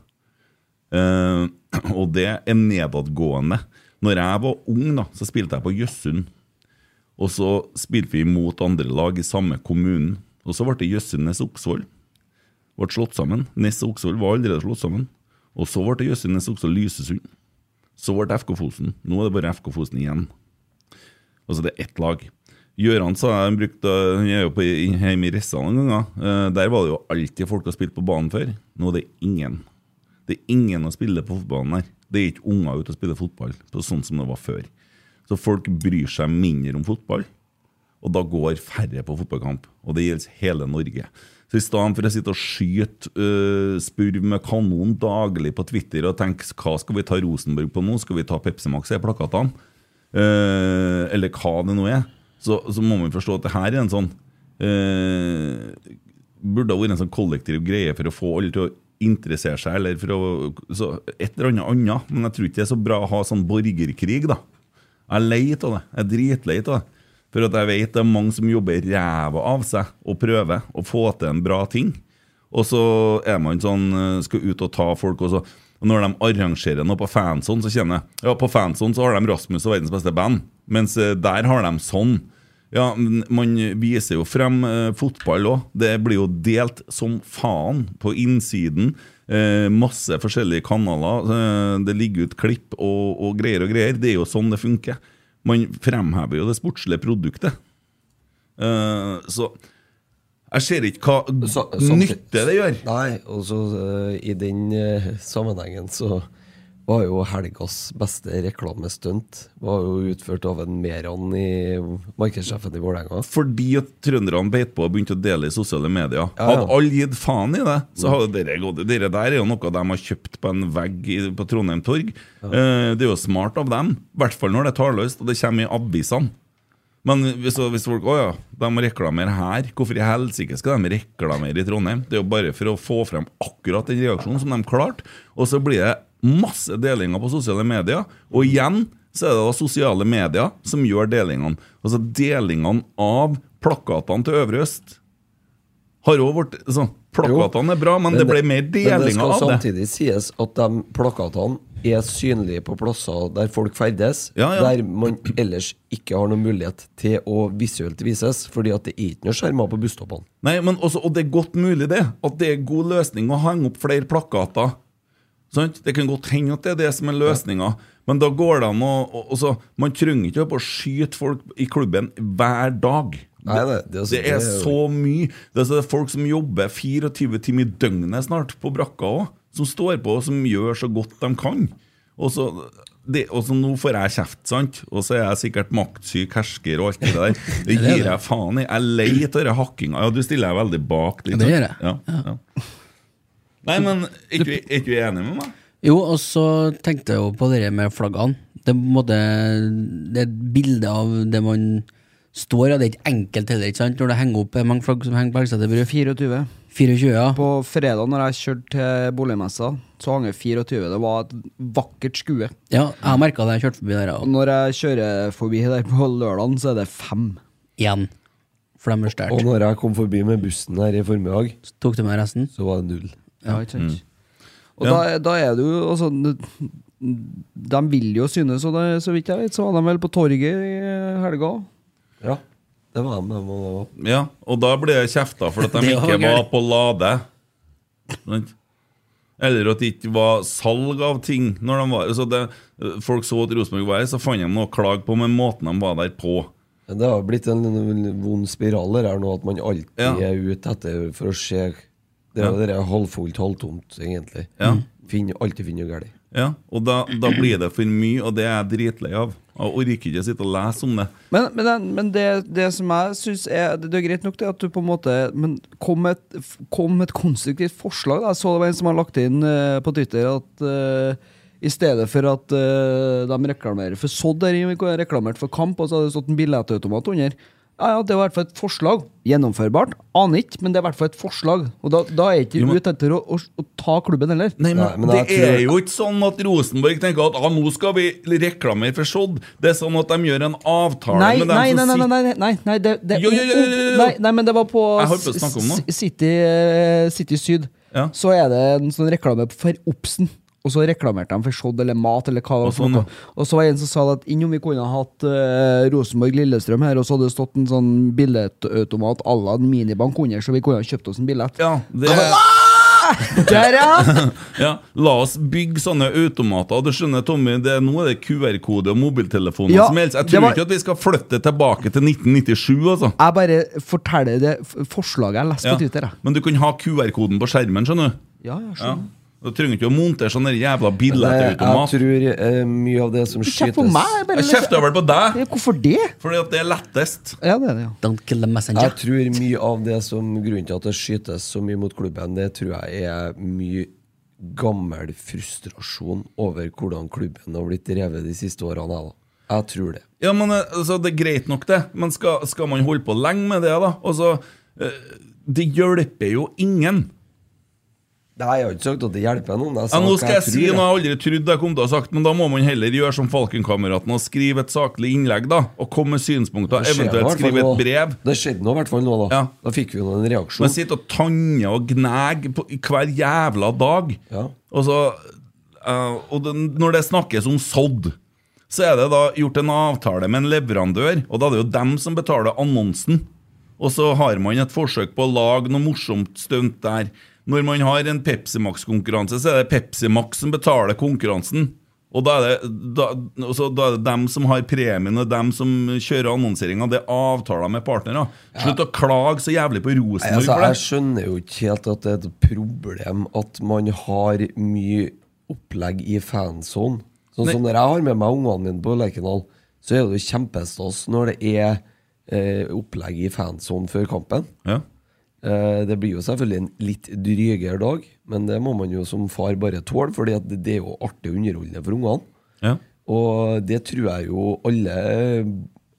Speaker 3: Eh, og det er nedadgående. Når jeg var ung, da, så spilte jeg på Jøssund. Og så spilte vi mot andre lag i samme kommunen. Og så ble det Jøssundes Oksvoll ble slått sammen. Ness og Oksvoll var allerede slått sammen. Og så ble det Jøssinnes også Lysesund. Så ble det FK Fosen. Nå er det bare FK Fosen igjen. Altså det er ett lag. Gjøran sa han brukte Han er jo på, hjemme i Rissa noen ganger. Eh, der var det jo alltid folk som spilte på banen før. Nå er det ingen. Det er ingen å spille på fotballen her. Det er ikke unger ute og spiller fotball på sånn som det var før. Så folk bryr seg mindre om fotball. Og da går færre på fotballkamp. Og det gjelder hele Norge. Så i stedet for å sitte og skyte øh, spurv med kanon daglig på Twitter og tenke hva skal vi ta Rosenborg på nå, skal vi ta Pepsi Max i plakatene, Eh, eller hva det nå er, så, så må man forstå at det her er en sånn eh, Burde ha vært en sånn kollektiv greie for å få alle til å interessere seg, eller for å så Et eller annet annet. Men jeg tror ikke det er så bra å ha sånn borgerkrig, da. Jeg er lei av det. Jeg er dritlei av det. For at jeg vet det er mange som jobber ræva av seg og prøver å få til en bra ting. Og så er man sånn, eh, skal ut og ta folk og så. Og når de arrangerer noe på fanzone, så kjenner jeg ja, på fanzone så har de Rasmus og verdens beste band. Mens eh, der har de sånn. Ja, men Man viser jo frem eh, fotball òg. Det blir jo delt som faen på innsiden. Eh, masse forskjellige kanaler. Eh, det ligger ut klipp og, og greier og greier. Det er jo sånn det funker. Man fremhever jo det sportslige produktet. Eh, så jeg ser ikke hva
Speaker 5: Sa- samtidig-
Speaker 3: nytte det gjør.
Speaker 5: Nei, og så eh, i den eh, sammenhengen så var jo helgas beste reklamestunt var jo utført av en Meran i markedssjefen i Vålerenga.
Speaker 3: Fordi at trønderne beit på og begynte å dele i sosiale medier.
Speaker 5: Ja, Mm. ja.
Speaker 3: Hadde alle gitt faen i det, så hadde dere gått Dere der er jo noe de har kjøpt på en vegg i, på Trondheim torg. Eh, det er jo smart av dem. I hvert fall når det er talløst, og det kommer i avisene. Men hvis, hvis folk Å ja, de må reklamere her. Hvorfor i helsike skal de reklamere i Trondheim? Det er jo bare for å få frem akkurat den reaksjonen som de klarte. Og så blir det masse delinger på sosiale medier. Og igjen så er det da sosiale medier som gjør delingene. Altså delingene av plakatene til Øvre Øst har òg vært sånn Plakatene er bra, men, det ble mer
Speaker 5: Men det
Speaker 3: delinger
Speaker 5: skal
Speaker 3: av det.
Speaker 5: samtidig sies at de plakatene er synlige på plasser der folk ferdes,
Speaker 3: Ja, ja.
Speaker 5: der man ellers ikke har noen mulighet til å visuelt vises, fordi at det er ikke noe skjermer på busstoppene.
Speaker 3: Nei, men også, Og det er godt mulig, det. At det er god løsning å henge opp flere plakater. Sant? Det kan godt hende at det er det som er løsninga, men da går det an å og- og så- Man trenger ikke å på skyte folk i klubben hver dag.
Speaker 5: Nei, det- det er-
Speaker 3: det er
Speaker 5: det er-
Speaker 3: så mye. Det er, så- det er folk som jobber 24 timer i døgnet snart på brakka òg, som står på og som gjør så godt de kan. Og så, det, og så nå får jeg kjeft, sant? Og så er jeg sikkert maktsyk hersker og alt det der. Det gir jeg faen i. Jeg er lei av den hakkinga. Ja, du stiller deg veldig bak.
Speaker 4: Ja,
Speaker 3: Litt,
Speaker 4: det
Speaker 3: sant?
Speaker 4: gjør jeg.
Speaker 3: Ja, ja. Nei, men er ikke er ikke du enig med meg?
Speaker 4: Jo, og så tenkte jeg jo på det med flaggene. Det, er på en måte, det er et bilde av det man står, og det er ikke enkelt heller, ikke sant? Når det henger opp eh, mange flagg som henger på Elgseter bru.
Speaker 6: 24.
Speaker 4: 24, ja.
Speaker 6: På fredag når jeg kjørte til boligmessa, så hang det 24. Det var et vakkert skue.
Speaker 4: ja jeg merka det jeg kjørte forbi der.
Speaker 6: Og
Speaker 4: Og
Speaker 6: når jeg kjører forbi der på lørdagen, så er det fem.
Speaker 4: igjen. For de er
Speaker 5: Og
Speaker 4: stjålet.
Speaker 5: når jeg kom forbi med bussen her i formiddag,
Speaker 4: Tok til meg resten.
Speaker 5: så var det null.
Speaker 6: Ja, ikke sant? Og da, da er det jo altså, De vil jo synes, og det, så vidt jeg vet, så var de vel på torget i helga.
Speaker 5: Ja, det var dem, dem og dem. også.
Speaker 3: Ja, og da ble det kjefta for at de
Speaker 4: Det var
Speaker 3: ikke
Speaker 4: gøy.
Speaker 3: var på lade. Sant? Eller at det ikke var salg av ting. Når de var, så det, folk så at Rosenborg var her, så fant de noe å klage på med måten de var der på.
Speaker 5: Men Det har blitt en, en vond spiral det her nå, at man alltid
Speaker 3: Ja.
Speaker 5: er ute etter for å se Det er jo det der halvfullt, halvtomt, egentlig.
Speaker 3: Ja.
Speaker 5: Finn, alltid finner noe galt.
Speaker 3: Ja, Og da, da blir det for mye, og det er jeg dritlei av. Jeg orker ikke å sitte og lese om det.
Speaker 6: Men, men, den- men det, det som jeg syns er Det er greit nok det at du på en måte Men kom med et, f- kom med et konstruktivt forslag. Da. Jeg så det var en som har lagt inn eh, på Twitter at eh, i stedet for at eh, de reklamerer for Sodd, der de har reklamert for Kamp, og så hadde det stått en billettautomat under. Ja, ja, Det var i hvert fall et forslag. Gjennomførbart? Aner ikke, men det er i hvert fall et forslag. Og da, da er jeg ikke
Speaker 3: Jo, men-
Speaker 6: ute etter å, å, å ta klubben heller.
Speaker 3: Nei, men,
Speaker 5: Nei, men
Speaker 3: Det
Speaker 5: jeg tror-
Speaker 3: er jo ikke sånn at Rosenborg tenker at ah, nå skal vi reklamere for Sodd. Det er sånn at de gjør en avtale
Speaker 6: Nei,
Speaker 3: med dem
Speaker 6: nei, nei,
Speaker 3: som
Speaker 6: nei,
Speaker 3: sitter
Speaker 6: nei, nei, nei, nei, det, det,
Speaker 3: sånn Jo, jo, jo, jo, jo, jo.
Speaker 6: Nei, nei, men det var på,
Speaker 3: Jeg holdt på å snakke om noe.
Speaker 6: S- City, eh, City Syd.
Speaker 3: Ja.
Speaker 6: Så er det en sånn reklame for Obsen. Og så reklamerte de for Sodd eller mat eller hva. det var
Speaker 3: Og
Speaker 6: for
Speaker 3: sånn,
Speaker 6: noe. Og så var det en som sa at innom vi kunne ha hatt eh, Rosenborg-Lillestrøm her, og så hadde det stått en sånn billettautomat à la en minibank under, så vi kunne ha kjøpt oss en billett.
Speaker 3: Ja, det er...
Speaker 6: Der, ja!
Speaker 3: Ja, La oss bygge sånne automater. Du skjønner, Tommy, det, er- Nå er det QR-kode og mobiltelefoner
Speaker 6: Ja,
Speaker 3: som helst. Jeg
Speaker 6: det
Speaker 3: tror
Speaker 6: var-
Speaker 3: ikke at vi skal flytte tilbake til 1997, altså.
Speaker 6: Jeg bare forteller det f- forslaget jeg leste
Speaker 3: Ja.
Speaker 6: på Twitter. jeg.
Speaker 3: Men du kan ha QR-koden på skjermen, skjønner du.
Speaker 6: Ja, jeg
Speaker 3: Ja.
Speaker 6: skjønner.
Speaker 3: Du trenger ikke å montere sånn der jævla
Speaker 5: Jeg, jeg
Speaker 3: billettautomat.
Speaker 5: tror eh, mye av det som
Speaker 6: Kjeft på
Speaker 5: skytes
Speaker 6: meg! jeg bare-
Speaker 3: Jeg kjefter vel på deg,
Speaker 6: Hvorfor det?
Speaker 3: fordi at det er lettest.
Speaker 6: Ja, det er det, ja.
Speaker 4: Don't kill the messenger.
Speaker 5: Jeg tror mye av det som grunnen til at det skytes så mye mot klubben, det tror jeg er mye gammel frustrasjon over hvordan klubben har blitt drevet de siste årene. jeg, da. Jeg tror det.
Speaker 3: Ja, men eh, altså, Det er greit nok, det, men skal, skal man holde på lenge med det, da? Altså, eh, Det hjelper jo ingen.
Speaker 5: Nei, jeg har ikke sagt at det hjelper noen. Jeg
Speaker 3: Ja,
Speaker 5: sa
Speaker 3: nå
Speaker 5: hva
Speaker 3: skal jeg si
Speaker 5: tror,
Speaker 3: noe jeg aldri trodde jeg kom til å ha sagt, men da må man heller gjøre som Falkenkameraten og skrive et saklig innlegg, da. Og komme med synspunkter,
Speaker 5: Det skjer nå i
Speaker 3: eventuelt
Speaker 5: hvert fall
Speaker 3: skrive et
Speaker 5: nå.
Speaker 3: brev.
Speaker 5: Det skjedde nå i hvert fall nå, da.
Speaker 3: Ja.
Speaker 5: Da fikk vi jo en reaksjon.
Speaker 3: Men sitte og tanne og gnage på- i hver jævla dag.
Speaker 5: Ja.
Speaker 3: Og så eh, Og det, når det snakkes om sodd, så er det da gjort en avtale med en leverandør, og da er det jo dem som betaler annonsen. Og så har man et forsøk på å lage noe morsomt stunt der. Når man har en Pepsi Max-konkurranse, så er det Pepsi Max som betaler konkurransen. Og da er, det, da, og så da er det dem som har premien, og dem som kjører annonseringa. Det er avtaler med partnere. Slutt å klage så jævlig på
Speaker 5: Nei,
Speaker 3: Rosenborg
Speaker 5: altså,
Speaker 3: for det.
Speaker 5: jeg skjønner jo ikke helt at det er et problem at man har mye opplegg i fansonen. Sånn som når jeg har med meg ungene mine på Lerkendal, så er det jo kjempestas når det er eh, opplegg i fansonen før kampen.
Speaker 3: Ja.
Speaker 5: Eh, det blir jo selvfølgelig en litt drygere dag, men det må man jo som far bare tåle, for det det er jo artig og underholdende for ungene.
Speaker 3: Ja.
Speaker 5: Og det tror jeg jo alle,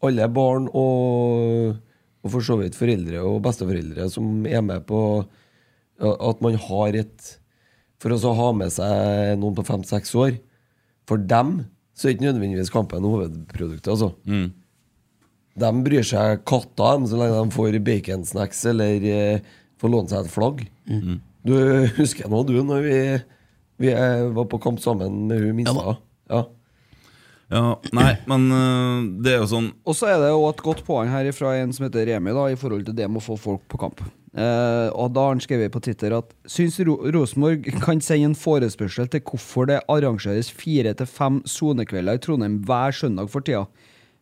Speaker 5: alle barn og, og for så vidt foreldre og besteforeldre som er med på ja, at man har et For også å ha med seg noen på fem-seks år For dem så er ikke nødvendigvis kampen hovedproduktet, altså. De bryr seg katta dem så lenge de får baconsnacks eller eh, får låne seg et flagg. Du husker nå, du, når vi, vi eh, var på kamp sammen med hun minste. Ja.
Speaker 3: ja. Nei, men øh, det er jo sånn
Speaker 6: Og så er det jo et godt poeng her fra en som heter Remi, da, i forhold til det med å få folk på kamp. Eh, og da har han skrevet på Twitter at syns Ro Rosenborg kan sende en forespørsel til hvorfor det arrangeres fire til fem sonekvelder i Trondheim hver søndag for tida.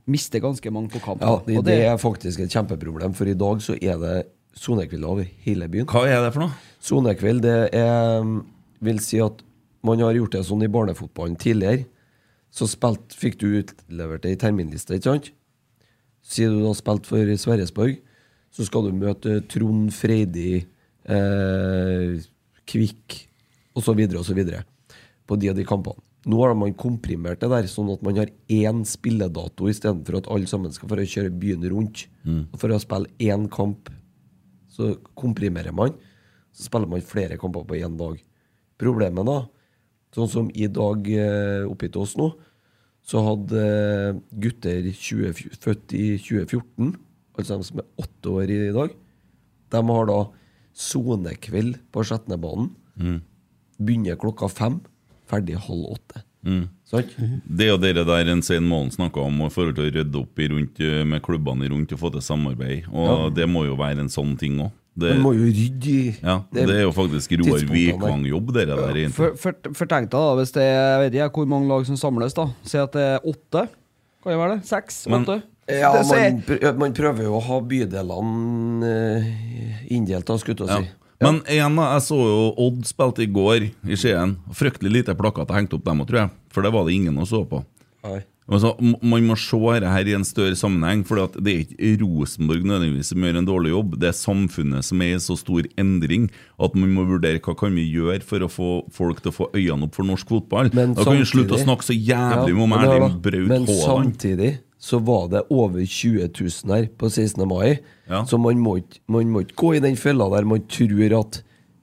Speaker 6: Mister ganske mange på kamp.
Speaker 5: Ja,
Speaker 6: da.
Speaker 5: det,
Speaker 6: og
Speaker 5: det er faktisk et kjempeproblem, for i dag så er det sonekvelder over hele byen.
Speaker 3: Hva er det for noe?
Speaker 5: Sonekveld, det er um, Vil si at man har gjort det sånn i barnefotballen tidligere. Så spilt, fikk du utlevert ei terminliste, ikke sant? Sier du da spilt for Sverresborg, så skal du møte Trond Freidig, eh, Kvikk osv. osv. på de og de kampene. Nå har man komprimert det der, sånn at man har én spilledato istedenfor at alle sammen skal for å kjøre byen rundt. For å spille én kamp, så komprimerer man. Så spiller man flere kamper på én dag. Problemet, da, sånn som i dag eh, oppe til oss nå, så hadde eh, gutter 20, født i 2014, altså de som er åtte år i dag, de har da sonekveld på Skjetnebanen.
Speaker 3: Mm.
Speaker 5: Begynner klokka fem, ferdig halv åtte. Sant?
Speaker 3: Mm. Det er jo det der en Svein Målen snakka om, og i forhold til å rydde opp i rundt, eh, med klubbene rundt og få til samarbeid. Og det må jo være en sånn ting òg. Det,
Speaker 5: Man må jo rydde i
Speaker 3: ja, det er jo faktisk Roar
Speaker 5: tidspunktene der.
Speaker 3: Vikvang-jobb, det der. egentlig.
Speaker 6: For, for, for tenk deg da, hvis det er jeg vet ikke hvor mange lag som samles, da. Si at det er åtte. Kan det være det? Seks?
Speaker 3: Men-
Speaker 6: åtte?
Speaker 5: Ja,
Speaker 6: Det- så er-
Speaker 5: man, prø- man prøver jo å ha bydelene eh, inndelt, da, skulle jeg til å si.
Speaker 3: Men igjen da, jeg så jo Odd spilte i går i Skien. Fryktelig lite plakater hengte opp dem òg, tror jeg. For det var det ingen å så på.
Speaker 5: Nei.
Speaker 3: Altså, m- man må se dette her i en større sammenheng, for det er ikke Rosenborg nødvendigvis som gjør en dårlig jobb. Det er samfunnet som er i så stor endring at man må vurdere hva kan vi gjøre for å få folk til å få øynene opp for norsk fotball.
Speaker 5: Men
Speaker 3: da kan vi
Speaker 5: samtidig-
Speaker 3: slutte å snakke så jævlig
Speaker 5: Ja,
Speaker 3: om
Speaker 5: men hør
Speaker 3: Erling
Speaker 5: da. Men
Speaker 3: Braut Haaland.
Speaker 5: samtidig så var det over 20 000 her på 16. mai.
Speaker 3: Ja.
Speaker 5: Så man må, ikke- man må ikke gå i den fella der man tror at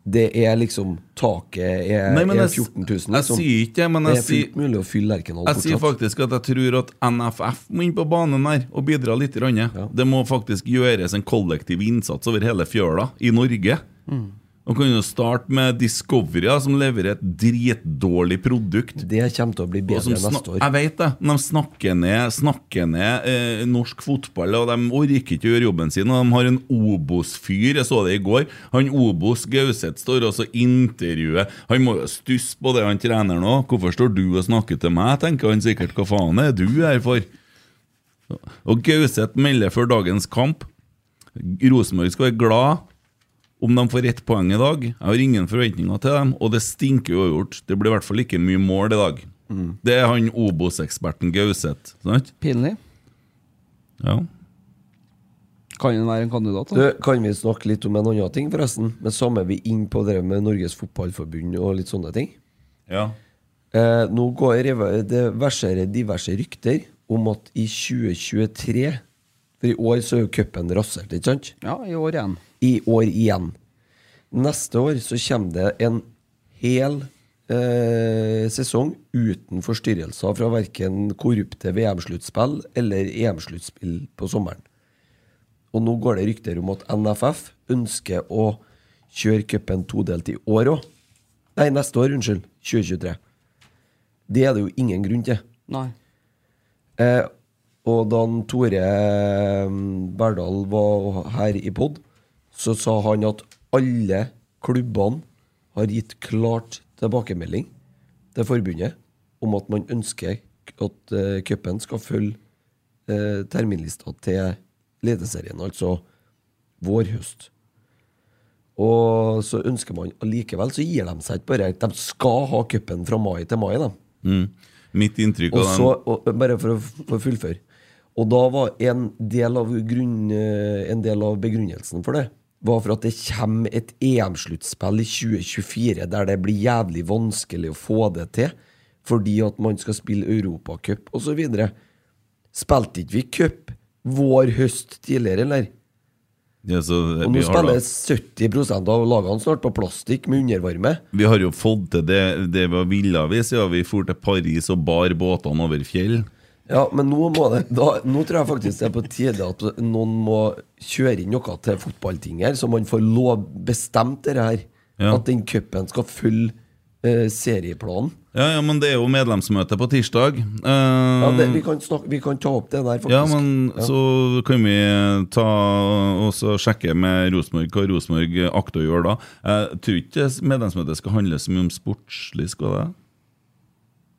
Speaker 5: det er liksom Taket er,
Speaker 3: Nei, men
Speaker 5: er
Speaker 3: jeg s-
Speaker 5: 14 000. Liksom.
Speaker 3: jeg sier ikke det, men
Speaker 5: det er
Speaker 3: jeg sier-
Speaker 5: fullt mulig å fylle Lerkendal
Speaker 3: Jeg sier
Speaker 5: fortsatt.
Speaker 3: faktisk at jeg tror at NFF må inn på banen her og bidra litt. grann. Det må faktisk gjøres en kollektiv innsats over hele fjøla i Norge.
Speaker 5: Mm.
Speaker 3: Man kan jo starte med Discovery, da, som leverer et dritdårlig produkt.
Speaker 5: Det kommer til å bli
Speaker 3: Og som
Speaker 5: bedre neste
Speaker 3: snak-
Speaker 5: år.
Speaker 3: jeg vet det. men De snakker ned, snakker ned eh, norsk fotball, og de orker ikke å gjøre jobben sin. Og de har en Obos-fyr, jeg så det i går. Han Obos Gauseth står også og intervjuer. Han må jo stusse på det han trener nå. Hvorfor står du og snakker til meg, tenker han sikkert. Hva faen er du her for? Og Gauseth melder før dagens kamp. Rosenborg skal være glad om de får ett poeng i dag. Jeg har ingen forventninger til dem, og det stinker jo gjort. Det blir i hvert fall ikke mye mål i dag.
Speaker 5: Mm.
Speaker 3: Det er han Obos-eksperten Gauseth. Sant?
Speaker 6: Pinlig.
Speaker 3: Ja.
Speaker 6: Kan den være en kandidat?
Speaker 5: Du,
Speaker 6: Da?
Speaker 5: kan vi snakke litt om en annen ting, forresten? Men samme vi inn på det med Norges Fotballforbund og litt sånne ting.
Speaker 3: ja.
Speaker 5: Eh, nå går reva- det verserer diverse rykter om at i 2023 For i år så er jo cupen rasert, ikke sant?
Speaker 6: Ja, i år igjen.
Speaker 5: I år igjen. Neste år så kommer det en hel eh, sesong uten forstyrrelser fra verken korrupte VM-sluttspill eller EM-sluttspill på sommeren. Og nå går det rykter om at NFF ønsker å kjøre cupen todelt i år òg. Nei, neste år, unnskyld. 2023. Det er det jo ingen grunn til.
Speaker 6: Nei.
Speaker 5: Eh, og da han Tore eh, Berdal var her i pod, så sa han at alle klubbene har gitt klart tilbakemelding til forbundet om at man ønsker at eh, cupen skal følge eh, terminlista til ledeserien, altså vår-høst. Og så ønsker man allikevel, så gir de seg ikke bare. De skal ha cupen fra mai til mai, da.
Speaker 3: Mm. Mitt inntrykk
Speaker 5: Og
Speaker 3: av
Speaker 5: så, og, bare for å for å fullføre Og da var en del av, grunn, eh, en del av begrunnelsen for det var for at det kommer et EM-sluttspill i 2024 der det blir jævlig vanskelig å få det til, fordi at man skal spille Europacup osv. Spilte ikke vi cup vår høst tidligere, eller?
Speaker 3: ja, så
Speaker 5: Og nå
Speaker 3: vi, har da,
Speaker 5: spiller 70 av lagene snart på plastikk med undervarme.
Speaker 3: vi har jo fått til det, det vi ville vi siden vi for til Paris og bar båtene over fjell.
Speaker 5: Ja, men nå må det da, Nå tror jeg faktisk det er på tide at noen må kjøre inn noe til fotballting her, så man får lov bestemt det her.
Speaker 3: Ja.
Speaker 5: At den cupen skal følge eh, serieplanen.
Speaker 3: Ja, ja, men det er jo medlemsmøte på tirsdag. Eh,
Speaker 5: Ja, det, vi, kan snakke, vi kan ta opp det der, faktisk.
Speaker 3: Ja, men så kan vi ta og så sjekke med Rosenborg hva Rosenborg akter å gjøre da. Jeg tror ikke medlemsmøtet skal handle så mye om sportslig, skal det?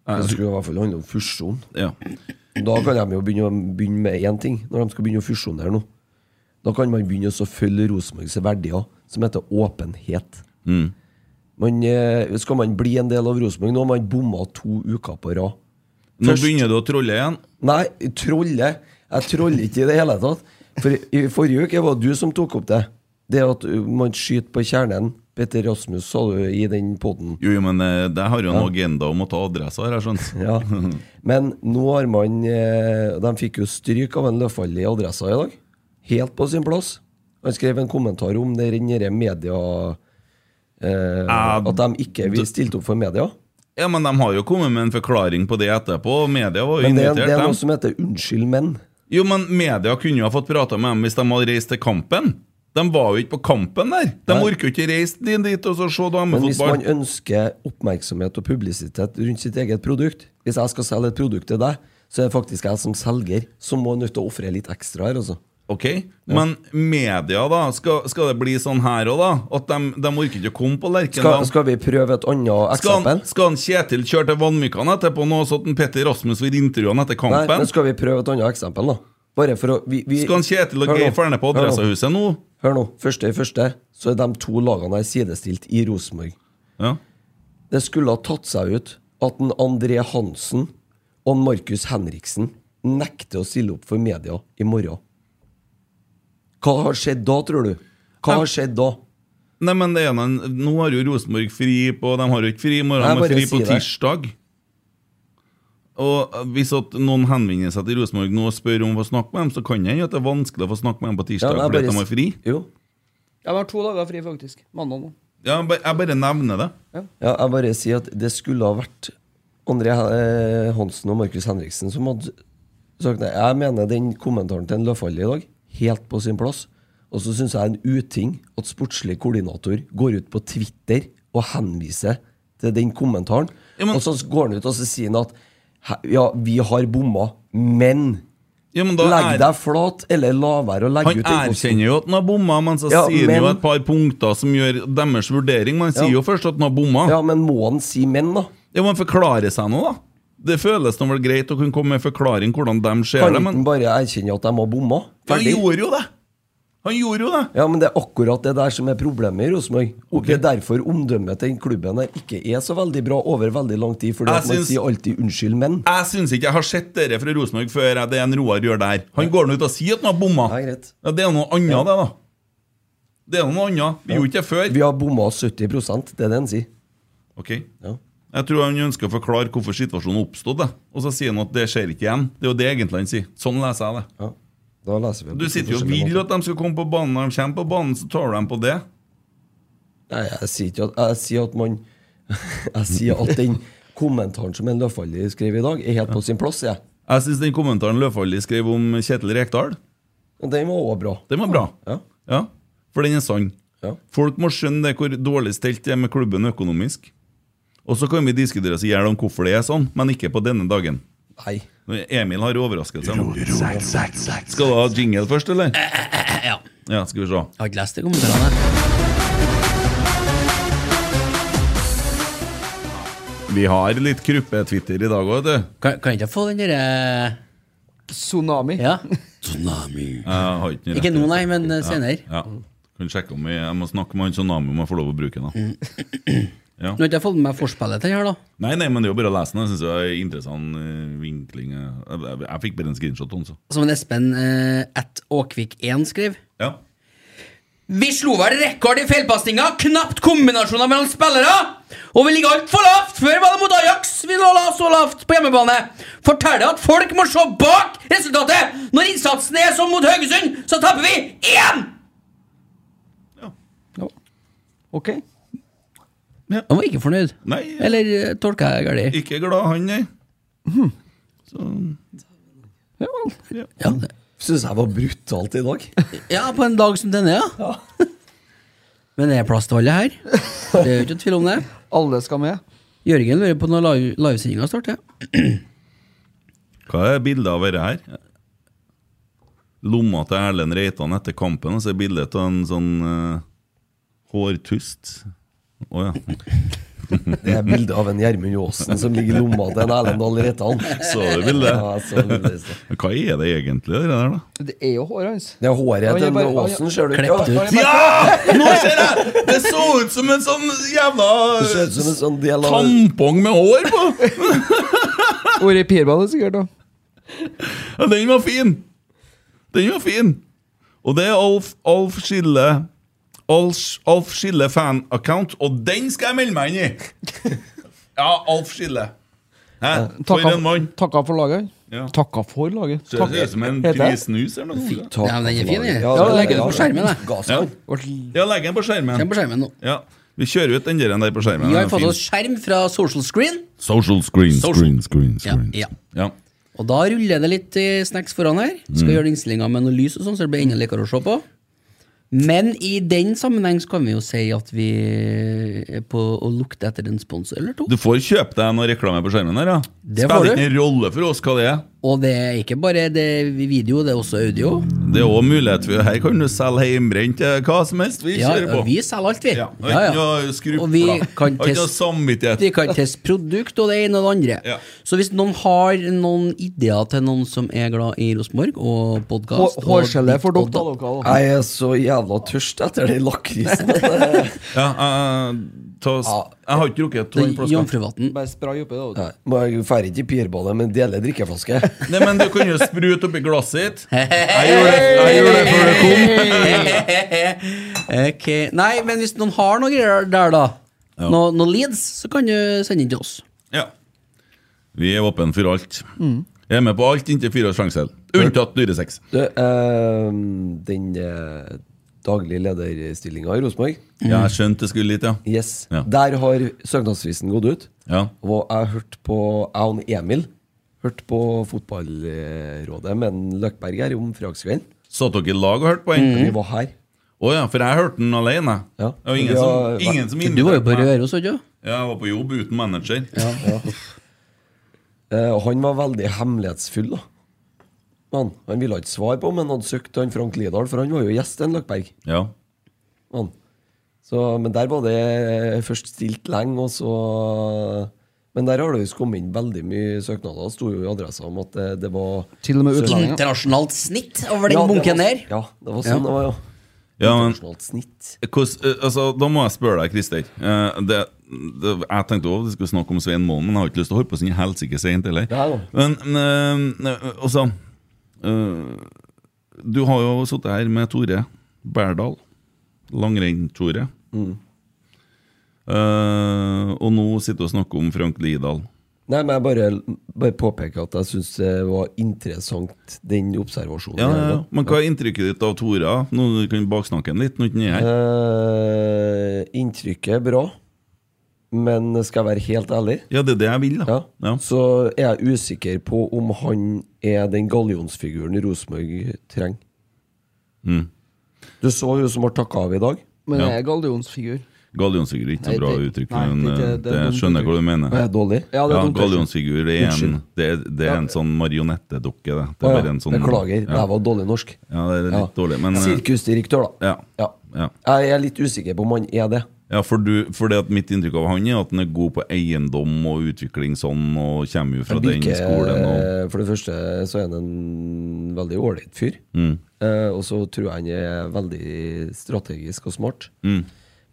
Speaker 5: Det skulle i hvert fall handle om fusjon.
Speaker 3: Ja.
Speaker 5: Da kan de jo begynne, å- begynne med én ting, når de skal begynne å fusjonere nå. Da kan man begynne å så følge Rosenborgs verdier, som heter åpenhet.
Speaker 3: Mm.
Speaker 5: Man, eh, skal man bli en del av Rosenborg Nå har man bomma to uker på rad.
Speaker 3: Nå
Speaker 5: Først-
Speaker 3: begynner du å trolle igjen.
Speaker 5: Nei, trolle. Jeg troller ikke i det hele tatt. For i- i forrige uke var det du som tok opp det. Det at man skyter på kjernen Petter Rasmus, sa du i den poden.
Speaker 3: Jo, jo, men eh, det har jo en agenda om å ta adressa her, jeg skjønner.
Speaker 5: Ja. Men nå har man eh, De fikk jo stryk av en Løfald i Adressa i dag. Helt på sin plass. Han skrev en kommentar om det denne media eh,
Speaker 3: Ja,
Speaker 5: At de ikke vil stilte opp for media.
Speaker 3: Ja, men de har jo kommet med en forklaring på det etterpå. Media var jo
Speaker 5: Men det, er-
Speaker 3: invitert,
Speaker 5: det er noe
Speaker 3: dem.
Speaker 5: som heter 'unnskyld, men'.
Speaker 3: Jo, men media kunne jo ha fått prata med dem hvis de hadde reist til kampen. De var jo ikke på kampen der. De
Speaker 5: Nei.
Speaker 3: orker jo ikke reise din dit og så se
Speaker 5: Men hvis man
Speaker 3: damefotball.
Speaker 5: ønsker oppmerksomhet og publisitet rundt sitt eget produkt Hvis jeg skal selge et produkt til deg, så er det faktisk jeg som selger som må nødt til å ofre litt ekstra her, altså.
Speaker 3: Ok, Men media, da? Skal, skal det bli sånn her òg, da? At de, de orker ikke å komme på
Speaker 5: Skal,
Speaker 3: Lerkendal?
Speaker 5: skal vi prøve et annet
Speaker 3: Skal han,
Speaker 5: eksempel?
Speaker 3: skal han Kjetil kjøre til Vanvikan etterpå nå, så at en Petter Rasmus får intervjue han etter
Speaker 5: Nei,
Speaker 3: kampen?
Speaker 5: men skal vi prøve et annet eksempel, da? Bare for å vi, vi,
Speaker 3: skal han Kjetil og
Speaker 5: Hør nå,
Speaker 3: Geir Ferne på
Speaker 5: hør nå,
Speaker 3: Adressehuset nå?
Speaker 5: Hør nå. Første i første, så er de to lagene her sidestilt i Rosenborg.
Speaker 3: Ja.
Speaker 5: Det skulle ha tatt seg ut at en André Hansen og en Markus Henriksen nekter å stille opp for media i morgen. Hva har skjedd da, tror du? Hva har skjedd da?
Speaker 3: Nei, men det ene, Nå har jo Rosenborg fri på De har jo ikke fri i morgen,
Speaker 5: Nei,
Speaker 3: de har
Speaker 5: bare
Speaker 3: fri på
Speaker 5: si det.
Speaker 3: tirsdag. Og eh, hvis at noen henvender seg til Rosenborg nå og spør om å få snakke med dem, så kan jeg jo at det er vanskelig å få snakke med dem på
Speaker 5: Ja,
Speaker 3: tirsdag
Speaker 5: nei,
Speaker 3: fordi
Speaker 5: bare
Speaker 3: at de
Speaker 5: s-
Speaker 3: har fri.
Speaker 5: Jo.
Speaker 7: Jeg har to dager fri, faktisk. Mandag nå.
Speaker 3: Ja, ba- jeg bare nevner det.
Speaker 5: Ja, jeg bare sier at det skulle ha vært André eh, Hansen og Markus Henriksen som hadde sagt det. Jeg mener den kommentaren til en Løfald i dag, helt på sin plass. Og så syns jeg det er en uting at sportslig koordinator går ut på Twitter og henviser til den kommentaren.
Speaker 3: Ja, men-
Speaker 5: og så går han ut og så sier han at "He- ja, vi har bomma, men
Speaker 3: Ja, men da
Speaker 5: legg
Speaker 3: er-
Speaker 5: deg flat, eller la være å legge
Speaker 3: Han
Speaker 5: ut den posten."
Speaker 3: erkjenner jo at han har bomma, men så
Speaker 5: Ja,
Speaker 3: sier han jo
Speaker 5: men-
Speaker 3: et par punkter som gjør deres vurdering. Men han sier jo
Speaker 5: Ja.
Speaker 3: først at han har bomma. Ja.
Speaker 5: Ja, men må han si 'men', da?
Speaker 3: men forklare seg nå, da. Det føles nå vel greit å kunne komme med forklaring hvordan de ser
Speaker 5: Kan
Speaker 3: det,
Speaker 5: ikke
Speaker 3: men
Speaker 5: han bare erkjenne at de har bomma?
Speaker 3: han gjorde jo det! Han gjorde jo det!
Speaker 5: Ja, men det er akkurat det der som er problemet i Rosenborg. Og Det er derfor omdømmet til den klubben her ikke er så veldig bra over veldig lang tid. Fordi
Speaker 3: Jeg
Speaker 5: at man
Speaker 3: syns-
Speaker 5: sier alltid 'unnskyld, men'.
Speaker 3: Jeg syns ikke jeg har sett dere fra Rosenborg før jeg- det er en Roar gjør der. Han går nå ut og sier at han har bomma.
Speaker 5: Ja, greit.
Speaker 3: Ja, det er noe annet, det, da. Det er noe annet. Vi gjorde ikke det før.
Speaker 5: Vi har bomma 70 det er det han sier.
Speaker 3: Ok.
Speaker 5: Ja.
Speaker 3: Jeg tror han ønsker å forklare hvorfor situasjonen oppstod, det. og så sier han at det skjer ikke igjen. Det er jo det egentlig han sier. Sånn leser jeg det.
Speaker 5: ja. Da leser vi det
Speaker 3: Du
Speaker 5: på
Speaker 3: sitter jo og
Speaker 5: forskjellige
Speaker 3: vil
Speaker 5: måter.
Speaker 3: at de skal komme på banen. Når de kommer på banen, så tar du dem på det.
Speaker 5: Nei, jeg sier ikke at Jeg sier at man Jeg sier at den kommentaren som en Løfaldli skrev i dag, er helt på sin plass, sier jeg.
Speaker 3: Jeg syns den kommentaren Løfaldli skrev om Kjetil Rekdal,
Speaker 5: Og den var òg bra.
Speaker 3: den var bra.
Speaker 5: Ja.
Speaker 3: Ja, For den er sann.
Speaker 5: Ja.
Speaker 3: Folk må skjønne det hvor dårlig stelt det er med klubben økonomisk. Og så kan vi diskutere oss i hjel om hvorfor det er sånn, men ikke på denne dagen.
Speaker 5: Nei.
Speaker 3: Emil har overraskelse nå. Skal du ha jingle først, eller?
Speaker 4: Ja.
Speaker 3: Ja, skal vi se.
Speaker 4: Jeg har ikke lest de kommentarene.
Speaker 3: Vi har litt kruppe-Twitter i dag òg, vet du.
Speaker 4: Kan, kan jeg ikke få den derre
Speaker 7: Tsunami.
Speaker 4: Ja. Tsunami.
Speaker 3: Jeg har ikke noe
Speaker 4: Ikke
Speaker 3: rett-
Speaker 4: nå, nei, men eh, senere.
Speaker 3: Ja. Kan sjekke om vi, Jeg må snakke med han Tsunami om jeg får lov å bruke den. da.
Speaker 4: Nå har ikke jeg fått med meg forspillet til den her, da.
Speaker 3: Nei, nei, men det er jo bare å lese den. Jeg synes det er interessant eh, vinkling. eh. Jeg, jeg, jeg fikk bare en screenshot. Også.
Speaker 4: Som en Espen eh, at Åkvik1 skrev.
Speaker 3: Ja.
Speaker 4: Vi slo vel rekord i feilpasninger, knapt kombinasjoner mellom spillere! Og vi ligger altfor lavt! Før var det mot Ajax vi lå la så lavt på hjemmebane. Forteller at folk må se bak resultatet! Når innsatsen er som mot Haugesund, så taper vi igjen!
Speaker 6: Ok.
Speaker 4: Han var ikke fornøyd.
Speaker 3: Nei,
Speaker 4: Eller eh, tolka jeg galt?
Speaker 3: ikke glad han, nei.
Speaker 5: Hmm.
Speaker 3: Så,
Speaker 4: Ja.
Speaker 5: Syns jeg var brutalt i dag.
Speaker 4: ja, på en dag som denne, ja. Men det er plass til alle her. Det er jo ikke noe tvil om det.
Speaker 6: Alle skal med.
Speaker 4: Jørgen lurer på når live- livesendinga starter.
Speaker 3: hva er bildet av dette her? Lomma til Erlend Reitan etter kampen, og så er bildet av en sånn eh, hårtust. Å ja.
Speaker 5: Det er bildet av en Gjermund Aasen som ligger i lomma til en Erlend Dahl Reitan.
Speaker 3: Så du bildet?
Speaker 5: Ja, jeg så bildet i sted.
Speaker 3: Hva er det egentlig, det der, da?
Speaker 6: Det er jo håret hans.
Speaker 5: Det er håret
Speaker 6: Ja,
Speaker 5: til
Speaker 6: men jeg
Speaker 5: en
Speaker 6: bare-
Speaker 5: Aasen, ser du.
Speaker 4: Klept ut.
Speaker 5: Ja,
Speaker 3: Ja! Nå ser jeg! Det så ut som en sånn jævla
Speaker 5: Det ser ut som en sånn del av
Speaker 3: tampong med hår på!
Speaker 6: Ordet i pirbadet, sikkert. da.
Speaker 3: Ja, den var fin! Den var fin! Og det er Alf, Alf Skille Alf, Alf Skille fan-account, og den skal jeg melde meg inn i! Ja, Alf Skille. Hæ? For en mann.
Speaker 7: Takka for laget.
Speaker 3: Ja.
Speaker 7: Takka for laget.
Speaker 3: Ser ut som en
Speaker 7: Heter jeg?
Speaker 3: prisnus eller noe.
Speaker 5: Takk
Speaker 4: Ja, men den er
Speaker 5: for
Speaker 4: fin,
Speaker 5: laget.
Speaker 4: jeg.
Speaker 5: Ja,
Speaker 4: Ja,
Speaker 5: ja,
Speaker 4: legger
Speaker 5: ja,
Speaker 4: den på
Speaker 5: ja.
Speaker 4: skjermen, jeg.
Speaker 3: Ja.
Speaker 5: Gassmann.
Speaker 3: ja, legg den på skjermen.
Speaker 4: Den på skjermen nå.
Speaker 3: Ja. Vi kjører ut den der der på skjermen.
Speaker 4: Vi har
Speaker 3: Den er
Speaker 4: fått
Speaker 3: fin.
Speaker 4: oss skjerm fra Social Screen.
Speaker 3: Social screen,
Speaker 4: Social.
Speaker 3: screen, screen,
Speaker 4: Ja,
Speaker 3: screen.
Speaker 4: ja.
Speaker 3: Ja.
Speaker 4: Og da ruller det litt eh, snacks foran her. Skal gjøre innstillinga med noe lys og sånn, så det blir enda likere å se på. Men i den sammenheng så kan vi jo si at vi er på å lukte etter en sponsor eller to.
Speaker 3: Du får kjøpe deg noe reklame på skjermen her, ja.
Speaker 4: Det får
Speaker 3: Spiller
Speaker 4: du.
Speaker 3: ikke en rolle for oss hva det er.
Speaker 4: Og det er ikke bare det video, det er også audio.
Speaker 3: Det er òg mulighet for Her kan du selge hjemmebrent eh, hva som helst. Vi
Speaker 4: Ja,
Speaker 3: kjører på.
Speaker 4: vi selger alt, vi.
Speaker 3: Ja, og
Speaker 4: Ja,
Speaker 3: Ikke
Speaker 4: ja.
Speaker 3: noe skrupler.
Speaker 4: Og vi kan
Speaker 3: Og ikke noe
Speaker 4: teste-
Speaker 3: samvittighet.
Speaker 4: Vi kan teste produkt og det ene og det andre.
Speaker 3: Ja.
Speaker 4: Så hvis noen har noen ideer til noen som er glad i Rosenborg og podkast
Speaker 6: Hår- hårgelé for doktor, dere, da.
Speaker 5: Jeg er så jævla tørst etter den lakrisen.
Speaker 3: Ja, eh, ta, s- jeg har ikke rukket to flasker.
Speaker 4: Jomfruvatn.
Speaker 6: Bare spray oppi, da.
Speaker 5: Nei, må eh, Jeg drar ikke i pirbadet, men deler drikkeflaske.
Speaker 3: Nei, men du kan jo sprute oppi glasset ditt. Jeg gjorde det, jeg gjorde det før det kom.
Speaker 4: ok, Nei, men hvis noen har noe greier der, da, noe, noe leads, så kan du sende inn til oss.
Speaker 3: Ja. Vi er åpne for alt.
Speaker 4: Mm.
Speaker 3: Jeg er med på alt inntil fire års fengsel. Unntatt dyresex.
Speaker 5: Du, eh, den eh, daglige lederstillinga i Rosenborg,
Speaker 4: Mm.
Speaker 3: Ja, jeg skjønte det skulle litt, ja.
Speaker 5: yes.
Speaker 3: Ja.
Speaker 5: der har søknadsfristen gått ut.
Speaker 3: ja.
Speaker 5: Og jeg hørte på Jeg og Emil hørte på Fotballrådet med en Løkberg her om fredagskvelden.
Speaker 3: Satt dere i lag og hørte på den?
Speaker 4: Mm.
Speaker 6: Mhm.
Speaker 5: Vi var her.
Speaker 3: Å ja, for jeg hørte den alene.
Speaker 5: Ja.
Speaker 3: Det var ingen
Speaker 5: Ja,
Speaker 3: som,
Speaker 5: hva-
Speaker 3: ingen som
Speaker 4: Du var jo på
Speaker 3: inviterte meg.
Speaker 4: Røros, ikke sant?
Speaker 3: Ja, jeg var på jobb uten manager.
Speaker 5: Eh, og han var veldig hemmelighetsfull, da. Han, han ville ikke svare på om han hadde søkt han Frank Lidahl, for han var jo gjest i en Løkberg.
Speaker 3: Ja.
Speaker 5: Han. Så, men der var det eh, først stilt lenge, og så Men der har det visst kommet inn veldig mye søknader. Det sto jo i adressa om at det, det var
Speaker 6: Til og med utlendinger.
Speaker 4: Internasjonalt snitt over den
Speaker 5: Ja, det
Speaker 4: bunken
Speaker 5: var-
Speaker 4: der.
Speaker 5: Ja, det var sånn det var, ja.
Speaker 3: Ja, men-
Speaker 5: Internasjonalt snitt.
Speaker 3: Hvordan, eh, altså, da må jeg spørre deg, Christer. Eh, det, det, jeg tenkte også vi skulle snakke om Svein Månen, men jeg har ikke lyst til å holde på sånn helsike seint heller.
Speaker 5: Nei da.
Speaker 3: Men eh, eh, altså eh, Du har jo sittet her med Tore Berdal. Langrenn-Tore.
Speaker 7: Mm.
Speaker 3: Eh, og nå sitter du og snakker om Frank Lidahl.
Speaker 5: Nei, men jeg bare, bare påpeker at jeg syns det var interessant, den observasjonen.
Speaker 3: Ja, ja,
Speaker 5: her
Speaker 3: ja.
Speaker 5: da.
Speaker 3: Men hva er inntrykket ditt av Tora? Nå kan du baksnakke han litt. Når han er her.
Speaker 5: Eh, inntrykket er bra, men skal jeg være helt ærlig,
Speaker 3: Ja, det er det jeg vil, da.
Speaker 5: ja,
Speaker 3: Ja.
Speaker 5: så er jeg usikker på om han er den gallionsfiguren Rosenborg trenger.
Speaker 3: Mm.
Speaker 5: Du så hun som har takka av i dag.
Speaker 7: Men
Speaker 3: Ja.
Speaker 7: jeg er gallionsfigur.
Speaker 3: Gallionsfigur er ikke
Speaker 7: Nei,
Speaker 3: så bra
Speaker 7: det-
Speaker 3: uttrykk,
Speaker 7: nei,
Speaker 3: men
Speaker 7: det er
Speaker 3: eh,
Speaker 7: ikke- det er
Speaker 3: det
Speaker 7: dumt
Speaker 3: skjønner jeg hva du mener.
Speaker 5: Og jeg er
Speaker 7: Ja,
Speaker 5: dårlig.
Speaker 7: det
Speaker 3: Ja,
Speaker 7: er dumt. Gallions...
Speaker 3: Gallionsfigur er en,
Speaker 5: Unnskyld.
Speaker 3: det, er- det er en sånn marionettedukke. Det. det
Speaker 5: Å,
Speaker 3: er
Speaker 5: ja.
Speaker 3: bare en sånn
Speaker 5: Beklager,
Speaker 3: Ja,
Speaker 5: jeg var dårlig norsk.
Speaker 3: ja det er litt
Speaker 5: Ja.
Speaker 3: dårlig, men eh,
Speaker 5: Sirkusdirektør, da.
Speaker 3: ja.
Speaker 5: Ja.
Speaker 3: Ja.
Speaker 5: Jeg er litt usikker på om han er det.
Speaker 3: Ja, for, du, for det at mitt inntrykk av han er at han er god på eiendom og utvikling sånn, og kommer jo fra den
Speaker 5: Birke,
Speaker 3: skolen og
Speaker 5: eh, For det første så er han en veldig ålreit fyr.
Speaker 3: Mm.
Speaker 5: Eh, og så tror jeg han er veldig strategisk og smart.
Speaker 3: Mm.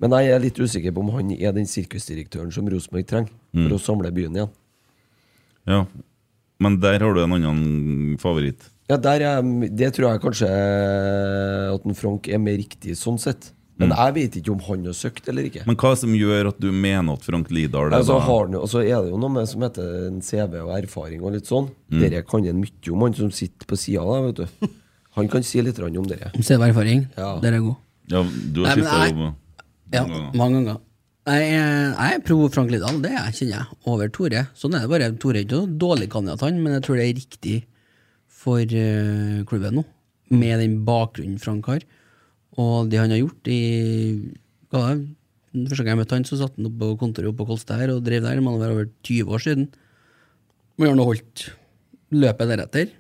Speaker 5: Men jeg er litt usikker på om han er den sirkusdirektøren som Rosenborg trenger
Speaker 3: Mm.
Speaker 5: for å samle byen igjen.
Speaker 3: Ja. Men der har du en annen favoritt.
Speaker 5: Ja, der er, Det tror jeg kanskje at en Frank er mer riktig sånn sett. Men jeg vet ikke om han har søkt eller ikke.
Speaker 3: Mm. Men hva som gjør at du mener at Frank Lidahl er
Speaker 5: Altså,
Speaker 3: da-
Speaker 5: har han, jo- altså er det jo noe med som heter en CV og erfaring og litt sånn.
Speaker 3: Mm.
Speaker 5: Dere kan en mye om, han som sitter på sida der, vet du. Han kan si litt grann om dere.
Speaker 4: Om CV erfaring.
Speaker 5: Ja.
Speaker 4: Der er god.
Speaker 3: Ja, du har
Speaker 4: Nei, men
Speaker 3: skifta
Speaker 4: jeg-
Speaker 3: jobb. og-
Speaker 4: Ja,
Speaker 3: Mange ganger.
Speaker 4: mange ganger. Jeg er, jeg er pro Frank Lidahl, det er jeg, kjenner jeg. Over Tore. Sånn er det bare. Tore er ikke noen dårlig kandidat, han, men jeg tror det er riktig for eh, klubben nå. Med den bakgrunnen Frank har, og det han har gjort i hva var det? Den første gang jeg møtte han, så satt han oppe på kontoret oppe på Kolstad her og drev der. Det må være over 20 år siden. Men han har nå holdt løpet deretter,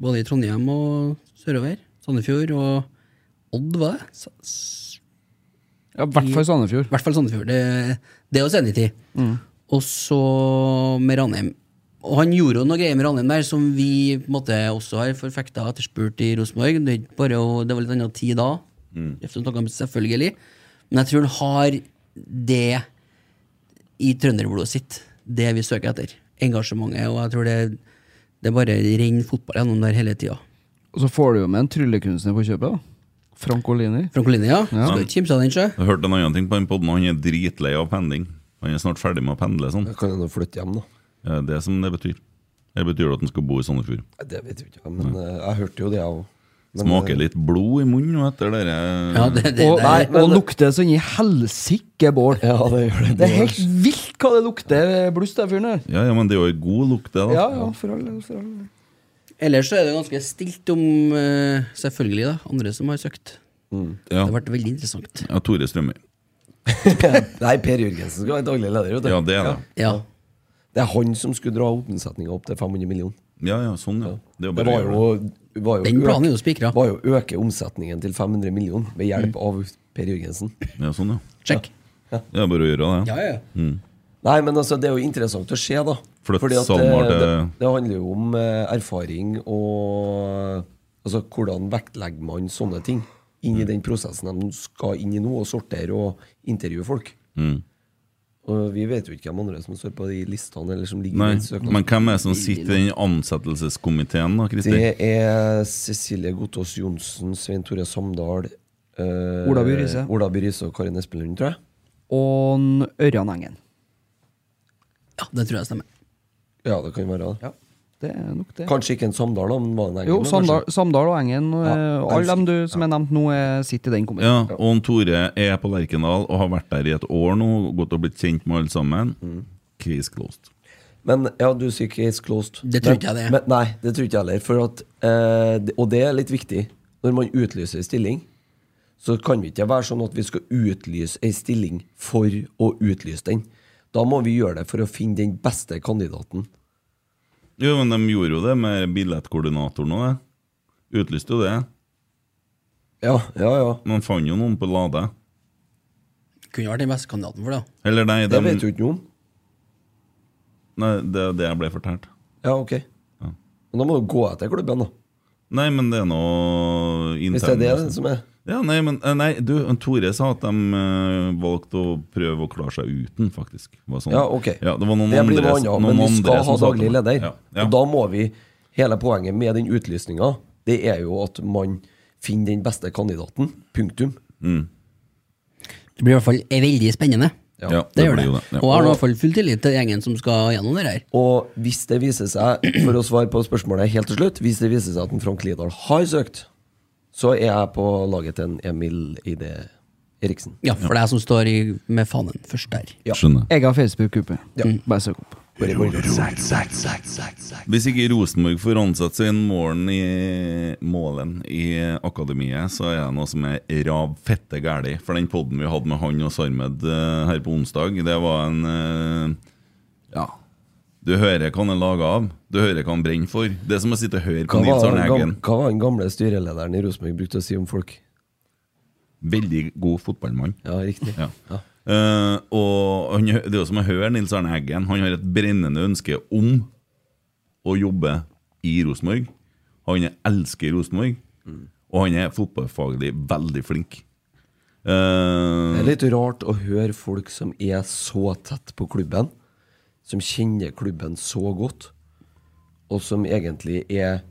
Speaker 4: både i Trondheim og sørover. Sandefjord og Odd, var det? Sa- s-
Speaker 7: Ja, I hvert fall Sandefjord.
Speaker 4: i hvert fall Sandefjord. Det, det er oss enig i. Og så med Ranheim. Og han gjorde jo noe greier med Ranheim der som vi på en måte også har forfekta og etterspurt i Rosenborg. Det, er ikke bare å- det var litt annen tid da, Efter noen kamper, selvfølgelig. Men jeg tror han har det i trønderblodet sitt. Det vi søker etter. Engasjementet. Og jeg tror det, det bare renner fotball gjennom der hele tida.
Speaker 6: Og så får du jo med en tryllekunstner på kjøpet, da.
Speaker 7: Frankolini.
Speaker 4: Frankolini, ja. Skal du ikke kimse av den, sjø?
Speaker 3: Jeg hørte en annen ting på den podden, og han er dritlei av pendling. Han er snart ferdig med å pendle sånn.
Speaker 5: Da kan jeg nå flytte hjem, da.
Speaker 3: Det er Eh, det som det betyr. Det betyr at han skal bo i Sandefjord.
Speaker 5: Nei, Det vet jeg ikke, men eh, jeg hørte jo det, jeg eh, òg.
Speaker 3: Smaker litt blod i munnen nå etter det der. eh.
Speaker 4: Ja, det, det,
Speaker 7: Og,
Speaker 4: det er-
Speaker 7: og lukter sånn i helsike bål.
Speaker 5: Ja, det gjør det.
Speaker 7: Det er helt vilt hva det lukter bluss, den fyren der.
Speaker 3: Ja, ja, men det er jo en god lukt, det, da.
Speaker 7: Ja, ja, for all for all del.
Speaker 4: Ellers så er det ganske stilt om eh, selvfølgelig da, andre som har søkt.
Speaker 3: Ja.
Speaker 4: Det har vært veldig interessant.
Speaker 3: Ja, Tore Strømøy.
Speaker 5: Nei, Per Jørgensen skal være daglig leder, vet du.
Speaker 3: Ja, det er det.
Speaker 4: Ja.
Speaker 5: Det er han som skulle dra omsetninga opp til 500 millioner.
Speaker 3: Ja, ja, sånn, ja. Det, er jo
Speaker 5: Det
Speaker 3: bare å
Speaker 5: var
Speaker 3: gjøre
Speaker 5: jo, var jo
Speaker 4: Den
Speaker 5: øke-
Speaker 4: planen er jo spikra.
Speaker 5: var jo å øke omsetningen til 500 millioner ved hjelp av Per Jørgensen.
Speaker 3: det. Ja, sånn, ja.
Speaker 4: Check.
Speaker 3: Det er bare å gjøre det.
Speaker 4: Ja, ja.
Speaker 5: Nei, men altså, det er jo interessant å se, da.
Speaker 3: Flytt
Speaker 5: at
Speaker 3: SalMar
Speaker 5: det,
Speaker 3: til-
Speaker 5: det, det handler jo om eh, erfaring og Altså, hvordan vektlegger man sånne ting inn i den prosessen de skal inn i nå, og sortere og intervjue folk? Og vi vet jo ikke hvem andre som står på de listene, eller som ligger i
Speaker 3: Nei,
Speaker 5: den søknaden.
Speaker 3: men hvem er det som sitter i den ansettelseskomiteen, da, Kristin?
Speaker 5: Det er Cecilie Gotaas Johnsen, Svein Tore Samdal eh,
Speaker 7: Ola By Riise.
Speaker 5: Ola By Riise og Karin Espen Lund, tror jeg.
Speaker 7: Og en Ørjan Engen.
Speaker 4: ja, det tror jeg stemmer.
Speaker 5: Ja, det kan være det.
Speaker 7: Det er nok det.
Speaker 5: Kanskje ikke en Samdal, da, men var det en
Speaker 7: Jo,
Speaker 5: engel,
Speaker 7: Samdal,
Speaker 5: kanskje?
Speaker 7: Samdal og Engen, og
Speaker 5: Ja,
Speaker 7: alle dem
Speaker 5: den-
Speaker 7: du, som er nevnt nå, er- sitter i den kommunen.
Speaker 3: Ja, og han Tore er på Lerkendal og har vært der i et år nå, gått og blitt kjent med alle sammen.
Speaker 5: Mm.
Speaker 3: Case closed.
Speaker 5: Men ja, du sier case closed.
Speaker 4: Det tror ikke jeg det er.
Speaker 5: Men, nei, det tror ikke jeg heller. For at, eh, det- og det er litt viktig. Når man utlyser stilling, så kan vi ikke være sånn at vi skal utlyse ei stilling for å utlyse den. Da må vi gjøre det for å finne den beste kandidaten.
Speaker 3: Jo, men de gjorde jo det med billettkoordinatoren og det. Utlyste jo det.
Speaker 5: Ja, ja, ja.
Speaker 3: Man fant jo noen på Lade.
Speaker 4: Kunne vært den beste kandidaten for det. da.
Speaker 3: Eller nei,
Speaker 5: Det
Speaker 3: dem-
Speaker 5: vet jo ikke noen.
Speaker 3: nei det er det jeg ble fortalt.
Speaker 5: Ja, ok. Men da må du gå etter klubben, da.
Speaker 3: Nei, men det er noe internt.
Speaker 5: Hvis det er det som er
Speaker 3: Ja, nei, men eh, nei, du, han Tore sa at de eh, valgte å prøve å klare seg uten, faktisk. Var sånn.
Speaker 5: Ja, ok.
Speaker 3: Ja, det var noen
Speaker 5: Det blir
Speaker 3: andre,
Speaker 5: noe annet,
Speaker 3: noen
Speaker 5: men vi
Speaker 3: andre
Speaker 5: skal
Speaker 3: som
Speaker 5: ha
Speaker 3: sa til
Speaker 5: daglig
Speaker 3: meg.
Speaker 5: leder.
Speaker 3: Ja, ja.
Speaker 5: Og da må vi Hele poenget med den utlysninga, det er jo at man finner den beste kandidaten. Punktum.
Speaker 4: Det blir i hvert fall veldig spennende.
Speaker 3: ja,
Speaker 4: Det, gjør
Speaker 3: blir
Speaker 4: det.
Speaker 3: jo
Speaker 4: Og
Speaker 3: Ja.
Speaker 4: jeg har nå i hvert fall full tillit til gjengen som skal gjennom det her.
Speaker 5: Og hvis det viser seg, for å svare på spørsmålet helt til slutt Hvis det viser seg at en Frank Lidahl har søkt, så er jeg på laget til en Emil Ide Eriksen.
Speaker 4: Ja, for det er jeg som står i, med fanen først der.
Speaker 5: Ja.
Speaker 3: Skjønner.
Speaker 7: Jeg har Facebook-gruppe. Mm. Bare søk opp.
Speaker 5: Bare bare-
Speaker 3: Hvis ikke Rosenborg får ansette seg inn morgen i målen i akademiet, så er det noe som er rav fette gærlig. For den podden vi hadde med han og Sarmed eh, her på onsdag, det var en eh, Ja. Du hører hva han er laga av. Du hører hva han brenner for. Det er som å sitte og høre på
Speaker 5: Hva
Speaker 3: Nils
Speaker 5: var,
Speaker 3: Arne
Speaker 5: den
Speaker 3: Eggen.
Speaker 5: gam- hva var den gamle styrelederen i Rosenborg brukte å si om folk?
Speaker 3: Veldig god fotballmann.
Speaker 5: Ja, riktig.
Speaker 3: Ja. Eh, og han, hø- det er jo som å høre Nils Arne Eggen. Han har et brennende ønske om å jobbe i Rosenborg. Han elsker Rosenborg, og han er fotballfaglig veldig flink.
Speaker 5: Det
Speaker 3: Eh,
Speaker 5: er litt rart å høre folk som er så tett på klubben, som kjenner klubben så godt, og som egentlig er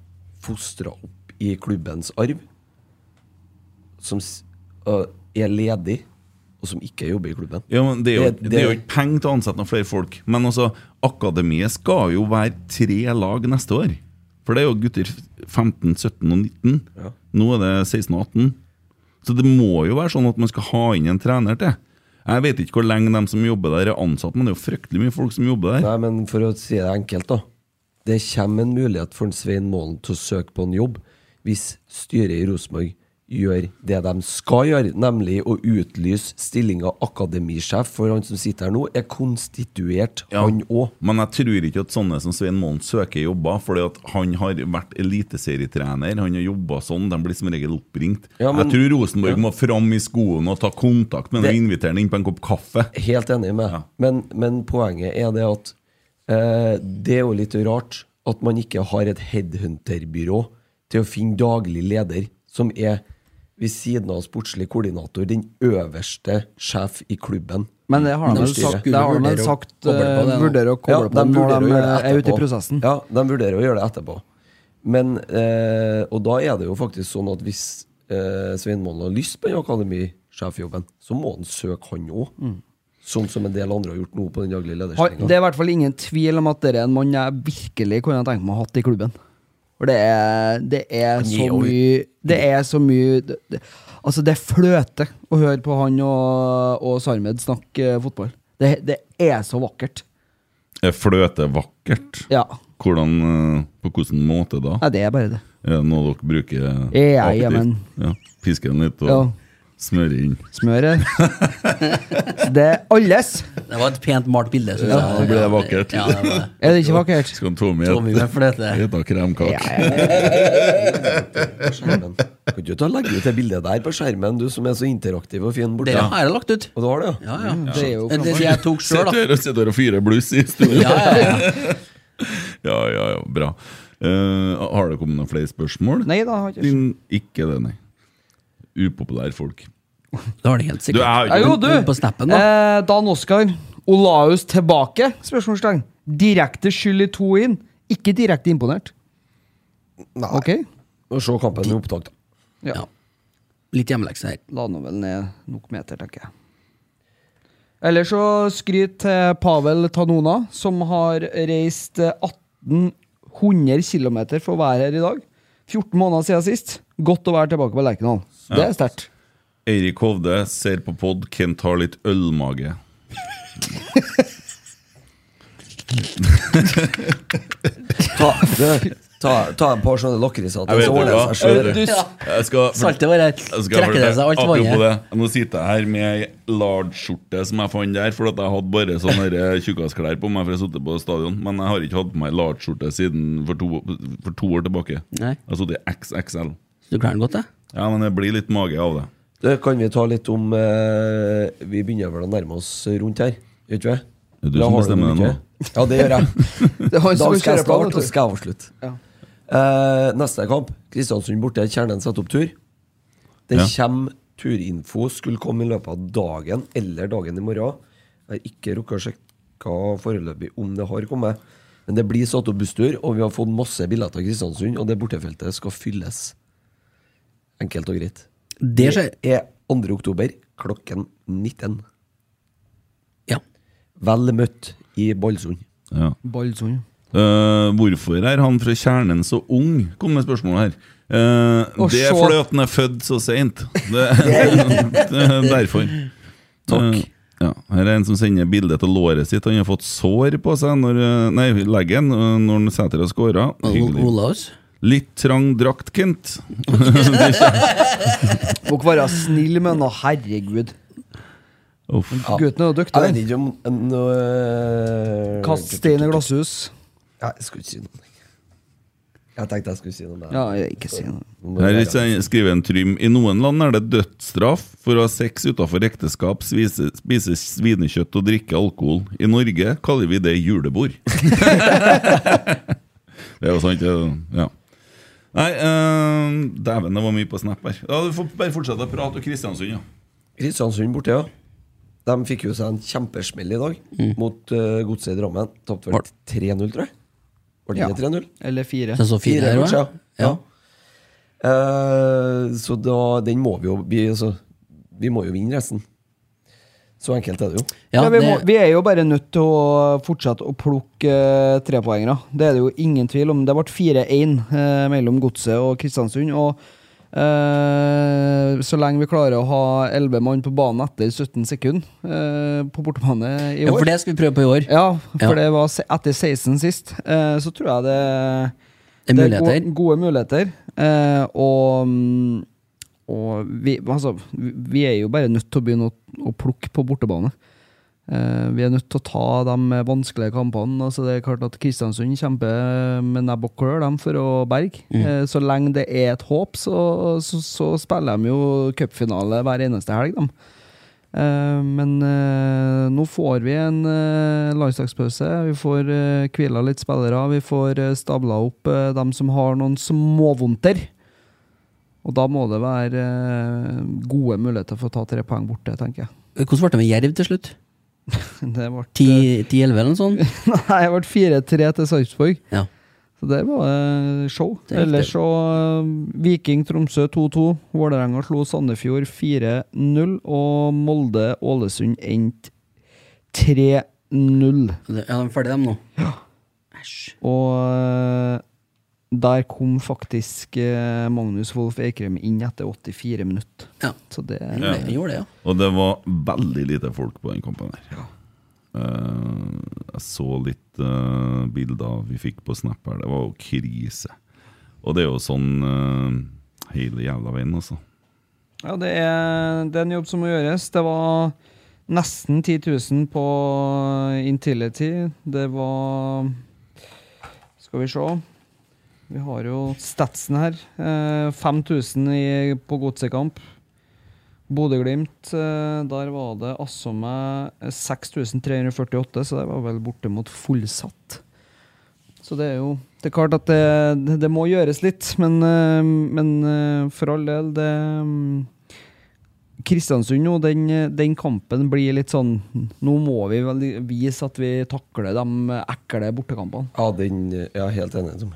Speaker 5: fostra opp i klubbens arv, som s- øh, er ledig, og som ikke jobber i klubben.
Speaker 3: ja, men det, er jo,
Speaker 5: Det-
Speaker 3: det er jo ikke penger til å ansette noen flere folk. Men altså, akademiet skal jo være tre lag neste år. For det er jo gutter 15, 17 og 19. Nå er det 16 og 18. Så det må jo være sånn at man skal ha inn en trener til. Jeg vet ikke hvor lenge de som jobber der, er ansatt, men det er jo fryktelig mye folk som jobber der.
Speaker 5: Nei, men for å si det enkelt, da. Det kommer en mulighet for en Svein Målen til å søke på en jobb hvis styret i Rosenborg gjør det de skal gjøre, nemlig å utlyse stillinga akademisjef, for han som sitter her nå, er konstituert,
Speaker 3: Ja.
Speaker 5: han òg.
Speaker 3: Men jeg tror ikke at sånne som Svein Målen søker jobber, fordi at han har vært eliteserietrener, han har jobba sånn, de blir som regel oppringt.
Speaker 5: Ja, men-
Speaker 3: jeg tror Rosenborg må fram i skoene og ta kontakt med dem
Speaker 5: Det-
Speaker 3: og invitere ham inn på en kopp kaffe.
Speaker 5: Helt enig med.
Speaker 3: Ja.
Speaker 5: Men, men poenget er det at eh, det er jo litt rart at man ikke har et headhunterbyrå til å finne daglig leder, som er ved siden av sportslig koordinator den øverste sjef i klubben.
Speaker 7: Men det har de
Speaker 4: De
Speaker 7: vel
Speaker 4: skulle
Speaker 7: sagt, det har de
Speaker 4: vurdere
Speaker 7: vel
Speaker 4: å
Speaker 7: sagt
Speaker 4: koble på det
Speaker 7: eh,
Speaker 4: nå.
Speaker 7: vurderer å koble på
Speaker 5: de
Speaker 7: når
Speaker 5: vurderer å
Speaker 7: de
Speaker 5: gjøre det
Speaker 7: er ute i
Speaker 5: etterpå.
Speaker 7: prosessen.
Speaker 5: Ja, de vurderer å gjøre det etterpå. Men, eh, og da er det jo faktisk sånn at hvis eh, Sveinmoen har lyst på den akademisjefjobben, så må han søke han òg.
Speaker 7: Mm.
Speaker 5: Sånn som en del andre har gjort nå på den daglige
Speaker 6: Har- Det
Speaker 5: lederstillinga.
Speaker 6: er i hvert fall ingen tvil om at det er en mann jeg virkelig kunne tenke meg å ha hatt i klubben. For det er, det er så
Speaker 5: jo-
Speaker 6: mye Det er så mye det, det, Altså, det fløter å høre på han og, og Sarmed snakke eh, fotball. Det, det er så vakkert.
Speaker 3: Er fløte vakkert?
Speaker 6: Ja.
Speaker 3: Hvordan, eh, på hvilken måte da?
Speaker 6: Nei, det er bare det.
Speaker 3: Er det noe dere bruker?
Speaker 6: Ja,
Speaker 3: aktivt?
Speaker 6: jamen.
Speaker 3: Ja, Piske den litt og
Speaker 6: Ja.
Speaker 3: smøre inn.
Speaker 6: Smøret. Det er alles.
Speaker 4: Det var et pent malt bilde, synes jeg.
Speaker 3: da ble det vakkert.
Speaker 4: Ja, det var det.
Speaker 6: Er det ikke vakkert?
Speaker 3: Skal Tommy
Speaker 4: Tommy med fløte.
Speaker 3: spise kremkake?
Speaker 5: på skjermen. Kan ikke du ta og legge ut det bildet der på skjermen, du som er så interaktiv og fin borte?
Speaker 4: Det har jeg lagt ut.
Speaker 5: Og du har det,
Speaker 4: Ja, ja.
Speaker 6: Det er jo
Speaker 4: Det, det jeg tok sjøl,
Speaker 3: Sitter
Speaker 4: da.
Speaker 3: her og sitter her og fyrer bluss i studio.
Speaker 4: Ja, ja, ja.
Speaker 3: Ja, ja, ja, bra. Eh, har det kommet noen flere spørsmål?
Speaker 6: Nei da, har ikke
Speaker 3: Din, ikke det, nei. Upopulære folk.
Speaker 4: Det har det helt
Speaker 3: Du, jeg
Speaker 4: sikkert.
Speaker 3: har
Speaker 6: Ja,
Speaker 3: ikke
Speaker 6: jo, du!
Speaker 4: På snappen, da.
Speaker 6: Eh, Dan Oskar. Olaus tilbake? Spørsmålstegn. Direkte skyld i to inn. Ikke direkte imponert.
Speaker 5: Nei.
Speaker 6: Ok?
Speaker 5: Og se kampen i opptak, da.
Speaker 4: Ja. Litt hjemmelekse her.
Speaker 6: La nå vel ned nok meter, tenker jeg. Eller så skryt til Pavel Tanona, som har reist eh, 1800 km for å være her i dag. 14 måneder siden sist. Godt å være tilbake på Lerkendal. Det er sterkt.
Speaker 3: Eirik Hovde ser på pod, Kent har litt ølmage.
Speaker 5: Ta, det, ta, ta et par sånne lakriser
Speaker 3: Jeg
Speaker 5: til,
Speaker 3: vet
Speaker 5: så
Speaker 3: det,
Speaker 5: ordner det
Speaker 3: hva?
Speaker 5: seg sjøl.
Speaker 3: Jeg skal-
Speaker 4: Saltet bare
Speaker 3: Jeg skal
Speaker 4: trekker det
Speaker 3: fortelle-
Speaker 4: seg alt
Speaker 3: Apropos
Speaker 4: vannet.
Speaker 3: det, nå sitter jeg her med ei large-skjorte som jeg fant der, for at jeg hadde bare sånne der eh, tjukkasklær på meg, for jeg satt på stadion. Men jeg har ikke hatt på meg large-skjorte siden for to, for to år tilbake.
Speaker 4: Nei.
Speaker 3: Jeg har sittet i XXL.
Speaker 4: Du klarer den godt, da?
Speaker 3: Ja, men det blir litt mage av det.
Speaker 5: Det kan vi ta litt om eh, Vi begynner vel å nærme oss rundt her, gjør ikke vi?
Speaker 3: Det er du som
Speaker 5: Da har du
Speaker 3: bestemmer
Speaker 5: mye.
Speaker 3: det nå.
Speaker 5: Ja, det gjør jeg.
Speaker 6: Det er
Speaker 5: Da
Speaker 6: han som
Speaker 5: skal jeg
Speaker 6: kjører på, vet
Speaker 5: starte,
Speaker 6: du.
Speaker 5: og skal jeg avslutte.
Speaker 6: Ja.
Speaker 5: Eh, neste kamp, Kristiansund borte. Kjernen setter opp tur. Det
Speaker 3: Ja.
Speaker 5: kommer turinfo, skulle komme i løpet av dagen eller dagen i morgen. Jeg har ikke rukket å sjekke foreløpig om det har kommet. Men det blir satt opp busstur, og vi har fått masse billetter av Kristiansund, og det bortefeltet skal fylles. Enkelt og greit.
Speaker 4: Det skjer.
Speaker 5: er 2. oktober klokken 19.
Speaker 4: Ja.
Speaker 5: Vel møtt i Ballsund.
Speaker 3: Ja.
Speaker 6: Baldsund.
Speaker 3: Eh, hvorfor er han fra kjernen så ung? Kom med spørsmålet her. Eh,
Speaker 6: Og
Speaker 3: det er
Speaker 6: så-
Speaker 3: fordi at han er født så seint. Det, det er derfor.
Speaker 5: Takk.
Speaker 3: Eh, ja. Her er en som sender bilde til låret sitt. Han har fått sår på seg når, eh, nei, leggen eh, når han setter og scorer.
Speaker 4: O-
Speaker 3: Hyggelig.
Speaker 4: Olaus.
Speaker 3: Litt trang drakt, Kent.
Speaker 6: Må ikke være snill med han, da. herregud.
Speaker 3: Uff.
Speaker 6: Gutten er jo dyktig.
Speaker 5: Jeg vet
Speaker 6: han.
Speaker 5: ikke om en, øh,
Speaker 6: Kast stein i glasshus.
Speaker 5: Nei, Jeg skulle ikke si noe. Jeg tenkte jeg skulle si noe. men-
Speaker 6: Ja, jeg- ikke si noe.
Speaker 5: Nå må
Speaker 3: Her
Speaker 5: jeg-
Speaker 3: sier- skriver en Trym I noen land er det dødsstraff for å ha sex utenfor ekteskap, spise, spise svinekjøtt og drikke alkohol. I Norge kaller vi det julebord. det er jo sant, det- ja. Nei, eh, dæven, det var mye på snap her. Ja, Du får bare fortsette å prate om Kristiansund, ja.
Speaker 5: Kristiansund sånn borte, ja. De fikk jo seg en kjempesmell i dag mot øh, Godset i Drammen. Tapte vel 3-0, tror jeg. Var det
Speaker 6: Ja.
Speaker 5: ikke 3-0?
Speaker 6: Eller fire.
Speaker 4: Så så fire her
Speaker 5: kanskje,
Speaker 4: også.
Speaker 5: ja. ja. Eh, så da, den må vi jo vi, altså, vi må jo vinne resten. Så enkelt er det jo.
Speaker 4: Ja,
Speaker 6: Ja, vi, må,
Speaker 4: det-
Speaker 6: vi er jo bare nødt til å fortsette å plukke eh, trepoengere. Det er det jo ingen tvil om. Det ble 4-1 eh, mellom Godset og Kristiansund. Og eh, så lenge vi klarer å ha 11 mann på banen etter 17 sekunder eh, på bortebane i
Speaker 4: Ja,
Speaker 6: år
Speaker 4: for det skal vi prøve på i år.
Speaker 6: Ja, for
Speaker 4: Ja.
Speaker 6: det var se- etter 16 sist. eh, så tror jeg det,
Speaker 4: Det er
Speaker 6: gode,
Speaker 4: muligheter.
Speaker 6: gode muligheter. Eh, og mm, og vi, altså, vi vi er jo bare nødt til å begynne å, å plukke på bortebane. Eh, vi er nødt til å ta de vanskelige kampene. Altså, det er klart at Kristiansund kjemper med nebb og klør dem for å berge.
Speaker 4: Mm.
Speaker 6: Eh, så lenge det er et håp, så, så, så spiller de jo cupfinale hver eneste helg. Dem. Eh, Men eh, nå får vi en eh, landslagspause. Vi får eh, hvila litt spillere. Vi får eh, stabla opp eh, dem som har noen småvondter. Og da må det være eh, gode muligheter for å ta tre poeng borte, tenker jeg.
Speaker 4: Hvordan ble det med Jerv til slutt?
Speaker 6: Det ble, eh,
Speaker 4: 10-11 eller noe sånt?
Speaker 6: Nei, det ble 4-3 til Sarpsborg.
Speaker 4: Ja.
Speaker 6: Så der var det show.
Speaker 4: Det er riktig.
Speaker 6: Ellers så eh, Viking Tromsø 2-2. Vålerenga slo Sandefjord 4-0. Og Molde Ålesund endte 3-0.
Speaker 4: Ja, de er ferdige, de nå.
Speaker 6: Og eh, der kom faktisk eh, Magnus Wolff Eikrem inn etter 84 minutter.
Speaker 4: Ja.
Speaker 6: Så det
Speaker 4: Han gjorde det- han gjorde det, ja.
Speaker 3: Og det var veldig lite folk på den kampen her. Eh, jeg så litt eh, bilder vi fikk på Snap her. Det var jo krise. Og det er jo sånn eh, hele jævla veien, altså.
Speaker 6: Ja, det er, det er en jobb som må gjøres. Det var nesten 10 000 på Intility. Det var Skal vi se. Vi har jo statsen her. Eh, 5000 i- på godsekamp. Bodø-Glimt, eh, der var det altså meg 6348, så det var vel bortimot fullsatt. Så det er jo Det er klart at det, det må gjøres litt, men, eh, men eh, for all del, det mm, Kristiansund nå, den, den kampen blir litt sånn Nå må vi vel vise at vi takler de ekle bortekampene.
Speaker 5: Ja, den Jeg er helt enig. Tom.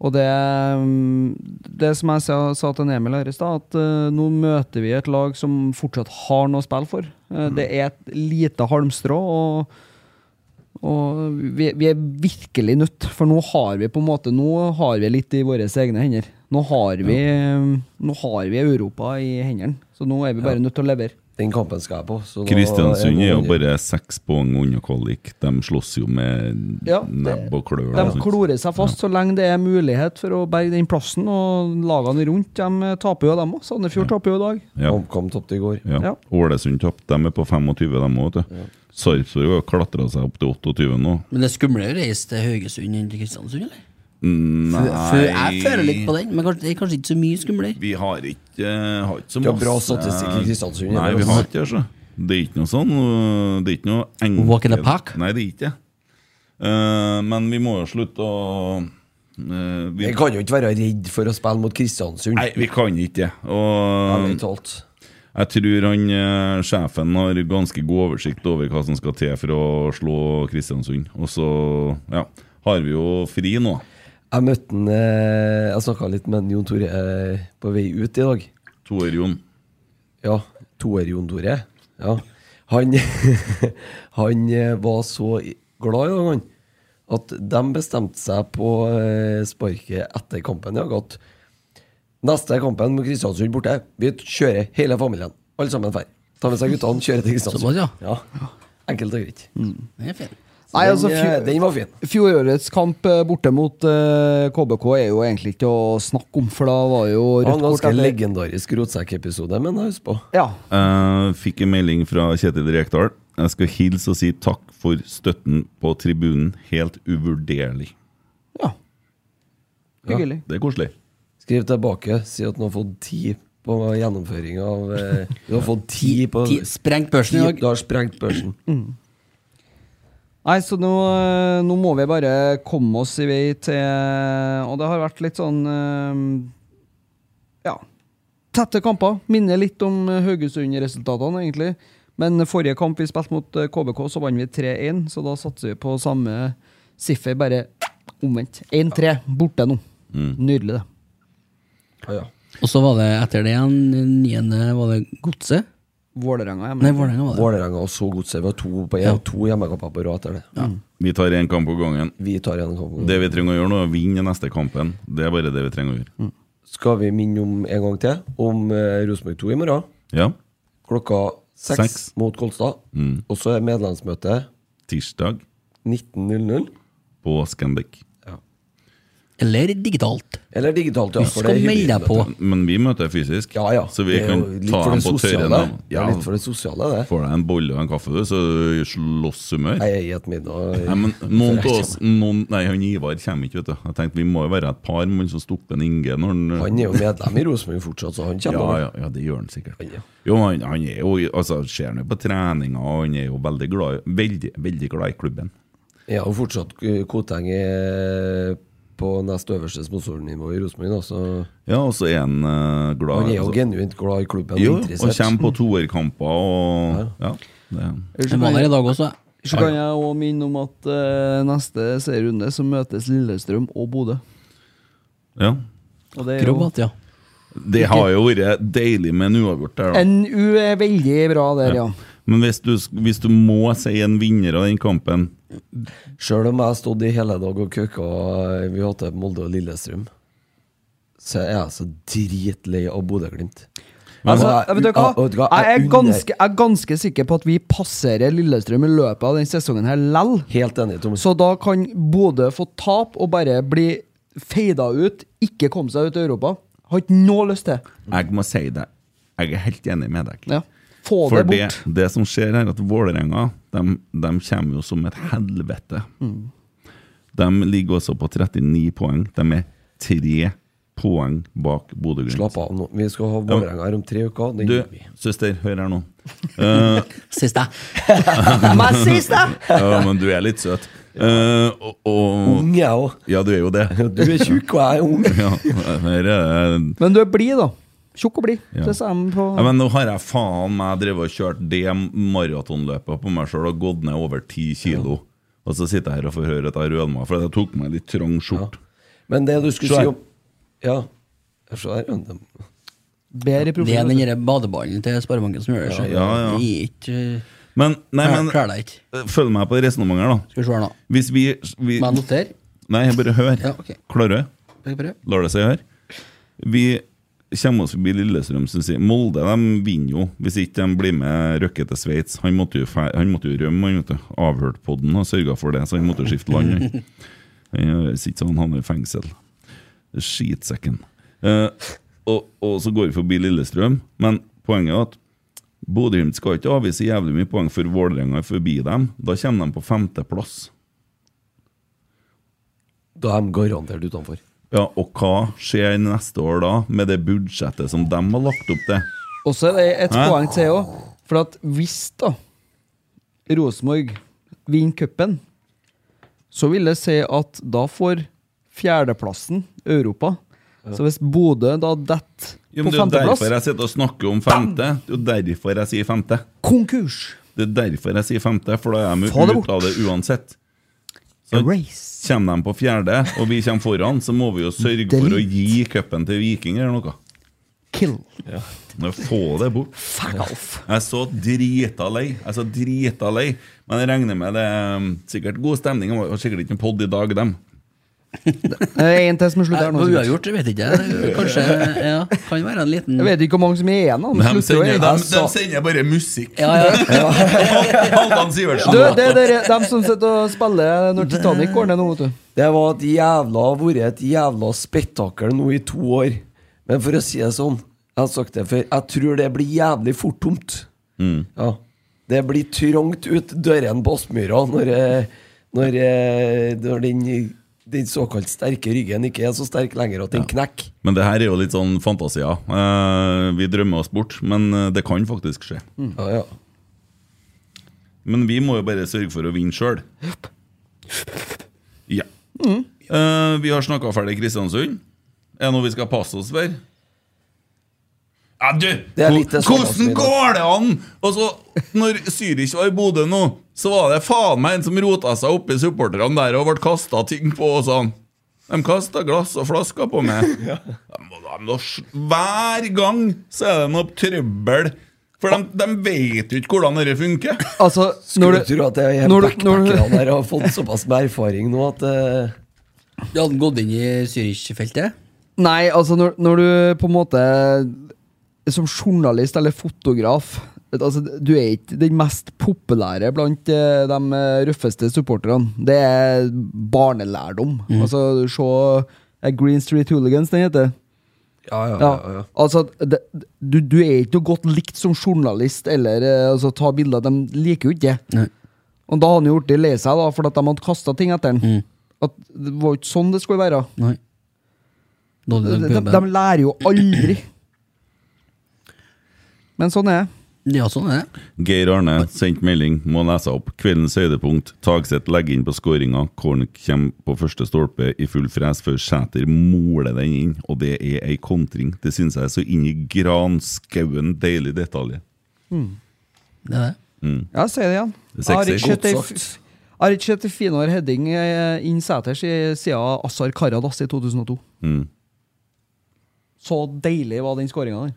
Speaker 6: Og det, mm, det som jeg sa, sa til Emil her i stad, at eh, nå møter vi et lag som fortsatt har noe å spille for. Eh, Det er et lite halmstrå, og, og vi, vi er virkelig nødt, for nå har vi på en måte Nå har vi litt i våre egne hender. Nå har vi, mm, nå har vi Europa i hendene, så nå er vi bare nødt til å levere.
Speaker 5: Den kampen skal jeg på. så da
Speaker 3: Kristiansund er jo
Speaker 5: det-
Speaker 3: bare seks poeng unna kvalik. De slåss jo med
Speaker 6: Ja, det-
Speaker 3: nebb og klør. og
Speaker 6: De
Speaker 3: sånt.
Speaker 6: klorer seg fast så lenge det er mulighet for å berge den plassen, og lagene rundt de taper jo, dem òg. Sandefjord taper jo i dag.
Speaker 3: Ja.
Speaker 5: HamKam tapte i går.
Speaker 3: Ja.
Speaker 6: Ja.
Speaker 3: Ålesund tapte. De er på 25, de òg. Sarpsborg har klatra seg opp til 28 nå.
Speaker 4: Men det er skumlere å reise til Haugesund enn til Kristiansund, eller?
Speaker 3: Nei
Speaker 4: Fø- fø- Jeg føler litt på den, men kanskje, det er kanskje ikke så mye skumlere.
Speaker 3: Vi har ikke, eh, har ikke så
Speaker 5: Vi har
Speaker 3: masse
Speaker 5: bra statistikk i Kristiansund,
Speaker 3: Nei,
Speaker 5: eller?
Speaker 3: vi har ikke det. så. Det er ikke noe sånn øh, Det er ikke noe enkelt
Speaker 4: Walk in the park?
Speaker 3: Nei, det er ikke det. Eh, men vi må jo slutte å eh, vi,
Speaker 5: Jeg kan jo ikke være redd for å spille mot Kristiansund.
Speaker 3: Nei, vi kan ikke det. Og
Speaker 5: Ærlig talt.
Speaker 3: jeg tror han eh, sjefen har ganske god oversikt over hva som skal til for å slå Kristiansund. Og så ja, har vi jo fri nå.
Speaker 5: Jeg møtte han eh, Jeg snakka litt med han Jon Tore eh, på vei ut i dag.
Speaker 3: Toer Jon.
Speaker 5: Ja, toer-Jon Tore. Ja. Han, han eh, var så i- glad i dag, han, at de bestemte seg på eh, sparket etter kampen i dag at neste kampen med Kristiansund borte, vi kjører hele familien. Alle sammen drar. Tar med seg guttene, kjører til
Speaker 4: Såpass,
Speaker 5: Kristiansund.
Speaker 4: ja.
Speaker 5: Ja. Enkelt og greit.
Speaker 4: Det er fint.
Speaker 6: Nei, altså,
Speaker 5: den,
Speaker 6: fjor-
Speaker 5: eh, den var fin.
Speaker 6: Fjorårets kamp eh, borte mot eh, KBK er jo egentlig ikke å snakke om, for da var jo
Speaker 5: Det var en
Speaker 6: rødt kort
Speaker 5: ganske
Speaker 6: etter
Speaker 5: legendarisk rotsekkepisode, men jeg husker på.
Speaker 6: Ja.
Speaker 3: Jeg Eh, fikk en melding fra Kjetil Rekdal. Jeg skal hilse og si takk for støtten på tribunen. Helt uvurderlig.
Speaker 6: ja. Hyggelig.
Speaker 3: Det er koselig.
Speaker 5: Skriv tilbake, si at du har fått ti på gjennomføring av eh, Du har fått ti på
Speaker 4: Ti- Mm. Sprengt børsen i dag.
Speaker 5: Du har sprengt børsen.
Speaker 6: Nei, så nå, eh, nå må vi bare komme oss i vei til eh, Og det har vært litt sånn eh, Ja. Tette kamper. Minner litt om eh, Haugesund-resultatene, egentlig. Men forrige kamp vi spilte mot eh, KBK, så vant vi 3-1, så da satser vi på samme siffer, bare omvendt. 1-3, borte nå. Nydelig, det.
Speaker 5: Ja, ja.
Speaker 4: Og så var det etter det igjen, den niende var det Godset.
Speaker 6: Vålerenga hjemme.
Speaker 4: Nei, Vålerenga var det.
Speaker 5: Vålerenga og så Godset. Vi har to, på- jeg har to hjemmekamper på rad etter det.
Speaker 3: Vi tar én kamp av gangen.
Speaker 5: Vi tar en kamp.
Speaker 3: Det vi trenger å gjøre nå, er å vinne neste kampen. Det er bare det vi trenger å
Speaker 5: Mm.
Speaker 3: gjøre.
Speaker 5: Skal vi minne om en gang til om eh, Rosenborg 2 i morgen?
Speaker 3: Ja.
Speaker 5: Klokka seks,
Speaker 3: Seks. Mm.
Speaker 5: mot Kolstad. Og så er medlemsmøte
Speaker 3: Tirsdag
Speaker 5: 19.00.
Speaker 3: på Scandic.
Speaker 4: Eller digitalt.
Speaker 5: Eller digitalt, ja.
Speaker 4: Du
Speaker 5: for det
Speaker 4: skal
Speaker 5: er
Speaker 4: melde deg
Speaker 5: hybridmøte.
Speaker 4: på.
Speaker 3: Men vi møter fysisk,
Speaker 5: Ja, ja.
Speaker 3: så vi
Speaker 5: Det er
Speaker 3: kan
Speaker 5: jo litt
Speaker 3: ta
Speaker 5: for
Speaker 3: dem
Speaker 5: det
Speaker 3: på
Speaker 5: sosiale.
Speaker 3: tørre.
Speaker 5: Ja,
Speaker 3: Ja,
Speaker 5: litt for det sosiale, det.
Speaker 3: Får deg en bolle og en kaffe, du, så er du i slåsshumør.
Speaker 5: Jeg er i et middag.
Speaker 3: Nei, men noen av oss noen, Nei, han Ivar kommer ikke, vet du. Jeg tenkte Vi må jo være et par mann som stopper en Inge når han
Speaker 5: Han er jo medlem i Rosenborg fortsatt, så han kommer.
Speaker 3: Ja, ja, ja, det gjør han sikkert. Jo, han, han er jo altså, Ser han jo på treninga, og han er jo veldig glad, i- veldig, veldig glad i klubben.
Speaker 5: Jeg har jo fortsatt eh, Koteng eh, på nest øverste sponsornivå i Rosenborg, da, så
Speaker 3: Ja, og så er han eh, glad
Speaker 5: han er jo
Speaker 3: altså-
Speaker 5: genuint glad i klubben
Speaker 3: jo,
Speaker 5: og
Speaker 3: og
Speaker 5: interessert.
Speaker 3: kommer på toerkamper og Ja. det,
Speaker 4: Jeg var der i dag også. jeg.
Speaker 6: Så kan jeg òg minne om at eh, neste serierunde så møtes Lillestrøm og Bodø.
Speaker 3: Ja.
Speaker 6: Og det er jo
Speaker 4: Krobat, ja.
Speaker 3: Det har jo vært deilig med en uavgjort der, da.
Speaker 6: NU er E, veldig bra der, ja.
Speaker 3: Men hvis du, sk- hvis du må si en vinner av den kampen
Speaker 5: Sjøl om jeg har stått i hele dag og køkka eh, vi hadde Molde og Lillestrøm, så er jeg så dritlei av Bodø-Glimt.
Speaker 6: Altså,
Speaker 5: Altså,
Speaker 6: vet du hva?
Speaker 5: jeg- vet du hva?
Speaker 6: Jeg er
Speaker 5: Jeg unner-
Speaker 6: ganske, jeg er ganske sikker på at vi passerer Lillestrøm i løpet av denne sesongen her lell.
Speaker 5: Helt enig, Tom.
Speaker 6: Så da kan Bodø få tap og bare bli feida ut, ikke komme seg ut av Europa. Har ikke noe lyst til.
Speaker 3: Jeg må si det. Jeg er helt enig med deg.
Speaker 6: Ja. Få
Speaker 3: For
Speaker 6: det
Speaker 3: det,
Speaker 6: bort.
Speaker 3: det som skjer, er at Vålerenga de, de kommer jo som et helvete.
Speaker 5: Mm.
Speaker 3: De ligger også på 39 poeng. De er tre poeng bak Bodø-Glimt.
Speaker 5: Slapp av nå. Vi skal ha Vålerenga her om tre uker. Den
Speaker 3: Du,
Speaker 5: gjør vi.
Speaker 3: søster, hør her nå.
Speaker 4: Siste.
Speaker 6: Men siste!
Speaker 3: Ja, men du er litt søt. Eh, og, og
Speaker 5: Ung, jeg òg.
Speaker 3: Ja, du er jo det.
Speaker 5: Du er tjukk, og jeg er ung.
Speaker 3: Ja, her er det
Speaker 6: Men du er blid, da. Tjukk og blid.
Speaker 3: Ja.
Speaker 6: Det sa de på
Speaker 3: Ja, men nå har jeg faen meg drevet og kjørt det maratonløpet på meg sjøl og gått ned over 10 kilo. Og så sitter jeg her og får høre at jeg rødma, for jeg tok meg litt trang skjort.
Speaker 5: Men det du skulle
Speaker 3: Se her.
Speaker 5: si om Ja. Se her. ja. Det-
Speaker 6: bedre
Speaker 4: Det er
Speaker 6: profiler.
Speaker 4: den derre badeballen til Sparebanken som gjør det. Så
Speaker 3: ja, ja.
Speaker 4: Det er ikke
Speaker 3: Men, nei,
Speaker 4: Jeg
Speaker 3: men
Speaker 4: klarer deg ikke.
Speaker 3: eh, følg meg på resonnementet her, da.
Speaker 4: Skal vi se her nå.
Speaker 3: Hvis vi, vi
Speaker 4: Må jeg notere?
Speaker 3: Nei, jeg bare hør.
Speaker 4: Ja, ok.
Speaker 3: Klarer du?
Speaker 4: Skal jeg prøve?
Speaker 3: Lar det seg høre? Vi kommer oss forbi Lillestrøm, syns jeg. Molde de vinner jo, hvis ikke de blir med Røkke til Sveits. Han måtte jo, fe- han måtte jo rømme, han, vet du. Avhørt podden og sørga for det, så han måtte jo skifte land. han. Han høres ikke sånn, han havner i fengsel. Skitsekken. Eh, og, og så går vi forbi Lillestrøm, men poenget er at Bodø-Glimt skal ikke avvise jævlig mye poeng for Vålerenga er forbi dem. Da kommer de på femteplass.
Speaker 5: Da er de garantert utenfor.
Speaker 3: Ja, og hva skjer neste år da, med det budsjettet som de har lagt opp til?
Speaker 6: Og så er det et
Speaker 3: Hæ?
Speaker 6: poeng til òg. For at hvis da Rosenborg vinner cupen, så vil det si at da får fjerdeplassen Europa. Så hvis Bodø da detter
Speaker 3: Jo, men
Speaker 6: på
Speaker 3: det er jo
Speaker 6: femteplass
Speaker 3: derfor jeg sitter og snakker om femte. Det er jo derfor jeg sier femte.
Speaker 6: Konkurs!
Speaker 3: Det er derfor jeg sier femte, for da er de
Speaker 6: Få det
Speaker 3: ute av det uansett. Så
Speaker 6: Race.
Speaker 3: kommer de på fjerde, og vi kommer foran, så må vi jo sørge for å gi cupen til Viking eller noe.
Speaker 6: Kill.
Speaker 3: Men Få det bort.
Speaker 6: Fuck off.
Speaker 3: Jeg er så drita lei. Jeg er så drita lei. Men jeg regner med det er sikkert god stemning. Det var sikkert ikke en pod i dag, dem.
Speaker 6: Én til som er slutt
Speaker 4: Nei,
Speaker 6: her nå.
Speaker 4: På
Speaker 6: sikkert.
Speaker 4: uavgjort, vet ikke jeg. Kanskje ja, Kan være en liten
Speaker 6: Jeg vet ikke hvor mange som er igjen. da.
Speaker 3: De
Speaker 6: De slutter jo
Speaker 3: sender, de,
Speaker 6: egentlig.
Speaker 3: de sender bare musikk.
Speaker 4: Ja, ja.
Speaker 3: Halvdan Sivertsen.
Speaker 6: Du, det er dere- dem som sitter og spiller når Titanic går ned nå, vet du.
Speaker 5: Det var et jævla, har vært et jævla spetakkel nå i to år. Men for å si det sånn, jeg har sagt det før, jeg tror det blir jævlig fort tomt. Ja. Det blir trangt ut døren på Aspmyra når, eh, når, eh, når den, den såkalt sterke ryggen ikke er så sterk lenger at den knekker.
Speaker 3: Men det her er jo litt sånn fantasier. Eh, vi drømmer oss bort, men eh, det kan faktisk skje.
Speaker 5: Ja, ja.
Speaker 3: Men vi må jo bare sørge for å vinne sjøl. Ja.
Speaker 5: Mm.
Speaker 3: Eh, vi har snakka ferdig Kristiansund. Er det noe vi skal passe oss for? Ja, du!
Speaker 5: er litt det samme som
Speaker 3: Hvordan
Speaker 5: i dag.
Speaker 3: går det an?! Og så, når Zürich var i Bodø nå, så var det faen meg en som rota seg oppi supporterne der og ble kasta ting på og sånn. De kasta glass og flasker på meg. De må- de må s- Hver gang så er det noe trøbbel. For de, de vet jo ikke hvordan dette funker.
Speaker 6: Altså,
Speaker 5: Skulle
Speaker 6: når
Speaker 5: tro
Speaker 6: du
Speaker 5: at jeg
Speaker 6: når du- når du-
Speaker 5: backpackerne her har fått såpass med erfaring nå at eh,
Speaker 4: Du hadde gått inn i Zürich-feltet?
Speaker 6: Nei, altså når, når du på en måte Som journalist eller fotograf vet, altså, Du er ikke den mest populære blant eh, de eh, røffeste supporterne. Det er barnelærdom.
Speaker 5: Mhm.
Speaker 6: Altså, se eh, Green Street Hooligans, den heter.
Speaker 5: ja, ja, ja,
Speaker 6: Ja,
Speaker 5: ja.
Speaker 6: altså det, du, du er ikke noe godt likt som journalist eller eh, altså, ta bilder. De liker jo ikke det.
Speaker 4: Nei.
Speaker 6: Og da har han gjort det lei seg, da, for at de hadde kasta ting etter han.
Speaker 5: Mhm.
Speaker 6: At Det var jo ikke sånn det skulle være.
Speaker 4: Nei. Da hadde
Speaker 6: De,
Speaker 4: du
Speaker 6: de,
Speaker 4: puben.
Speaker 6: de lærer jo aldri. Men sånn er det.
Speaker 4: Ja, sånn er det.
Speaker 3: Geir Arne sendt melding, må lese opp. Kveldens høydepunkt. Tagseth legger inn på skåringa. Korn kommer på første stolpe i full fres før Sæter måler den inn, og det er ei kontring. Det syns jeg er så inn i granskauen deilig detalj.
Speaker 4: Det er det.
Speaker 6: Ja, si det igjen.
Speaker 3: Det er
Speaker 6: Jeg har
Speaker 3: sexy.
Speaker 6: ikke sett ei
Speaker 5: Godt
Speaker 6: f-
Speaker 5: sagt.
Speaker 6: jeg har ikke sett ei finere heading eh, inn seters i- siden Azar Karadas i 2002.
Speaker 3: Mm.
Speaker 6: Så deilig var den skåringa der.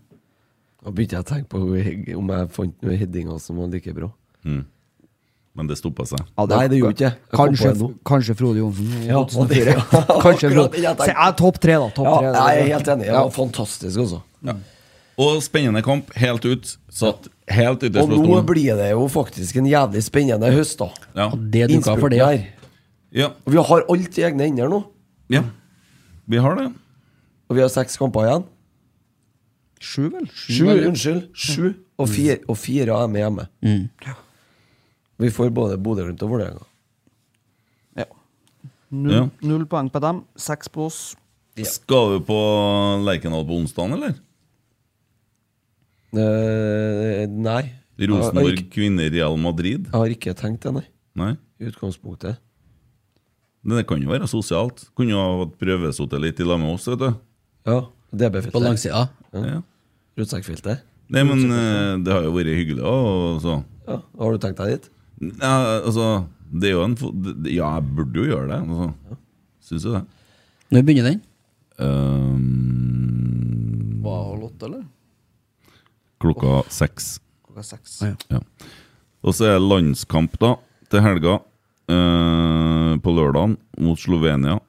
Speaker 5: Da begynte jeg å tenke på hvor- om jeg fant noen headinger som var like bra.
Speaker 3: Men det stoppa seg.
Speaker 5: Nei, det gjorde ikke jeg. Jeg kom på
Speaker 6: Kanskje,
Speaker 5: det nå.
Speaker 6: kanskje Frode Johnsen i
Speaker 5: Ja, og det-
Speaker 6: 2004. Kanskje
Speaker 5: Akkurat
Speaker 6: Frode.
Speaker 5: det jeg tenkte.
Speaker 6: Se, ja, topp tre, da. Topp
Speaker 5: Ja,
Speaker 6: tre, det er
Speaker 5: jeg er
Speaker 6: bra.
Speaker 5: helt enig. Det var fantastisk, altså.
Speaker 3: Og spennende kamp, helt ut. Satt helt ytterst
Speaker 5: Og
Speaker 3: på
Speaker 5: nå
Speaker 3: stolen.
Speaker 5: blir det jo faktisk en jævlig spennende høst, da.
Speaker 3: Ja.
Speaker 4: Det duka for det.
Speaker 5: Innspurten her.
Speaker 3: Ja.
Speaker 5: Og vi har alt i egne hender nå.
Speaker 3: ja. Vi har det.
Speaker 5: Og vi har seks kamper igjen.
Speaker 6: Sju, vel? Sju,
Speaker 5: Sju,
Speaker 6: eller?
Speaker 5: unnskyld. Sju. Og fire, og fire av dem er hjemme. Vi får både Bodø, Glimt og Vålerenga.
Speaker 3: Ja.
Speaker 6: Ja. Null, null poeng på dem. Seks på oss.
Speaker 3: Skal du på Lerkendal på onsdag, eller?
Speaker 5: Eh, nei. Jeg har
Speaker 3: Rosenborg
Speaker 5: ikke-
Speaker 3: kvinner Real Madrid?
Speaker 5: Jeg har ikke tenkt det, nei.
Speaker 3: Nei?
Speaker 5: I utgangspunktet.
Speaker 3: Men Det kan jo være sosialt. Kunne jo ha prøvesittet litt i lag med oss, vet du.
Speaker 5: Ja.
Speaker 4: På
Speaker 5: DB-filter.
Speaker 4: langsida.
Speaker 3: Ja.
Speaker 5: Rutsekkfilter.
Speaker 3: Nei, men eh, det har jo vært hyggelig òg, så.
Speaker 5: Ja. Har du tenkt deg dit?
Speaker 3: Ja, altså, det er jo en fo- det- det- Ja, jeg burde jo gjøre det. Altså. Syns jo det.
Speaker 4: Når begynner den?
Speaker 3: Ehm,
Speaker 6: Var Lotte, eller?
Speaker 3: klokka seks.
Speaker 6: Klokka seks.
Speaker 4: Ja.
Speaker 3: Ja. Og så er det landskamp da til helga eh, på lørdagen mot Slovenia.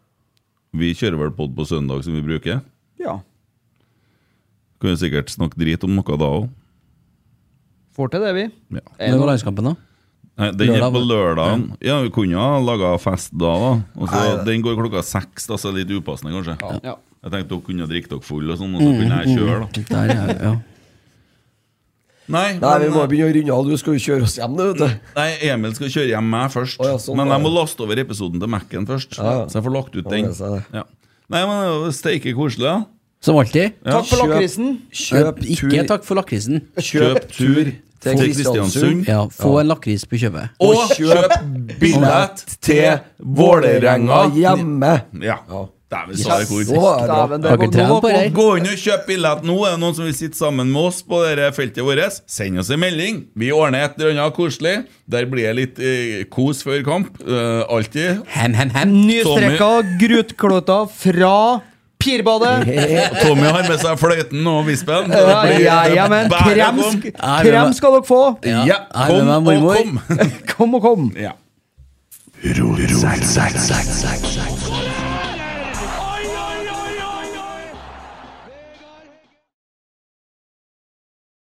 Speaker 3: Vi kjører vel pod på søndag, som vi bruker.
Speaker 6: Ja.
Speaker 3: Kan jo sikkert snakke drit om noe da òg.
Speaker 6: Får til det, vi.
Speaker 3: Ja.
Speaker 4: Når var landskampen, da?
Speaker 3: Nei, Den er på
Speaker 4: Lørdag, vel?
Speaker 3: lørdagen. Ja, vi kunne ha laga fest da, da. Og så den går klokka seks, da, så det er litt upassende, kanskje.
Speaker 6: Ja.
Speaker 3: Jeg tenkte dere kunne drikke dere full og sånn, og så kunne
Speaker 4: Mm.
Speaker 3: jeg kjøre, da.
Speaker 4: Der, ja, ja.
Speaker 3: Nei,
Speaker 5: Nei, vi
Speaker 3: men, eh,
Speaker 5: må begynne å runde av. Du skal jo kjøre oss hjem, du, vet du.
Speaker 3: nei, Emil skal kjøre hjem meg først.
Speaker 5: Å, ja, sånn,
Speaker 3: men
Speaker 5: ja.
Speaker 3: jeg må laste over episoden til Mac-en først.
Speaker 5: Ja, ja.
Speaker 3: Så jeg får lagt ut
Speaker 5: Ja,
Speaker 3: den.
Speaker 5: det sa jeg.
Speaker 3: Ja. Nei, men eh, det er jo steike koselig, da.
Speaker 4: Som alltid.
Speaker 6: Takk for lakrisen.
Speaker 5: Kjøp
Speaker 4: Eh,
Speaker 5: tur,
Speaker 4: Ikke takk for lakrisen.
Speaker 5: kjøp tur til Kristiansund.
Speaker 4: Ja, få en lakris på kjøpet.
Speaker 5: Og kjøp
Speaker 3: billett til Vålerenga.
Speaker 5: hjemme.
Speaker 3: Ja.
Speaker 5: Ja.
Speaker 3: Dæven, sa jeg hvor.
Speaker 6: Dæven, det
Speaker 4: Har ikke
Speaker 6: var- nå
Speaker 4: trent
Speaker 6: var
Speaker 4: på det
Speaker 6: på-
Speaker 4: her.
Speaker 3: Gå inn og kjøp billett nå. Er det noen som vil sitte sammen med oss på dette feltet vårt? Send oss en melding. Vi ordner et eller annet koselig. Der blir det litt eh, kos før kamp. Eh, alltid.
Speaker 4: Hem, hem, hem.
Speaker 6: Nystreka grutkløter fra Pirbadet.
Speaker 3: Tommy har med seg fløyten og vispen. Det
Speaker 6: Ja,
Speaker 3: blir-
Speaker 6: ja, ja, men
Speaker 3: Bare kom.
Speaker 6: krem, sk- krem skal dere få.
Speaker 3: Ja,
Speaker 4: Ja, jeg er
Speaker 3: kom
Speaker 4: med meg,
Speaker 3: og
Speaker 4: mormor.
Speaker 3: kom.
Speaker 6: Kom og kom.
Speaker 3: ja.
Speaker 8: Erotic sex.